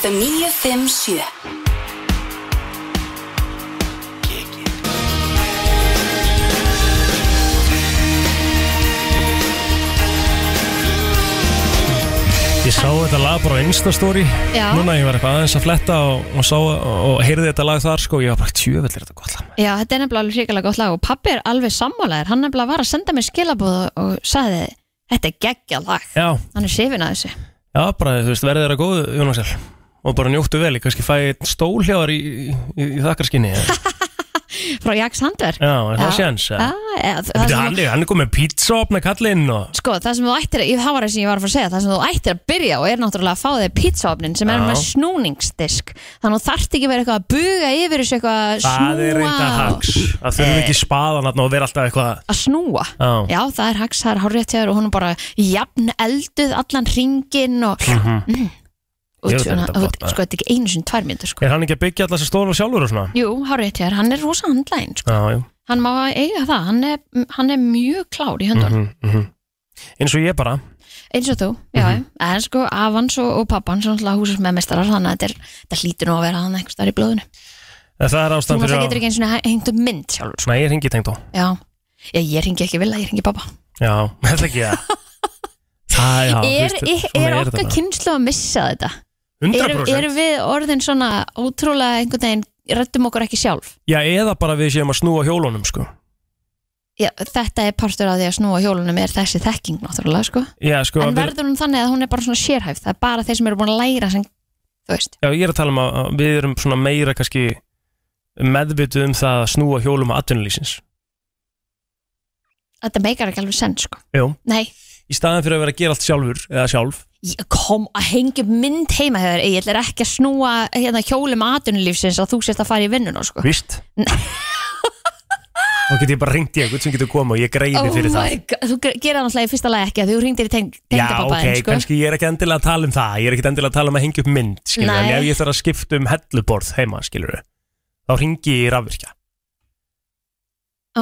FM 957
Ég sá þetta lag bara á Instastory
Já.
Núna ég var eitthvað aðeins að fletta og, og, sá, og, og heyrði þetta lag þar sko Ég var bara tjöfell er þetta gott lag
Já, þetta er nefnilega alveg hrikalega gott lag og pappi er alveg sammálaðir, hann nefnilega var að senda mér skilabóð og sagði þetta er geggja lag,
Já,
hann er sifin að þessu
já bara þú veist verði þeirra góðu Jónasel Og bara njóttu vel, ég kannski fæ einn stól hjá þar í, í, í, í þakkarskinni Já,
frá Jaks Handverk
er það
Já.
séns
Já,
eða?
já, það
Bíddu,
sem
Hann er- hann er komið með pizza opna kallinn og
Sko, það sem þú ættir, ég- það var það sem ég var að fara að segja, það sem þú ættir að byrja og er náttúrulega að fá þig pizzaofnin sem er
Já.
með snúningsdisk, þannig að þú þarft ekki verið eitthvað að buga yfir þessu eitthvað að
Það er reynda
snúa og-
hags Það þurfum ekki spaðan þarna og vera alltaf eitthvað
að snúa.
Já.
Já, það er hags, það er horrið og hún er bara jafn elduð allan ringin og,
Mhm.
og
Ég veit
svona,
þetta
og,
gott, maður.
sko, þetta er ekki einu sinni tvær myndur sko.
Er hann ekki að byggja alltaf þessi stóla sjálfur og svona?
Jú, hárið þér, hann er rosa handlæn sko.
Já, já
hann má eiga það, hann er, hann er mjög klár í höndunum,
mhm, mhm. Eins og ég bara
eins og þú
Mhm.
já, en sko, afans og, og pappan sem alltaf húsast með mestarar, þannig að þetta, er, þetta hlýtur nú að vera hann einhvers þar í blóðinu
Það er
þú
ástand
alltaf
fyrir
getur ekki eins og hengt upp mynd sjálfur
Svona ég ringi tengd á
já, já ég ringi ekki vilja, ég ringi pappa
Já, þetta ekki það Það, já,
er,
þú
er,
veist, svona
er okkar
þetta bara.
kynslu að missa þetta?
100%
Erum- erum við orðin svona ótrúlega einhvern veginn, rettum okkur ekki sjálf
Já, eða bara við séum að snúa hjólunum, sko
já, þetta er partur af því að snúa hjólunum er þessi þekking náttúrulega sko
Já, sko,
en
við,
verður hún þannig að hún er bara svona sérhæf það er bara þeir sem eru búin að læra sem, þú veist,
já, ég er að tala um að að við erum svona meira kannski meðvituð um það að snúa hjólum að atvinnulísins
þetta meikar ekki alveg send sko.
Jú,
nei,
í staðan fyrir að vera að gera allt sjálfur eða sjálf
ég kom að hengja upp mynd heima hefur, ég ætlar ekki að snúa hérna hjólum aðunulífsins að þú sért að fara í vinnuna sko.
Víst Þá get ég bara ringt í einhvern sem getur koma og ég greiði fyrir það
Oh my god, þú gera það náttúrulega í fyrsta lagi ekki að þú ringdir í teng
Já,
tengdapappa
ok,
þinn, sko.
kannski ég er ekki endilega að tala um það Ég er ekki endilega að tala um að hengja upp mynd skilur, En
Nei.
ef ég þarf að skipta um helluborð heima skilur, Þá ringi ég í rafvirkja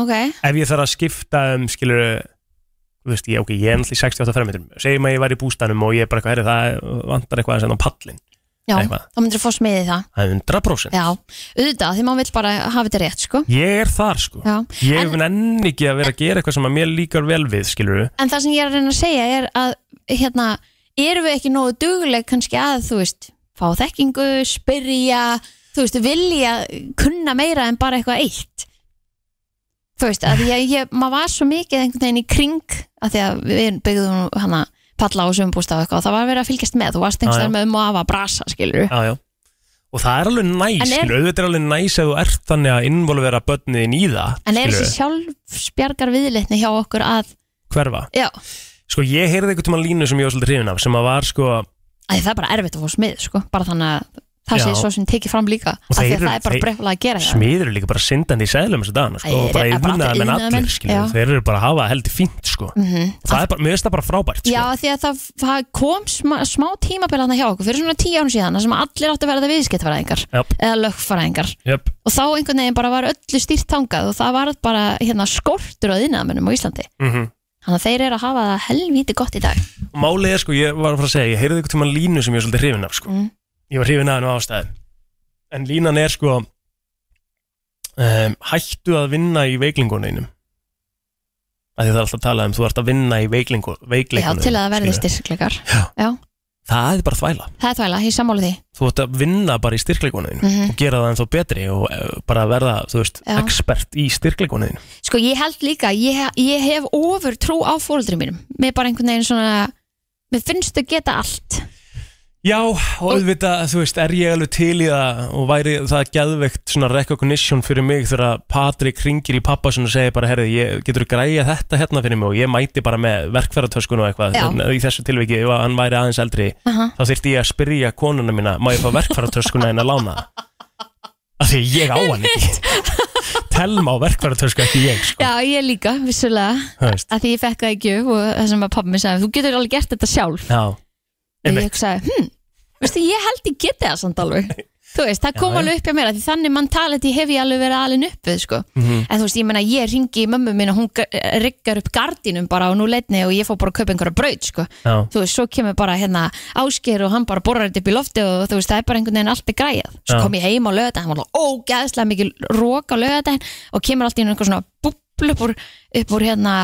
ok,
ef ég þarf að skipta um skilur þú veist, ég, ok, ég er náttúrulega í 68 fermetrum segjum að ég væri í bústanum og ég er bara eitthvað herri, það vantar eitthvað að senda á pallin
já,
Eitthvað.
þá myndir þú fá smiði það
það er 100%
já, auðvitað, því maður vill bara hafa þetta rétt sko.
ég er þar sko
Já.
ég en, nenni ekki að vera að gera eitthvað sem að mér líkar vel við skilur
en það sem ég er að reyna að segja er að hérna, erum við ekki nógu dugleg kannski að, þú veist fá þekkingu, spyrja þú veist, vilja kunna meira en bara eitthvað eitt þú veist, að ég, ég maður var svo mikið einhvern veginn í kring að því að við byggðum hana palla á sumbústa og eitthvað, það var verið að fylgjast með þú
Já,
varst
já.
einhverjum með um og af að brasa, skilur
já, já. og það er alveg næs
En er-
skilur, auðvitað er alveg næs ef þú ert þannig að involvera börnin í það
en er
skilur,
þessi sjálfsbjargar viðleitni hjá okkur að,
hverfa
já
sko ég heyrði einhvern tímann línu sem ég var svolítið hrifin af sem að var sko
að það er bara erfitt að fá smið, sko bara þannig að það sé
Já.
svo sem tekið fram líka
Og
af
þeir
því að
eru-
það er bara
þeir- sko.
brefla að gera hjá þeim.
smiður eru líka bara syndandi í seglum þessu dagana sko,
Þeir
og bara
eru bara
yfirnaðar menn allir
allir iðnaðarmenn,
skilur,
já.
þeir eru bara að hafa heldur fínt sko
Mhm.
það er bara, mér finnst það bara frábært sko.
Já, af því að það, það kom smá, smá tímabilana hjá okkur fyrir svona tíu án síðan þar sem allir áttu að verða viðskiptfæraðingar
Jöp.
eða lögfæraðingar
Jöp.
og þá einhvern veginn bara var öllu stýrt þangað og það var bara hérna, skortur á þýnaðamennum á Íslandi
Mm
þannig að þeir eru að hafa það helvíti gott í dag
og málið er sko, ég var að fara að segja ég heyrði einhvern tímann línu sem ég var svolítið hrifin af sko.
Mm.
ég var hrifin af hennu ástæðum en línan er sko um, hættu að vinna í veiklingunum að því það er alltaf að tala um þú ert að vinna í veiklingu,
Já,
veiklingunum
til að það verði styrkleikar Já.
það er bara þvæla
það er þvæla, ég sammála því
þú ert að vinna bara í styrkleikunum mm
Mhm.
og gera það ennþá betri og eh, bara verða, þú veist,
Já.
expert í styrkleikunum
Sko, ég held líka, ég, ég hef ofur trú á fóreldri mínum mér bara einhvern veginn svona mér finnst þau geta allt
Já, og auðvitað, þú veist, er ég alveg til í það og væri það geðveikt svona recognition fyrir mig þegar að Patrik ringir í pappa sinni og segir bara, herrið, ég getur græja þetta hérna fyrir mig og ég mæti bara með verkfæratöskun og eitthvað,
Já.
en í þessu tilviki ef að hann væri aðeins eldri,
Aha.
þá þyrfti ég að spyrja konuna mína, má ég fá verkfæratöskuna en að lána það? Af því að ég á hann ekki Telma á verkfæratösku, ekki ég sko.
Já, ég líka, vissulega
Þú veist.
að því ég fekk það ekki upp og það sem að pappi minn sagði þú getur alveg gert þetta sjálf
Já,
og ég hugsaði, hm, veistu, ég held ég geti það samt alveg þú veist, það kom
Já, já.
alveg upp hjá mér af því þannig mentality hef ég alveg verið alin upp við sko.
Mhm.
en þú veist, ég menna, ég ringi í mömmu minn og hún riggar upp gardinum bara og nú leitni og ég fór bara að kaupa einhverja braut sko.
Já.
þú veist, svo kemur bara hérna ásker og hann bara borrar þetta upp í lofti og þú veist, það er bara einhvern veginn allt er græjað svo
Já.
kom ég heim á lögadaginn, hann var alveg ógeðslega mikið rók á lögadaginn og kemur allt í einu einhver svona búbl upp úr, upp úr hérna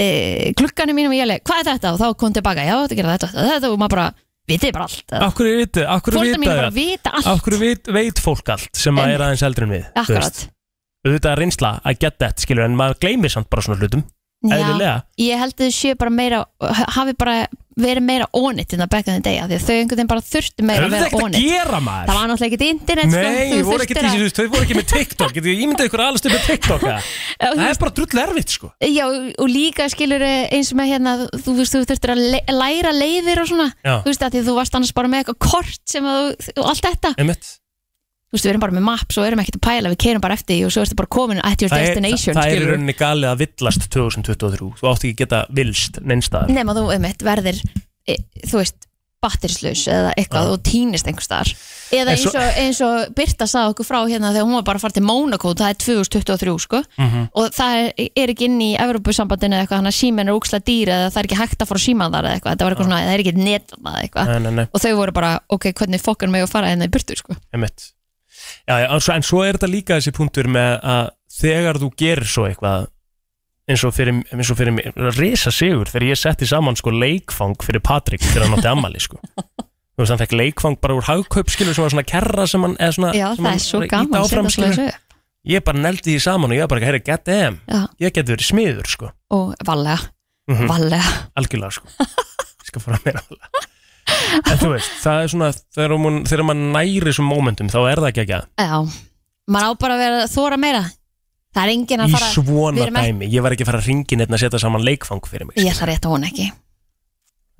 e, glugganum mínum og ég leik, hvað er þetta? Og þá kom tilbaka, já, þetta gera þetta, þetta, þetta og maður bara, vitið bara allt eða-
Af hverju vita, af hverju
Foreldrar mínir
vita
bara vita allt.
Af hverju veit, veit fólk allt sem að
Einmitt.
er aðeins eldri en við þú
Akkurat.
veist. Auðvitað er reynsla að get that skilur En maður gleymir samt bara svona hlutum
Já.
Eðlilega
Ég held að þau séu bara meira hafi bara verið meira onit en það back in the day, af því að þau einhvern veginn bara þurftu meira að
Höfðu
vera
ekkert að
onit
gera maður
Það var náttúrulega ekkert internet sko,
Nei,
þú
þau voru ekki,
þurftir
að... þau voru ekki með TikTok Getið þið ímyndað ykkur alveg stuð með TikTok eða? Það er bara drull erfitt sko
Já, og líka skilur eins með hérna, þú veist, þú þurftir að le læra leiðir og svona,
Já.
þú veist, að því þú varst annars bara með eitthvað kort sem að þú, og allt þetta
Einmitt.
Þú veist, við erum bara með maps og erum ekkert að pæla, við keirum bara eftir því og svo ertu bara komin at your
Það er,
destination,
það er í
skilurðu.
rauninni galið að villast 2023 Þú átt ekki að geta villst neinstaðar
nema þú einmitt verðir e, þú veist batterislaus eða eitthvað og týnist einhvers staðar eða
En
eins
svo-
og, eins og Birta sagði okkur frá hérna þegar hún var bara að fara til Monaco það er 2023 sko
Mhm.
og það er, er ekki inn í Evropasambandinu eða eitthvað hann að símen er úksla dýr eða það er ekki hægt að fara síman þar eða eitthvað þetta var eitthvað svona, það er ekki net þarna eða eitthvað
Nei, nei, nei.
og þau voru bara, ok, hvernig fokkan mig að fara hérna í Birtu sko
Einmitt. Já, já, en svo- en svo er þetta líka þessi punktur með að þegar þú gerir svo eitthvað eins og fyrir, eins og fyrir mig, risa sigur þegar ég setti saman sko leikfang fyrir Patrik þegar hann átti ammali sko þú veist hann fekk leikfang bara úr hagkaupskilu sem var svona kerra sem hann eða svona,
já,
sem
það
hann
er svo
var að
gaman
ýta
að setja
áfram,
svoleiðis
skilur.
upp.
ég bara neldi því saman og ég var bara, herri, get them
Já.
ég geti verið smiður sko
og valega,
Mhm.
valega
algjörlega sko ég skal fara meira alveg en þú veist, það er svona þegar mann, þegar mann næri þessum momentum þá er það ekki ekki að
Já, maður á bara að vera þóra meira Það er enginn að
í
fara við
svona
erum ekki-
dæmi ég var ekki að fara að ringi neitt að setja saman leikfang fyrir mig
Ég ætla rétt að hún ekki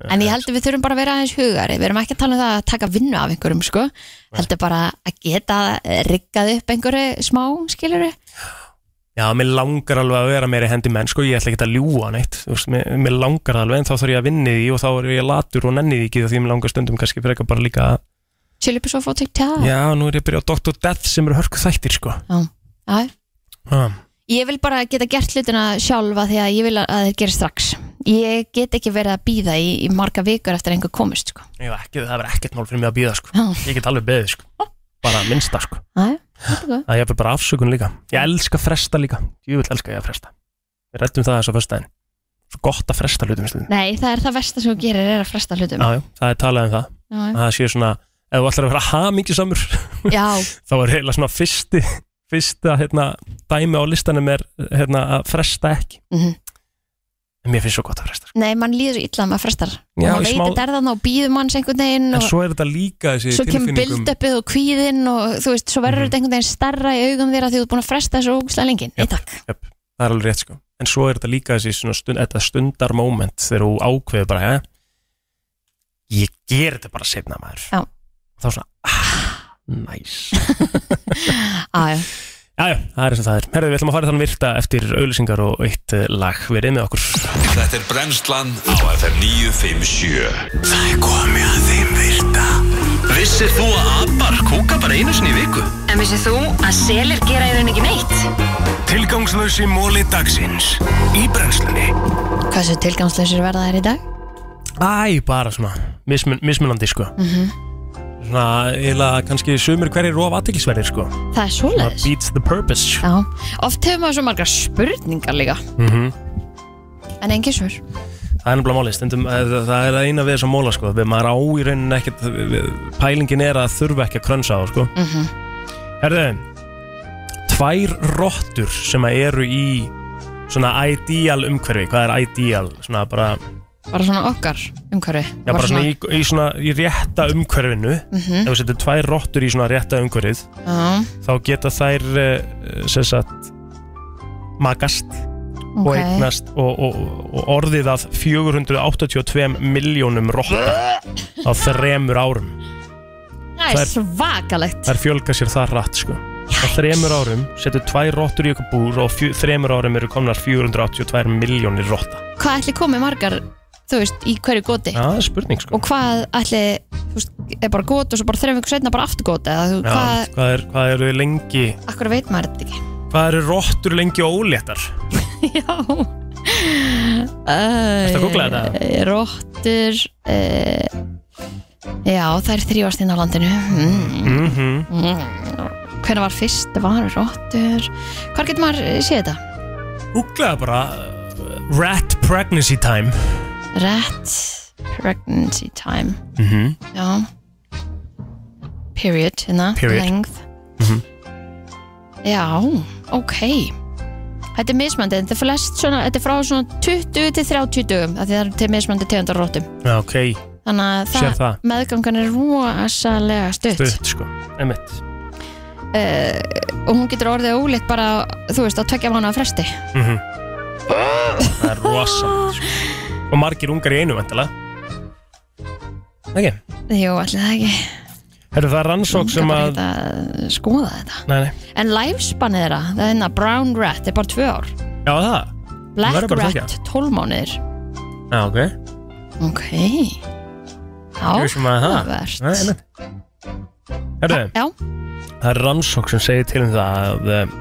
En ég held að við þurfum bara að vera aðeins hugari Við erum ekki að tala um það að taka vinnu af einhverjum sko. Heldur bara að geta riggað upp einhverju smá skilur
já, mér langar alveg að vera meiri hendi menn sko, ég ætla ekki að ljúa neitt þú veist, mér, mér langar það alveg en þá þarf ég að vinni því og þá er ég latur og nenni því ekki því að mér langar stundum kannski frekar bara líka að
Chili Pusso fór til tjá
já, nú er ég að byrja á Dr. Death sem eru hörku þættir sko
Ah. Já.
ah,
Ég vil bara geta gert hlutina sjálfa því að ég vil að þeir gera strax Ég get ekki verið að býða í, í marga vikur eftir að einhver komist sko.
ég, var ekki, það verður ekkert mál fyrir mig að býða sko.
Já.
ég get alveg beðið sko. bara að minnsta sko.
Æ, þetta er góð.
að ég er bara afsökun líka ég elska að fresta líka, ég vil elska ég að fresta við rættum það þess að föstaðin svo gott að fresta hlutum stundum
Nei, það er það versta sem þú gerir er að fresta hlutum Mm.
Já, já, það er talað um það
Já, já.
að það sé svona ef þú ætlar að vera hamingjusamur
Já,
þá er heila svona fyrsti fyrsta hérna, dæmi á listanum er hérna, að fresta ekki
Mhm.
en mér finnst svo gott að fresta sko.
nei, mann líður svo illa að maður frestar og
Já,
maður
í
veit
smá-
þetta er þannig og býður manns einhvern veginn
en
og
svo er þetta líka þessi um-
svo kemur
tilfinningum Mhm.
build-upið og kvíðinn og þú veist, svo verður þetta einhvern veginn starra í augum þér að því þú ert búin að fresta þessu ógustlega lengi Nei, takk,
það er alveg rétt sko en svo er þetta líka þessi svona stund, þetta stundar moment þegar þú ákveður bara ja, ég ger þetta bara sefna maður
Já.
og þá svona ah, næs
aðjá
Jæja, það er sem það er. Herðu, við ætlum að fara þann virta eftir auðlýsingar og eitt eh, lag. Við erum með okkur.
Þetta er brennslan á FM 957 Það er komið að þeim virta
Vissir þú að abar kúka bara einu sinni í viku?
En vissið þú að selir gera í rauninni ekki neitt?
Tilgangslösi móli dagsins í brennslunni.
Hvað sem tilgangslösir verða þær í dag?
Æ, bara svona mismun, mismunandi, sko.
Mhm.
Svona, eiginlega kannski sumir hverjir rof aðteklisverðir, sko.
Það er
Svona
svoleiðis
beats the purpose.
Já, oft hefur maður svo margar spurningar líka
Mhm.
en engin svör
Það er nefnilega málið, stundum, eh, það það er það eina við þessum móla, sko. Við maður á í rauninni ekkert, við- pælingin er að þurfa ekki að krönsa á, sko.
Mhm.
Herðu, tvær róttur sem að eru í svona ideal umhverfi, hvað er ideal? Svona bara,
bara svona okkar umhverfi
Já, bara svona í, í, svona, í rétta umhverfinu Ef
Mhm.
við setjum tvær rottur í svona rétta umhverfið
Já,
þá geta þær eh, sem sagt magast og
Ok.
eignast og, og, og orðið að 482 miljónum rotta á þremur árum Það
það er
er-
svakalegt
þær fjölga sér það rætt sko á þremur árum setjum tvær rottur í ykkur búr og fjö, þremur árum eru komnar 482 miljónir rotta
Hvað ætli komið margar, þú veist, í hverju goti?
Já, það er spurning sko
Og hvað ætli, þú veist, er bara goti og svo bara þreif ykkur setna bara aftur goti eða þú,
Já,
hvað,
hvað, er, hvað eru lengi
akkur veit maður þetta ekki
hvað eru rottur lengi óléttar
Ertu
að googla þetta?
Eh, Róttur uh, Já, það er þrývast inn á landinu mm.
mhm mm
Hvernig var fyrst var róttur Hvar getur maður eh, séð þetta?
Googlaði bara uh, Rat pregnancy time
Rat pregnancy time
mm
Já Period, hérna,
Period.
length
Mhm.
Já, ok Þetta er mismandi, þetta er flest svona, þetta er frá svona 20 til 30 dögum af því það eru til mismandi tegundar róttum
Já, ok,
þannig að
Sér
það,
það.
meðgangan er rosalega stutt
stutt sko Emmett
uh, og hún getur orðið ólitt bara, þú veist, á tveggja mánu að fresti
mm Það er rosalegt sko. Og margir ungar í einu vantilega Ok,
Jú, allir það ekki
herru það er rannsók sem
Ungar
að
bara skoða þetta
Nei, nei,
En lifespanið þeirra, það er hérna brown rat er bara tvö ár,
já það
black
verður bara að
rat 12 mánuðir
Já, ok
Ok
Ég vissum að það
Áhugavert.
Nei, einmitt. Herru,
Já,
það er rannsók sem segir til um það að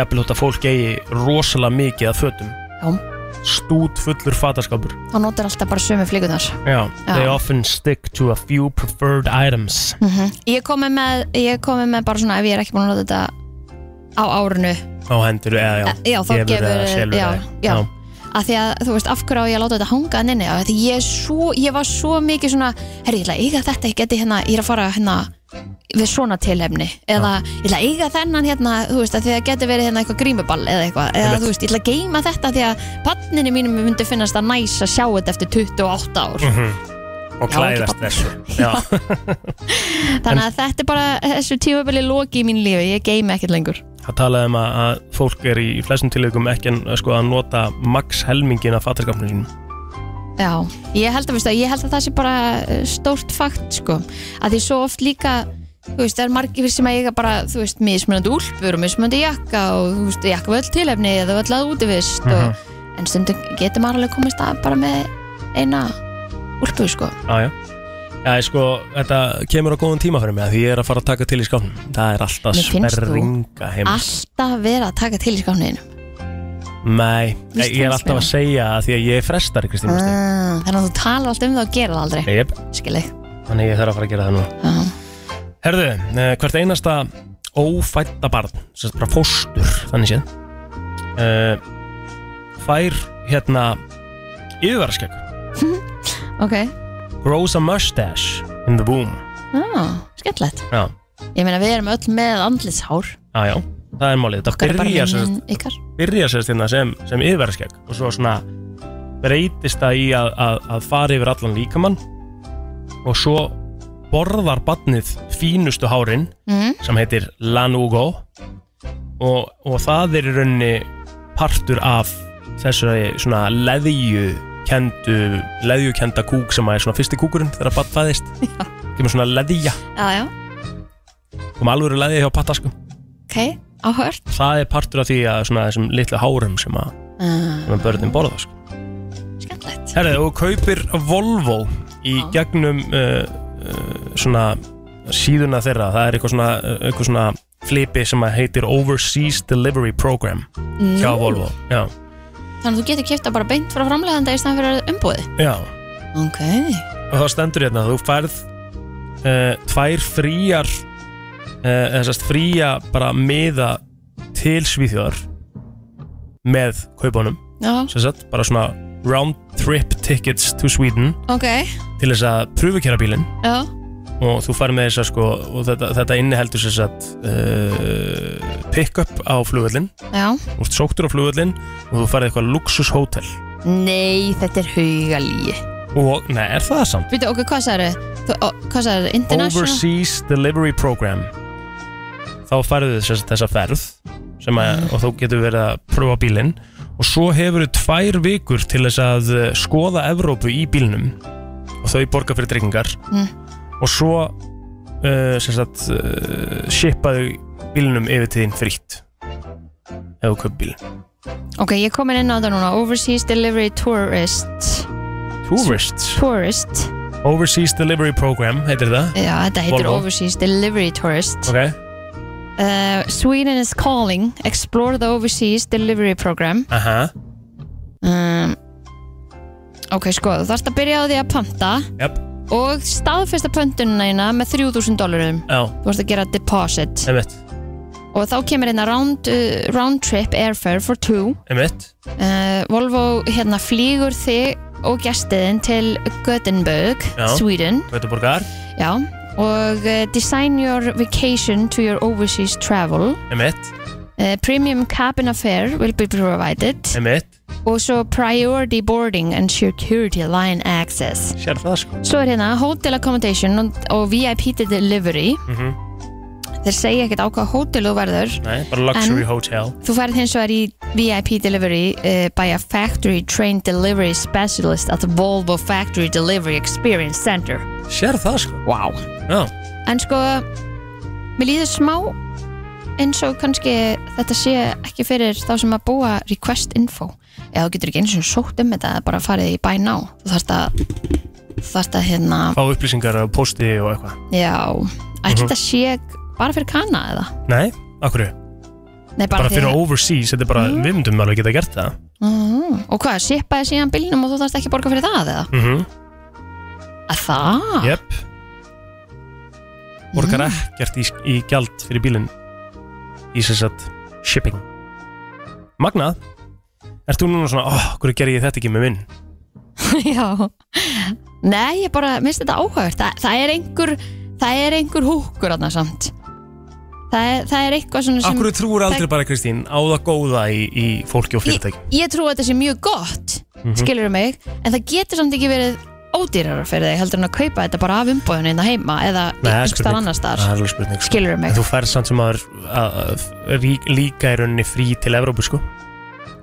jafnvel þótt að fólk eigi rosalega mikið af fötum
Já.
Stút fullur fataskápur
þá notar alltaf bara sömu flíkunar
Já,
Já.
they often stick to a few preferred items
mm Ég komi með, ég komi með bara svona ef ég er ekki búin að nota þetta á árinu
á hendur eða já,
Já, þá
gefur
gefur
eða selur
já,
eða-
já. að því að þú veist af hverju á ég að láta þetta hanga hann inni af því ég, er svo, ég var svo mikið svona herri, ég ætla að eiga þetta, ég geti hérna ég er að fara hérna við svona tilhefni eða ég ætla að eiga þennan hérna þú veist, að því að geti verið hérna eitthvað grímuball eða eitthvað, eða
Einmitt.
þú veist, ég ætla að geima þetta af því að panninu mínum myndi finnast að næs að sjá þetta eftir 28 ár
Mhm. og
Já, ekki
klæðast
bara-
þessu já.
Þannig að þetta er bara þessu tímabili loki í mín lífi, ég geymi ekkert lengur.
það talaði um að, að fólk er í flestum tilögum ekki en, sko, að nota max helmingin af fatarskapnum sínum
Já, ég held að, veistu, ég held að það sé bara eh, stórt fakt sko, að því svo oft líka, þú veist, það er margir sem að eiga bara, þú veist, mismunandi úlpur og mismunandi jakka og þú veist, jakka við öll tilefni eða öll að útivist
Mhm.
og, en stundum getur maður alveg komist að bara með eina úlpu sko.
já, já. Já, ég, sko, þetta kemur á góðum tíma fyrir mig af því ég er að fara að taka til í skápnum það er alltaf
Mér finnst þú
sperringa heim
Alltaf vera að taka til í skáfninu.
nei,
Mér
ég er
finnst
alltaf að
mér.
segja að því að ég er frestari Kristín Mustið
Ah, þannig að þú talar alltaf um það og gerir það aldrei.
Jep.
Skilji.
þannig ég þarf að fara að gera það núna
Já.
Herðu, eh, hvert einasta ófætta barn sem sagt bara fóstur, þannig séð eh, fær hérna yfirvaraskegg
Ok.
grows a mustache in the womb
ah, skemmtilegt
Já,
Ég meina, við erum öll með andlitshár
já, já, það er málið Þetta
Okkar er bara
byrja sem,
minnin ykkar
byrja sem, sem, sem, sem yfirverðskegg og svo svona breytist það í að, að, að fara yfir allan líkamann og svo borðar barnið fínustu hárin
Mhm.
sem heitir Lanugo og, og það er í rauninni partur af þessari svona leðju kendu, leðju kenda kúk sem er svona fyrsti kúkurinn þegar barn fæðist kemur svona leðja
Já, já,
kom alvöru leðja hjá patta sko
ok, áhört
það er partur af því að svona þessum litlu hárum sem að,
uh,
sem að börnin borða sko.
Skemmtilegt
Herðið, og kaupir Volvo í gegnum uh, uh, svona síðuna þeirra, það er eitthvað svona, uh, eitthvað svona flipi sem að heitir Overseas Delivery Program hjá
Nú.
Volvo já,
Þannig að þú getur kipta bara beint frá framleganda í stæðan fyrir umbúði
já.
Ok
og þá stendur hérna að þú færð uh, tvær fríjar uh, þessast fríja bara miða til Svíþjóðar með kaupunum
Já.
sem sagt, bara svona round trip tickets to Sweden
Ok,
til þess að pröfukera bílinn
já,
og þú farið með þess að sko og þetta, þetta inniheldur sér satt uh, pick-up á flugvöllin
já
þú ert sóktur á flugvöllin og þú farið eitthvað luxushótel
Nei, þetta er haugalí
og, nei, er það samt?
Býtu, ok, hvað sagði þú? ó, Hvað sagði þú? International?
Overseas Delivery Program þá færðu þess að þessa ferð sem að,
Mm.
og þú getur verið að prófa bílinn og svo hefur þau tvær vikur til þess að eh, skoða Evrópu í bílnum og þau borga fyrir drikkingar
Mm.
og svo uh, sem sagt uh, shipaðu bílnum yfir tíðin frítt ef þú köp bíl
Ok, ég kom inn á þetta núna Overseas Delivery Tourist
Tourists
Tourist
Overseas Delivery Program heitir það
Já, þetta heitir
Volvo.
Overseas Delivery Tourist
Ok,
uh, Sweden is calling Explore the Overseas Delivery Program
aha,
um, Ok, sko, þú þarfst að byrja á því að panta
jöp,
og staðfesta pöntunina þína með 3000 dólarum
já,
Þú vorst að gera deposit
einmitt,
og þá kemur hérna round, uh, round trip airfare for two
einmitt
Uh, Volvo hérna flýgur þig og gestiðin til Gothenburg,
Já.
Sweden
Götuborgar,
Já, og uh, design your vacation to your overseas travel
einmitt,
uh, Premium cabin affair will be provided
einmitt
og svo priority boarding and security line access
Sér það sko
Svo er hérna hotel accommodation og, og VIP delivery
mm
Þeir segja ekkert á hvað hótel þú verður
Nei, bara luxury
En-
hotel
Þú færð hins vegar í VIP delivery uh, by a factory trained delivery specialist at the Volvo Factory Delivery Experience Center.
Sér það sko
Wow
Já,
En sko, mér líður smá eins og kannski þetta sé ekki fyrir þá sem að búa request info. Eða þú getur ekki eins og sótt um þetta eða bara farið í buy now. Þú þarft að, þú þarft að hérna,
fá upplýsingar á posti og eitthvað
já, ætli
Mhm.
þetta sé bara fyrir kana eða?
Nei, akkur
Nei,
Bara,
bara,
fyrir overseas, þetta er bara, við myndum alveg geta gert það
Mm, og hvað, sippaði síðan bílnum og þú þarft ekki að borga fyrir það eða?
mm -hmm.
Að það?
Jöp Borgar ekkert í, í gjald fyrir bílinn Í sem sagt shipping Magnað Ert þú núna svona, oh, hverju gerði ég þetta ekki með minn?
Já Nei, ég bara minnst þetta áhört Þa, Það er einhver Það er einhver húkur aðna samt það er, það er eitthvað svona sem
Akkur trúur aldrei
það,
bara Kristín á það góða í, í fólki og fyrirtæki
Ég trú að þetta sé mjög gott mm
Mhm.
mig En það getur samt ekki verið ódýrara fyrir þig heldur en að kaupa þetta bara af umbóðinu innan heima eða
Nei, það er
einhvers þar
spurning.
annars
Það er
þar
alveg spurning sko.
Skilurðu mig?
En Þú færð samt sem að, að, að rí, líka í rauninni frí til Evrópu sko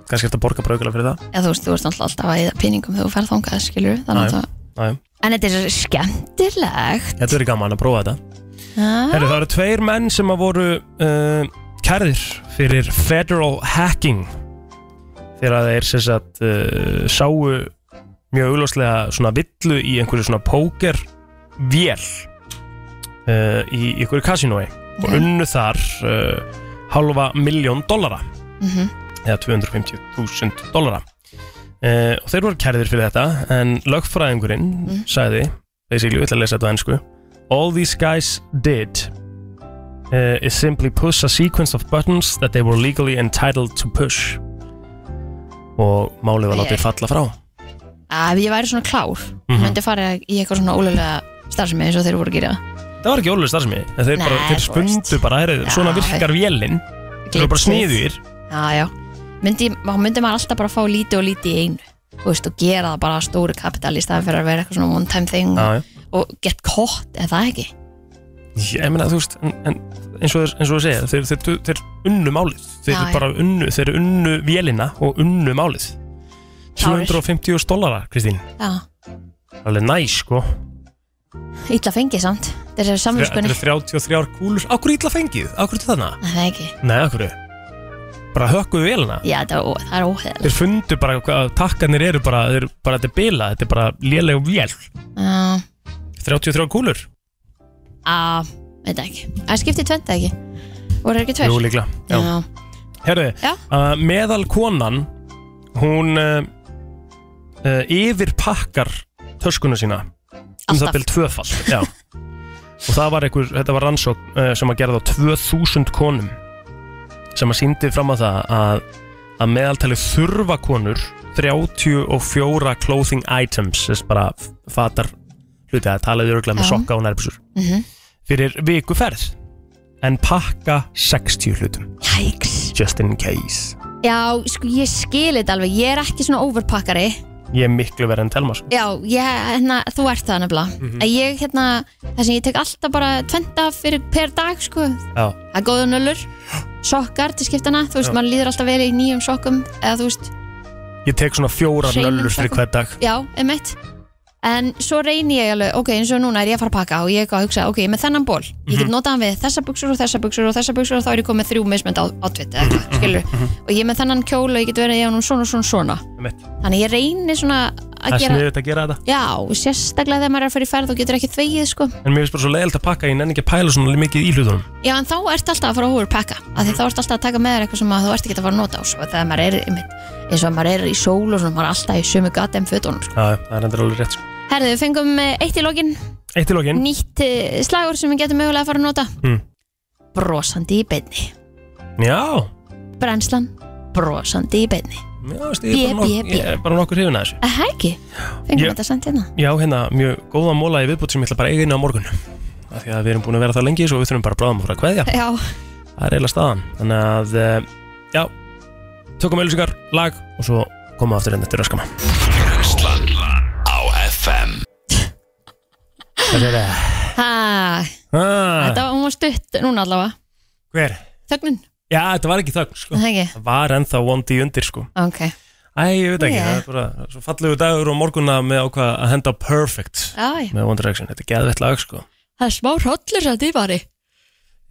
Kannski eftir að borga braukilega fyrir það
eða þú veist, þú ert náttúrulega alltaf að eða peningum þegar þú ferð þangað, skilur þannig að það
Næ,
En þetta er skemmtilegt
Þetta verður gaman að prófa þetta
ah,
Herru, það eru tveir menn sem að voru uh, kærðir fyrir federal hacking þegar að þeir sem sagt uh, sáu mjög augljóslega svona villu í einhverju svona póker vél uh, í einhverju kasinói og
Ok.
unnu þar uh, halva miljón dollara
Mhm.
eða 250.000 dollara uh, og þeir voru kærðir fyrir þetta en lögfræðingurinn
Mhm.
sagði basically, við ætla að lesa þetta á ennsku All these guys did uh, is simply push a sequence of buttons that they were legally entitled to push og málið var látið
Æ, æ.
falla frá
Ef ég væri svona klár mm
Mhm.
myndi fara í eitthvað svona ólega starfsemi eins og þeir voru að gera
það var ekki ólega starfsemi En þeir bara,
Nei,
þeir
þú
spundu bara, heyrðu, svona virkar vélinn Þeir eru bara sniðir
Já, já myndi, Þá myndi maður alltaf bara fá lítið og lítið í einu Þú veist, og gera það bara að stóru kapital í staðan fyrir að vera eitthvað svona one time thing
Já, já.
og get caught, er það ekki?
Ég meina, þú veist, en, en eins og þeir- eins og þú segja Þeir, þeir, þeir unnu málið Þeir
Já, já.
bara unnu, þeir unnu vélina og unnu málið 250 dollara, Kristín
Já,
Alveg næs, sko
illa fengið samt Þeir eru
Þetta
samvinskunni
eru 33 kúlur Akkur illa fengið, akkur til þarna
Það er ekki
Nei, akkur Bara hökkuðu vélina
Já, það er, ó- það er óheðal
Þeir fundu bara hvað takkanir eru bara, þeir, bara þetta er bila, þetta er bara léleg vél
Já,
33 kúlur
að, veit ekki Það skipti tvönda ekki Voru ekki tveir?
Jú, líklega
Já.
Herðu,
Já.
uh, meðal konan hún uh, uh, yfir pakkar töskuna sína um
Alltaf.
það byrð tvöfall Já. og það var einhver, þetta var rannsók uh, sem að gera þá 2000 konum sem að síndi fram að það að, að meðaltali þurfa konur 34 clothing items þess bara f- fatar hluti að talaði örgulega með
Já.
sokka og nærbúsur
Mhm.
fyrir viku ferð en pakka 60 hlutum
Jæks
just in case
Já, sko, ég skil þetta alveg Ég er ekki svona overpakkari
ég er miklu verið en telma sko.
Já, ég, hérna, þú ert það nefnilega mm
Mhm.
Ég, hérna, það sem ég tek alltaf bara tvenda fyrir per dag, sko
Já.
Það er góða nöllur Sokkar til skiptana, þú veist,
Já.
maður líður alltaf vel í nýjum sokkum Eða, þú veist,
ég tek svona fjórar
Hreinum
nöllur fyrir
sokkum.
hver dag
já, emitt En svo reyni ég alveg, ok, eins og núna er ég að fara að pakka Og ég er eitthvað að hugsa, ok, ég er með þennan ból Ég get
Mhm.
notað hann við þessa buksur og þessa buksur og þessa buksur Og þá er ég komið með þrjú mismönd á, átvit eða eitthvað, skilur Og ég er með þennan kjól og ég get verið í honum svona, svona, svona
Einmitt.
Þannig ég reyni svona
það
að
er
gera
sniðið að gera þetta
Já, sérstaklega þegar maður er að fara í ferð og getur ekki þvegið sko.
en mér finnst bara svo leiðilt að pakka ég nenni ekki að pæla svona mikið í hlutunum
Já, en þá ert alltaf að fara að overpacka af því þá ert alltaf að taka með þér eitthvað sem að þú ert ekki að fara að nota á svo þegar maður er, einmitt, eins og maður er í sól og svona, maður er alltaf í sömu gata en fötunum sko.
Já, já, það er endur alveg rétt sko.
Herðu, við fengum eh, eitt í lokin
eitt í lokin
nýtt eh, slagur sem við getum mögulega að fara að nota
Mm.
Brosandi í beinni
já,
Brennslan, brosandi í beinni
já veist, ég, er bara
Bjö, bjö,
nok- ég er bara nokkur hrifin að þessu
Það er ekki, fengum
Ég-
þetta samt hérna
já, hérna, mjög góða móla í viðbútt sem ég ætla bara að eiga inn á morgun af því að við erum búin að vera það lengi svo við þurfum bara bráðum að fara að kveðja
Já,
það er eiginlega staðan þannig að, eh, já tökum öllusingar, lag og svo komum við aftur enn eftir öskama
Brenslan á FM
það er það
ha, þetta
ah,
var, hún var stutt núna allavega
hver?
Þögnin,
já, þetta var ekki þögn sko.
það ekki,
það var ennþá vondi í undir sko.
ok
Æ, ég veit ekki,
Já.
það er bara svo fallegu dagur og morgunna með ákvað að henda á perfect
Já, já.
með One Direction, þetta er geðvett lag sko
Það er smá hrollur samt í bari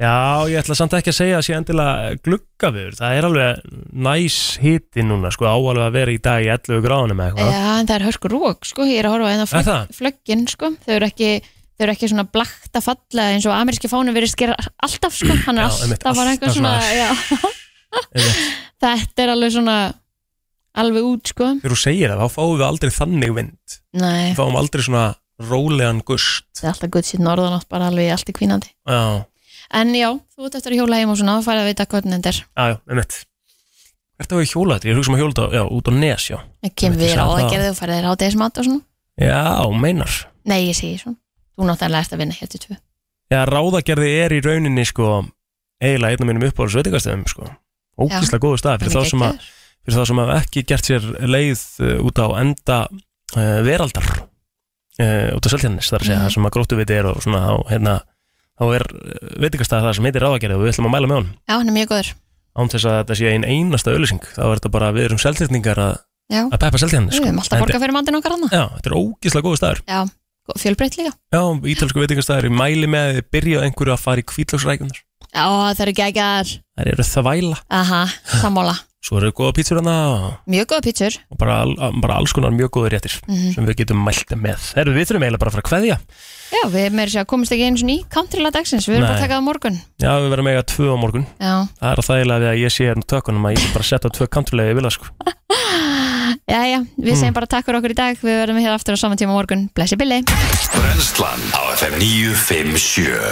Já, ég ætla samt ekki að segja að sé endilega glugga viður, það er alveg næs hiti núna sko, áalveg að vera í dag í 11 gráðunum eða eitthvað
Já, en það er hörku rók, sko, ég er að horfa að
Er það?
það flöggin, sko, þau eru ekki þau eru ekki svona blakt að falla eins og ameríski fánu verið skera alltaf, sko, hann er
Já, einmitt,
alltaf bara
alltaf
eitthvað svona,
svona-
já Þetta er alveg svona alveg út, sko,
Þegar þú segir það, þá fáum við aldrei þannig vind
nei
Við fáum aldrei svona rólegan gust
það er alltaf gutt sér norðanátt bara alveg allt í kvínandi
Já,
En já, þú ert eftir að hjóla heim og svona, þá færðu að vita hvernig þetta er
já, já, einmitt Hvert að við hjóla þetta? Ég hugsa um að hjóla þetta, já, út á nes, já
Það kemur
Ég
við
sá
ráð að
það.
gera þau færðu þér hádegismat og svona
Já, meinar
Nei, ég segi svona, þú náttúrulega ert að vinna hérna hér til tvö
Já, ráðagerði er í rauninni sko eiginlega einn af mínum uppáhalds veitingastöðum sko. Ógislega
Já,
góðu stað fyrir
hann er
þá sem að fyrir þá sem að ekki gert sér leið uh, út á enda uh, veraldar uh, út á Seltjarnis þar að segja,
Mhm.
það sem að gróttu viti er og svona á, hérna, þá er veitingastæð það sem heitir ráðagerði og við ætlum að mæla með honum
Já, hann er mjög góður,
án þess að þetta sé ein einasta auðlýsing þá er þetta bara við erum seltjarningar að,
já
að Sko, peppa Seltjarnis
Við höfum alltaf að borga fyrir matinn okkar hann
Já, þetta er ógislega góðu staður
Já, fjölbreytt líka
Já, ítalsku veitingastæðar, ég mæli með að þið byrja einhverju að fara í kvítlöksrækjumnar
Já, það eru geggar
Það eru þvæla
Aha, sammála
Svo eru góða pítsur hana og-
Mjög góða pítsur
og bara, al- bara alls konar mjög góða réttir
Mhm.
sem við getum mælt með. Herru, við þurfum eiginlega bara að fara að kveðja.
Já, við meður sér að komast ekki eins og ný Countryla dagsins, við erum bara
Nei.
að taka það á morgun
Já, við verðum eiga tvö á morgun.
Já,
Það er að þægilega við að ég sé hérna á tökunum að ég get bara að setja á tvö kanturlega ég vilja sko.
já, já, við segjum bara takk fyrir okkur í dag Við verðum hér aftur á saman tíma á morgun Blessi Billy
Brenslan á FM 957